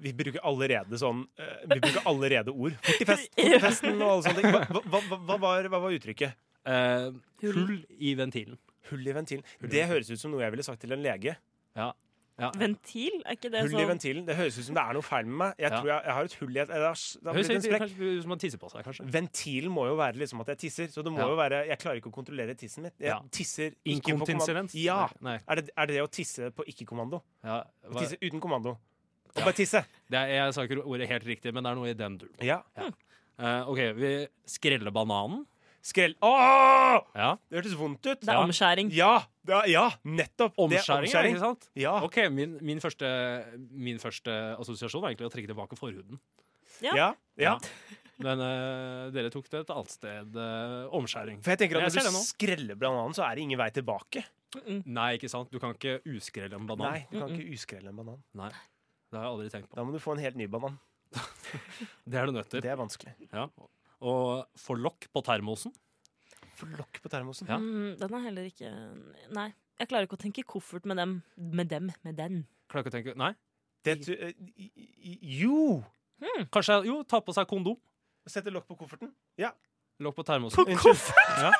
S2: Vi bruker allerede sånn eh, Vi bruker allerede ord. Fort i fest, fort i festen og alle sånne ting. Hva, hva, hva, hva, var, hva var uttrykket?
S4: Eh,
S3: Hull.
S4: hull i ventilen.
S2: Hull i ventilen. Det høres ut som noe jeg ville sagt til en lege.
S4: Ja. ja.
S3: Ventil? Er ikke det
S2: Hull i
S3: sånn
S2: ventilen. Det høres ut som det er noe feil med meg. Jeg
S4: Ja.
S2: tror jeg, jeg har et hull i et Det har, det har blitt
S4: Høres
S2: en
S4: litt
S2: sprekk.
S4: kanskje ut som man tisser på seg, kanskje.
S2: Ventilen må jo være liksom at jeg tisser. Så det må
S4: Ja.
S2: jo være Jeg klarer ikke å kontrollere tissen min. Jeg
S4: Ja.
S2: tisser ikke på kommando.
S4: Inkontinens.
S2: Ja.
S4: Nei, nei.
S2: Er det, er det det å tisse på ikke-kommando?
S4: Ja,
S2: Å
S4: hva,
S2: Tisse uten kommando. Og
S4: Ja.
S2: bare tisse.
S4: det er, jeg sa ikke ordet helt riktig, men det er noe i den duren.
S2: Ja.
S4: Eh, OK, vi skreller bananen.
S2: Skrell Åh!
S4: Ja.
S2: Det hørtes vondt ut.
S3: Det er omskjæring.
S2: Ja! Det er, ja, nettopp. Det er Ah.
S4: Omskjæring, ja, ikke sant?
S2: Ja.
S4: OK, min, min, første, min første assosiasjon var egentlig å trekke tilbake forhuden.
S2: Ja. ja.
S4: Men eh, dere tok det et annet sted. eh, omskjæring.
S2: For jeg tenker at
S4: Jeg ser
S2: når du
S4: det nå.
S2: skreller bananen, så er det ingen vei tilbake.
S3: Mm.
S4: Nei, ikke sant? Du kan ikke uskrelle en banan.
S2: Nei, du kan ikke uskrelle en banan.
S4: Nei. Det har jeg aldri tenkt på.
S2: Da må du få en helt ny banan.
S4: Det er du nødt til.
S2: Det er vanskelig.
S4: Ja. Og få lokk på termosen.
S2: Få lokk på termosen.
S4: Ja.
S3: Mm, den er heller ikke Nei. Jeg klarer ikke å tenke koffert med dem. Med dem. Med den.
S4: Klarer ikke å tenke Nei.
S2: Det, tru- eh, i- i- jo!
S4: Kanskje Jo, ta på seg kondom.
S2: Sette lokk på kofferten. Ja.
S4: Lokk på termosen.
S2: Unnskyld. Ja.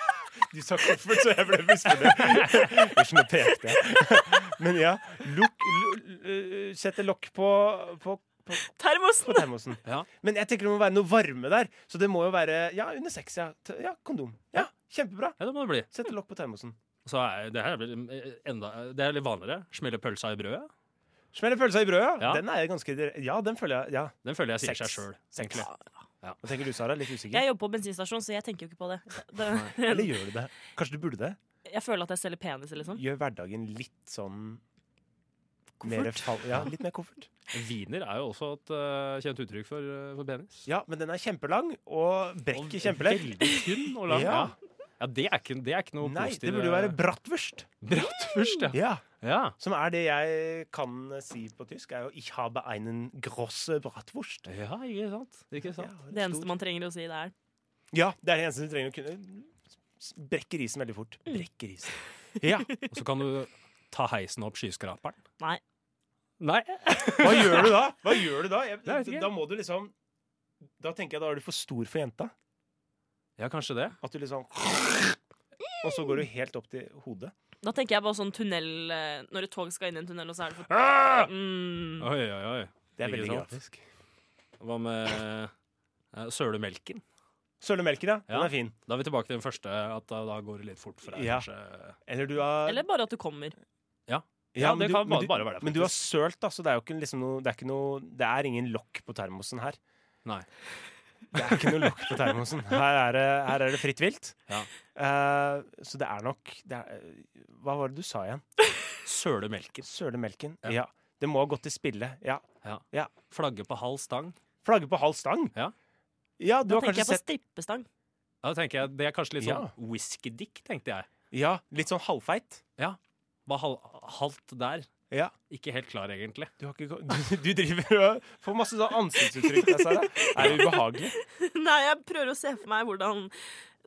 S2: Du sa koffert, så jeg ble misfornøyd. Unnskyld, nå pekte jeg. Men ja, lukk lu- eh, Sette lokk på, på på
S3: Termosen!
S2: termosen.
S4: Ja.
S2: Men jeg tenker det må være noe varme der. Så det må jo være ja, under sex. Ja, T- ja kondom. Ja, Kjempebra.
S4: Ja, det må det bli.
S2: Sette lokk på termosen.
S4: Så er, det her er vel eh, enda Det er litt vanligere. Smelle pølsa i brødet.
S2: Smelle pølsa i brødet. Ja.
S4: Ja.
S2: Den er jeg ganske dire- Ja, den føler jeg. Ja.
S4: Den føler jeg sier
S2: Sex.
S4: seg sjøl.
S2: Egentlig.
S3: Ja,
S2: Hva tenker du, Sara? Litt usikker?
S3: Jeg jobber på bensinstasjon, så jeg tenker jo ikke på det.
S2: Eller
S3: det
S2: gjør du det? Kanskje du burde det?
S3: jeg føler at jeg selger peniser, liksom.
S2: Gjør hverdagen litt sånn Mer fall, ja, litt mer koffert.
S4: Wiener er jo også et eh, kjent uttrykk for, eh, for penis.
S2: Ja, men den er kjempelang og
S4: Og
S2: brekker kjempelett.
S4: Veldig tynn og lang. ja.
S2: Ja.
S4: ja, det er ikke, det er ikke noe
S2: Nei,
S4: positivt.
S2: det burde jo være bratwurst.
S4: bratt først, eh, ja.
S2: Ja.
S4: ja.
S2: Som er det jeg kan si på tysk, er jo 'Ich habe einen grosse bratwurst'.
S4: Ja, ikke sant? Ikke sant?
S3: Det eneste man trenger å si, det er
S2: Ja, det er det eneste du trenger å kunne. S- Brekker isen veldig fort. Brekker isen. Ja.
S4: Og så kan du ta heisen opp skyskraperen.
S3: Nei.
S4: Nei.
S2: Hva gjør du da? Hva gjør du da? Jeg,
S4: vet ikke.
S2: da må du liksom Da tenker jeg da er du for stor for jenta.
S4: Ja, kanskje det.
S2: At du liksom Og så går du helt opp til hodet.
S3: Da tenker jeg bare sånn tunnel eh, Når et tog skal inn i en tunnel, og så er det
S2: Ah!
S3: for mm.
S4: Oi, oi, oi.
S2: Det er
S4: Ikke
S2: veldig
S4: sant?
S2: grafisk.
S4: Hva med eh, sølemelken?
S2: Sølemelken, ja. Den
S4: Ja.
S2: er fin.
S4: Da er vi tilbake til den første, at da, da går det litt fort for deg.
S2: Ja.
S4: kanskje.
S2: Eller du har
S3: Eller bare at du kommer.
S4: Ja,
S2: men
S4: det
S2: du-
S4: kan
S2: men
S4: bare,
S2: du-
S4: bare være det.
S2: Men du har sølt, da, så det er jo ikke liksom noe Det er, ikke noe, det er ingen lokk på termosen her.
S4: Nei.
S2: Det er ikke noe lokk på termosen. Her er det, her er det fritt vilt.
S4: Ja.
S2: Eh, så det er nok det er, Hva var det du sa igjen?
S4: Sølemelken.
S2: Sølemelken?
S4: Ja.
S2: Ja. Det må ha gått til spille. Ja.
S4: Flagge på halv stang.
S2: Flagge på halv stang?
S4: Ja.
S2: Ja, du
S3: Da
S2: har
S3: tenker
S2: kanskje
S3: jeg på
S2: sett
S3: strippestang.
S4: Da tenker jeg, Det er kanskje litt
S2: Ja.
S4: sånn whiskydick, tenkte jeg.
S2: Ja, litt sånn halvfeit.
S4: Hva hal halvt der.
S2: Ja.
S4: Ikke helt klar, egentlig.
S2: Du, har ikke, ko- du, du driver og får masse sånn ansiktsuttrykk. der, Sara. Er det ubehagelig?
S3: Nei, jeg prøver å se for meg hvordan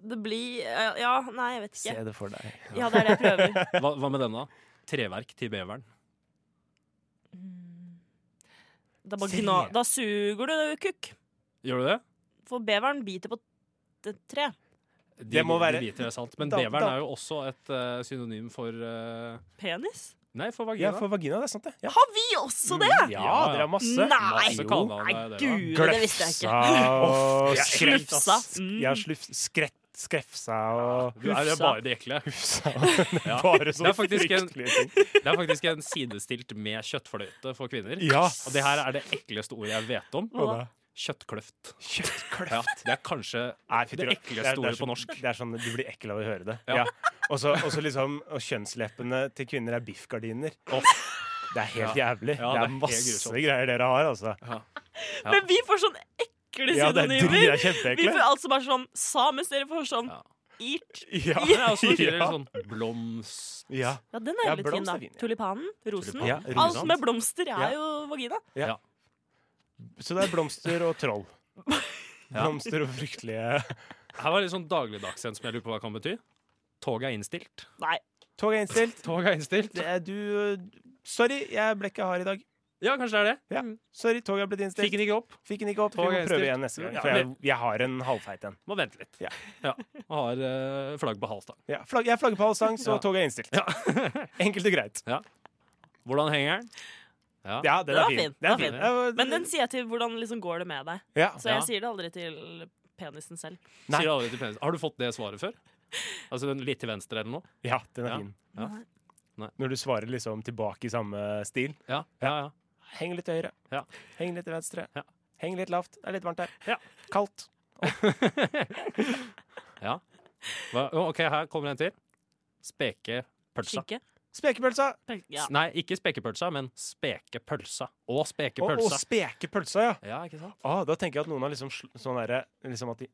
S3: det blir eh, Ja, nei, jeg vet
S2: Se
S3: ikke.
S2: det for deg.
S3: Ja, det er det jeg prøver.
S4: Hva, hva med denne? Treverk til beveren.
S3: Da, bare
S2: Tre.
S3: gna, da suger du kukk.
S4: Gjør du det?
S3: For beveren biter på et tre.
S4: De,
S2: Det må være-
S4: de biter, det er sant. Men
S2: Da-
S4: beveren
S2: da-
S4: er jo også et eh, synonym for eh,
S3: Penis?
S4: Nei, for
S2: Ja,
S4: vagina.
S2: for vagina, det er sant, det. Ja,
S3: Har vi også det?
S2: Mm, ja dere har masse.
S3: Nei!
S4: Masse
S2: Jo.
S4: kallenavn
S3: Nei,
S4: er det, da.
S3: gud, det visste jeg ikke.
S2: og
S4: jeg er helt,
S3: Slufsa.
S4: ass.
S3: Mm.
S2: Ja, slufs, skrett, skrefsa og
S4: Du er det
S3: Hufsa.
S4: bare det ekle.
S2: Hufsa. Det
S4: Ja.
S2: er bare sånn
S4: Det er faktisk en-
S2: fryktelige ting.
S4: Det er faktisk en sidestilt med kjøttfløyte for kvinner.
S2: Ja.
S4: Og det her er det ekleste ordet jeg vet om.
S2: Hva da?
S4: Kjøttkløft.
S2: Kjøttkløft.
S4: Ja, det er kanskje
S2: Nei, fy
S4: det
S2: dra-
S4: ekleste
S2: det er- det er
S4: ordet
S2: så-
S4: på norsk.
S2: Det er sånn, Du blir ekkel av å høre det.
S4: Ja.
S2: Ja. Og så og så liksom, og kjønnsleppene til kvinner er biffgardiner.
S4: Off.
S2: Det er helt jævlig. det
S4: Ja,
S2: er
S4: det er helt
S2: masse
S4: grusomt.
S2: greier dere har, altså.
S4: Ja.
S3: Men vi får sånn ekle
S2: Ja, det er drit- det
S3: synonymer.
S2: er
S3: Vi får
S2: kjempeekle.
S3: alt som er sånn samisk. Dere får sånn
S4: Ja.
S3: irt.
S2: Ja.
S4: Det er også noe tidligere
S2: Ja.
S4: sånn blomst
S2: Ja.
S3: Ja, den er
S2: Ja,
S3: jo litt fin,
S2: blomst
S3: da.
S2: er fin, ja.
S3: Tulipanen, rosen.
S4: Tulipan.
S2: Ja, sånn.
S3: Alt
S2: rosen.
S3: med blomster
S2: Ja.
S3: er jo vagina.
S2: Så det er blomster og troll.
S4: Ja.
S2: Blomster og fryktelige
S4: Her var det litt sånn dagligdags en som jeg lurer på hva kan bety. Toget er innstilt.
S3: Nei.
S2: Toget er innstilt.
S4: Toget er innstilt.
S2: Det er du Sorry, jeg ble ikke hard i dag.
S4: Ja, kanskje det er det.
S2: Ja. Sorry, toget er blitt innstilt.
S4: Fikk den ikke opp.
S2: Fikk den ikke opp. Vi må
S4: Toget er
S2: prøve
S4: innstilt.
S2: igjen neste gang,
S4: Ja,
S2: for jeg,
S4: men-
S2: jeg har en halvfeit en.
S4: Må vente litt.
S2: Ja.
S4: Ja. Og har eh, flagg på halvstang.
S2: Ja, flagg, jeg flagger på halv sang, så
S4: Ja.
S2: toget er innstilt. Enkelt og greit.
S4: Hvordan henger den? Ja.
S2: Ja, den
S3: Den
S2: er
S3: var
S2: fin.
S3: fin. Den var fin. Men den sier jeg til hvordan liksom går det med deg.
S2: ja.
S3: Så
S4: Ja.
S3: jeg sier det aldri til penisen selv.
S2: Nei.
S4: Sier alle til penis. Har du fått det svaret før? Altså den litt til venstre eller noe?
S2: ja, den er
S4: Ja.
S2: fin.
S4: Ja. Nei.
S2: Når du svarer liksom tilbake i samme stil.
S4: Ja, ja, ja.
S2: Heng litt til høyre.
S4: Ja.
S2: Heng litt til venstre.
S4: Ja.
S2: Heng litt lavt. Det er litt varmt her.
S4: Ja.
S2: Kaldt.
S4: Hva? Å, OK, her kommer en til. Spekepølsa.
S3: Skinke.
S2: Spekepølsa!
S3: Pe- Ja.
S4: S- Nei, ikke spekepølsa, men spekepølsa. Og
S2: Og, og
S4: spekepølsa.
S2: spekepølsa, ja.
S4: Ja, ikke sant?
S2: Ah, da tenker jeg at noen har liksom sl sånn derre Liksom at de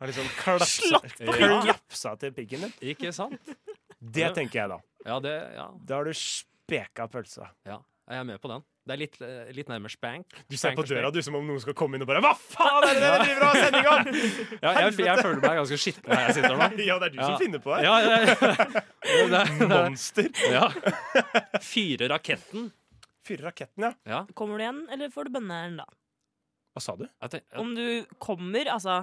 S2: har liksom klapsa,
S3: Slått
S4: på pikken.
S2: klapsa til piggen din.
S4: Ikke sant?
S2: Det tenker jeg, da.
S4: Ja, det, ja,
S2: Da har du speka pølsa.
S4: ja. Jeg er med på den. Det er litt, eh, litt nærmere spank.
S2: Du ser
S4: Spank
S2: på
S4: og
S2: døra
S4: spank.
S2: du som om noen skal komme inn og bare Hva faen er det dere driver og har sending om?!
S4: Ja, jeg, jeg føler meg ganske skitten her jeg sitter nå.
S2: Ja, det er du som
S4: Ja.
S2: finner på det.
S4: Ja, ja, ja. Det, det, det,
S2: Monster.
S4: ja. Fyre raketten.
S2: Fyrer raketten, ja.
S4: Ja.
S3: Kommer du igjen, eller får du bønneren da?
S2: Hva sa du?
S4: Jeg tenk-
S3: Om du kommer, altså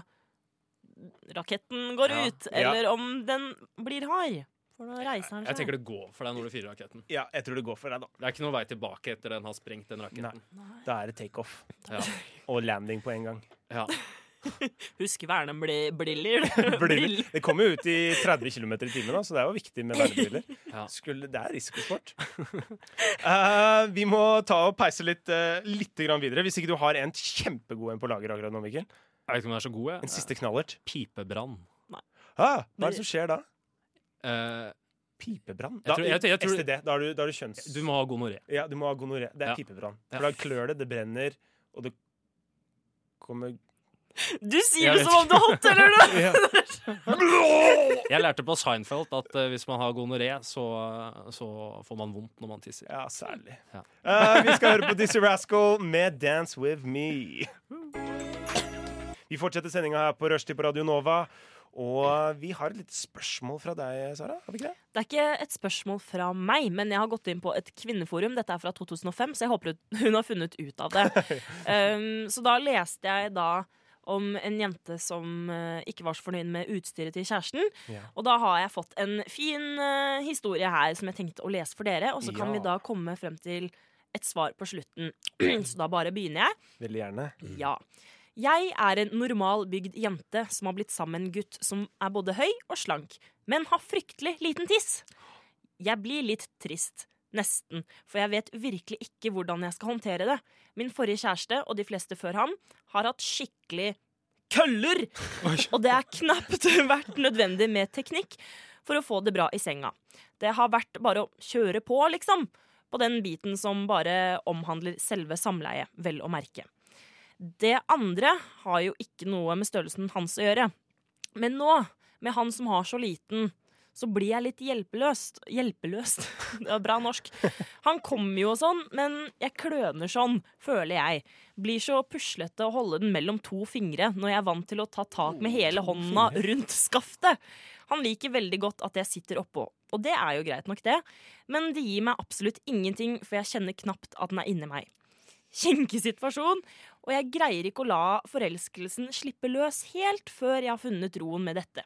S3: Raketten går
S4: Ja.
S3: ut, eller om den blir hard. For da reiser den
S4: Jeg
S3: seg.
S4: tenker det går for deg når du fyrer raketten.
S2: Ja, jeg tror det går for deg, da.
S4: Det er ikke noen vei tilbake etter den har sprengt den raketten.
S2: Da er det takeoff.
S4: Ja.
S2: Og landing på en gang.
S4: Ja.
S3: Husk vernebriller.
S2: Briller. Det kommer jo ut i 30 km i timen, da, så det er jo viktig med vernebriller.
S4: Ja.
S2: Skulle, det er risikosport. Eh, vi må ta og peise litt, eh, litt grann videre, hvis ikke du har en kjempegod en på lager akkurat nå, Mikkel.
S4: Jeg vet ikke om den er så god, jeg.
S2: En siste knallert.
S4: Pipebrann.
S2: Ah, hva er det som skjer da?
S4: Eh,
S2: Pipebrann?
S4: Jeg
S2: Da,
S4: tror- jeg tror- jeg tror-
S2: STD. Da har du, da har du kjønns...
S4: du må ha gonoré.
S2: Ja, du må ha gonoré. Det er
S4: Ja.
S2: pipebrann.
S4: Ja.
S2: For da klør det, det brenner, og det kommer
S3: Du
S4: Jeg
S3: sier det
S4: vet
S3: som om du har hot, eller noe!
S2: ja.
S4: Jeg lærte på Seinfeld at eh, hvis man har gonoré, så, så får man vondt når man tisser.
S2: ja, særlig.
S4: Ja.
S2: Eh, vi skal høre på Dizzie Rascal med 'Dance With Me'. Vi fortsetter sendinga her på Rushtid på Radio Nova. Og vi har et lite spørsmål fra deg, Sara. Har vi ikke det?
S3: Det er ikke et spørsmål fra meg, men jeg har gått inn på et kvinneforum. Dette er fra 2005, så jeg håper hun- hun har funnet ut av det. Um, så da leste jeg da om en jente som eh, ikke var så fornøyd med utstyret til kjæresten.
S2: Ja.
S3: Og da har jeg fått en fin eh, historie her som jeg tenkte å lese for dere. Og så kan
S2: Ja.
S3: vi da komme frem til et svar på slutten. så da bare begynner jeg.
S2: Veldig gjerne.
S3: Ja. Jeg er en normal bygd jente som har blitt sammen med en gutt som er både høy og slank, men har fryktelig liten tiss. Jeg blir litt trist. Nesten. For jeg vet virkelig ikke hvordan jeg skal håndtere det. Min forrige kjæreste og de fleste før ham har hatt skikkelig køller! Og det er knapt vært nødvendig med teknikk for å få det bra i senga. Det har vært bare å kjøre på, liksom. På den biten som bare omhandler selve samleiet, vel å merke. Det andre har jo ikke noe med størrelsen hans å gjøre. Men nå, med han som har så liten, så blir jeg litt hjelpeløst. Hjelpeløst. Det var bra norsk. Han kommer jo og sånn, men jeg kløner sånn, føler jeg. Blir så puslete å holde den mellom to fingre når jeg er vant til å ta tak med hele hånda rundt skaftet. Han liker veldig godt at jeg sitter oppå, og det er jo greit nok, det. Men det gir meg absolutt ingenting, for jeg kjenner knapt at den er inni meg. Kinkig situasjon, og jeg greier ikke å la forelskelsen slippe løs helt før jeg har funnet roen med dette.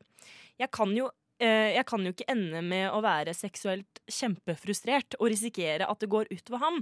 S3: Jeg kan jo eh, jeg kan jo ikke ende med å være seksuelt kjempefrustrert og risikere at det går utover ham.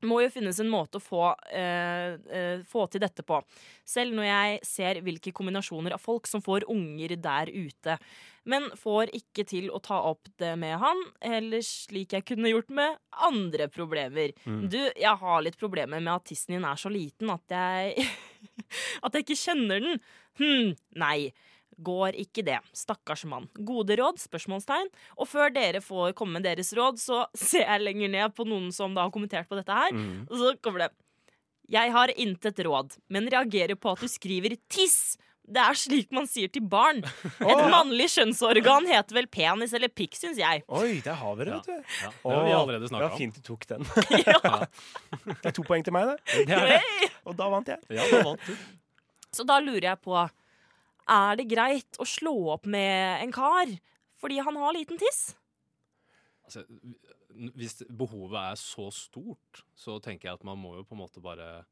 S3: Må jo finnes en måte å få, eh, eh, få til dette på. Selv når jeg ser hvilke kombinasjoner av folk som får unger der ute. Men får ikke til å ta opp det med han, eller slik jeg kunne gjort med andre problemer. Du, jeg har litt problemer med at tissen din er så liten at jeg At jeg ikke kjenner den. Hm, nei. Går ikke det. Stakkars mann. Gode råd? Spørsmålstegn. Og før dere får komme med deres råd, så ser jeg lenger ned på noen som da har kommentert på dette her. Og så kommer det Jeg har intet råd, men reagerer på at du skriver 'tiss'. Det er slik man sier til barn. Et mannlig kjønnsorgan heter vel penis eller pikk, syns jeg.
S2: Oi, der har vi det, vet du.
S4: Ja, det har vi
S2: Åh,
S4: allerede
S2: ja,
S4: snakka om.
S2: Fint du tok den. Det er to poeng til meg, det.
S4: Det er,
S2: Og da vant jeg.
S4: ja, det vant du.
S3: Så da lurer jeg på Er det greit å slå opp med en kar fordi han har liten tiss?
S4: Altså, hvis behovet er så stort, så tenker jeg at man må jo på en måte bare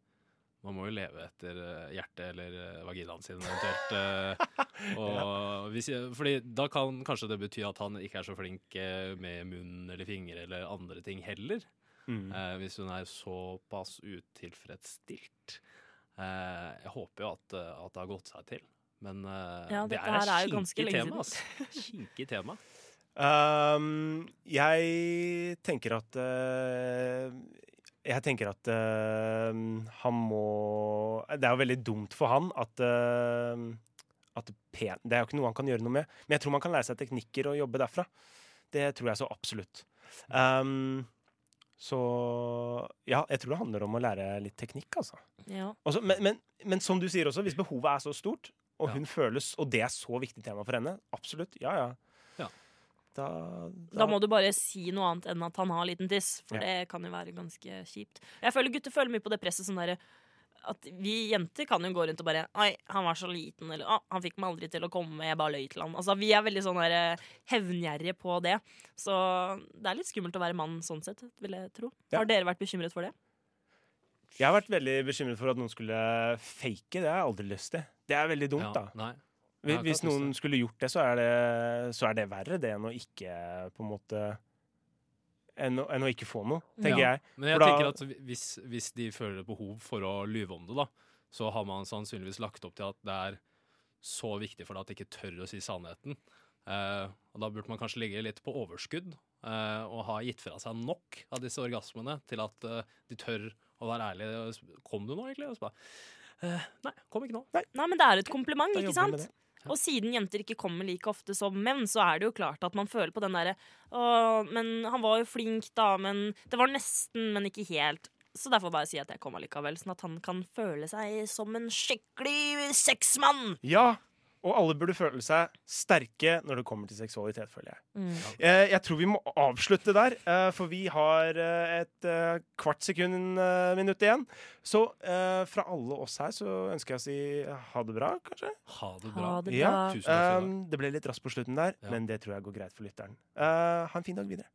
S4: man må jo leve etter eh, hjertet eller eh, vaginaen sin eventuelt. eh, Og hvis jeg, fordi da kan kanskje det bety at han ikke er så flink eh, med munn eller fingre eller andre ting heller.
S2: Mm.
S4: eh, Hvis hun er såpass utilfredsstilt. Eh, Jeg håper jo at, eh, at det har gått seg til. Men eh,
S3: Ja,
S4: det
S3: dette
S4: er
S3: her er
S4: et
S3: jo ganske
S4: kinkig
S3: lenge
S4: tema. ass. Kinkig tema.
S2: Ehm, jeg tenker at eh, Jeg tenker at eh, han må Det er jo veldig dumt for han at, eh, at pen, Det er jo ikke noe han kan gjøre noe med. Men jeg tror man kan lære seg teknikker og jobbe derfra. Det tror jeg så absolutt. Ehm, så ja, jeg tror det handler om å lære litt teknikk, altså.
S3: Ja.
S2: Også, men, men, men som du sier også, hvis behovet er så stort, og
S4: Mm. Ja.
S2: hun føles Og det er så viktig tema for henne. Absolutt. Ja, ja.
S4: Ja.
S2: Da,
S3: Da må du bare si noe annet enn at han har liten tiss, for
S2: Ja.
S3: det kan jo være ganske kjipt. Jeg føler gutter føler mye på det presset sånn derre at vi jenter kan jo gå rundt og bare Oi, han var så liten, eller «Å, han fikk meg aldri til å komme, jeg bare løy til han. Altså, vi er veldig sånn der eh, hevngjerrige på det. Så det er litt skummelt å være mann sånn sett, vil jeg tro.
S2: Ja.
S3: Har dere vært bekymret for det?
S2: Jeg har vært veldig bekymret for at noen skulle fake. Det har jeg aldri lyst til. Det er veldig dumt,
S4: Ja,
S2: da.
S4: Nei.
S2: Hvis,
S4: Ja,
S2: hvis
S4: klart
S2: noen skulle gjort det så, er det, så er det verre det enn å ikke på en måte Enn å, enn å ikke få noe, tenker
S4: Ja.
S2: jeg.
S4: Men jeg
S2: For da-
S4: tenker at hvi- hvis, hvis de føler behov for å lyve om det, da, så har man sannsynligvis lagt opp til at det er så viktig for deg at de ikke tør å si sannheten. Eh, og da burde man kanskje ligge litt på overskudd eh, og ha gitt fra seg nok av disse orgasmene til at eh, de tør å være ærlige. Og sp- Kom du nå, egentlig? Og så bare eh, Nei, kom ikke nå.
S3: Nei, men det er et kompliment,
S2: Da
S3: ikke
S2: jobber vi med
S3: sant? Og siden jenter ikke kommer like ofte som menn, så er det jo klart at man føler på den derre Å, men han var jo flink, da, men Det var nesten, men ikke helt. Så derfor bare si at jeg kom allikevel, sånn at han kan føle seg som en skikkelig sexmann.
S2: Ja, og alle burde føle seg sterke når det kommer til seksualitet, føler jeg. Eh, Jeg tror vi må avslutte der, eh, for vi har eh, et eh, kvart sekund eh, minutt igjen. Så eh, fra alle oss her så ønsker jeg å si eh, ha det bra, kanskje.
S4: Ha det bra.
S3: Ha det bra.
S2: Ja,
S4: Tusen takk. skal du ha.
S2: Eh, det ble litt raskt på slutten der,
S4: Ja.
S2: men det tror jeg går greit for lytteren. Eh, ha en fin dag videre.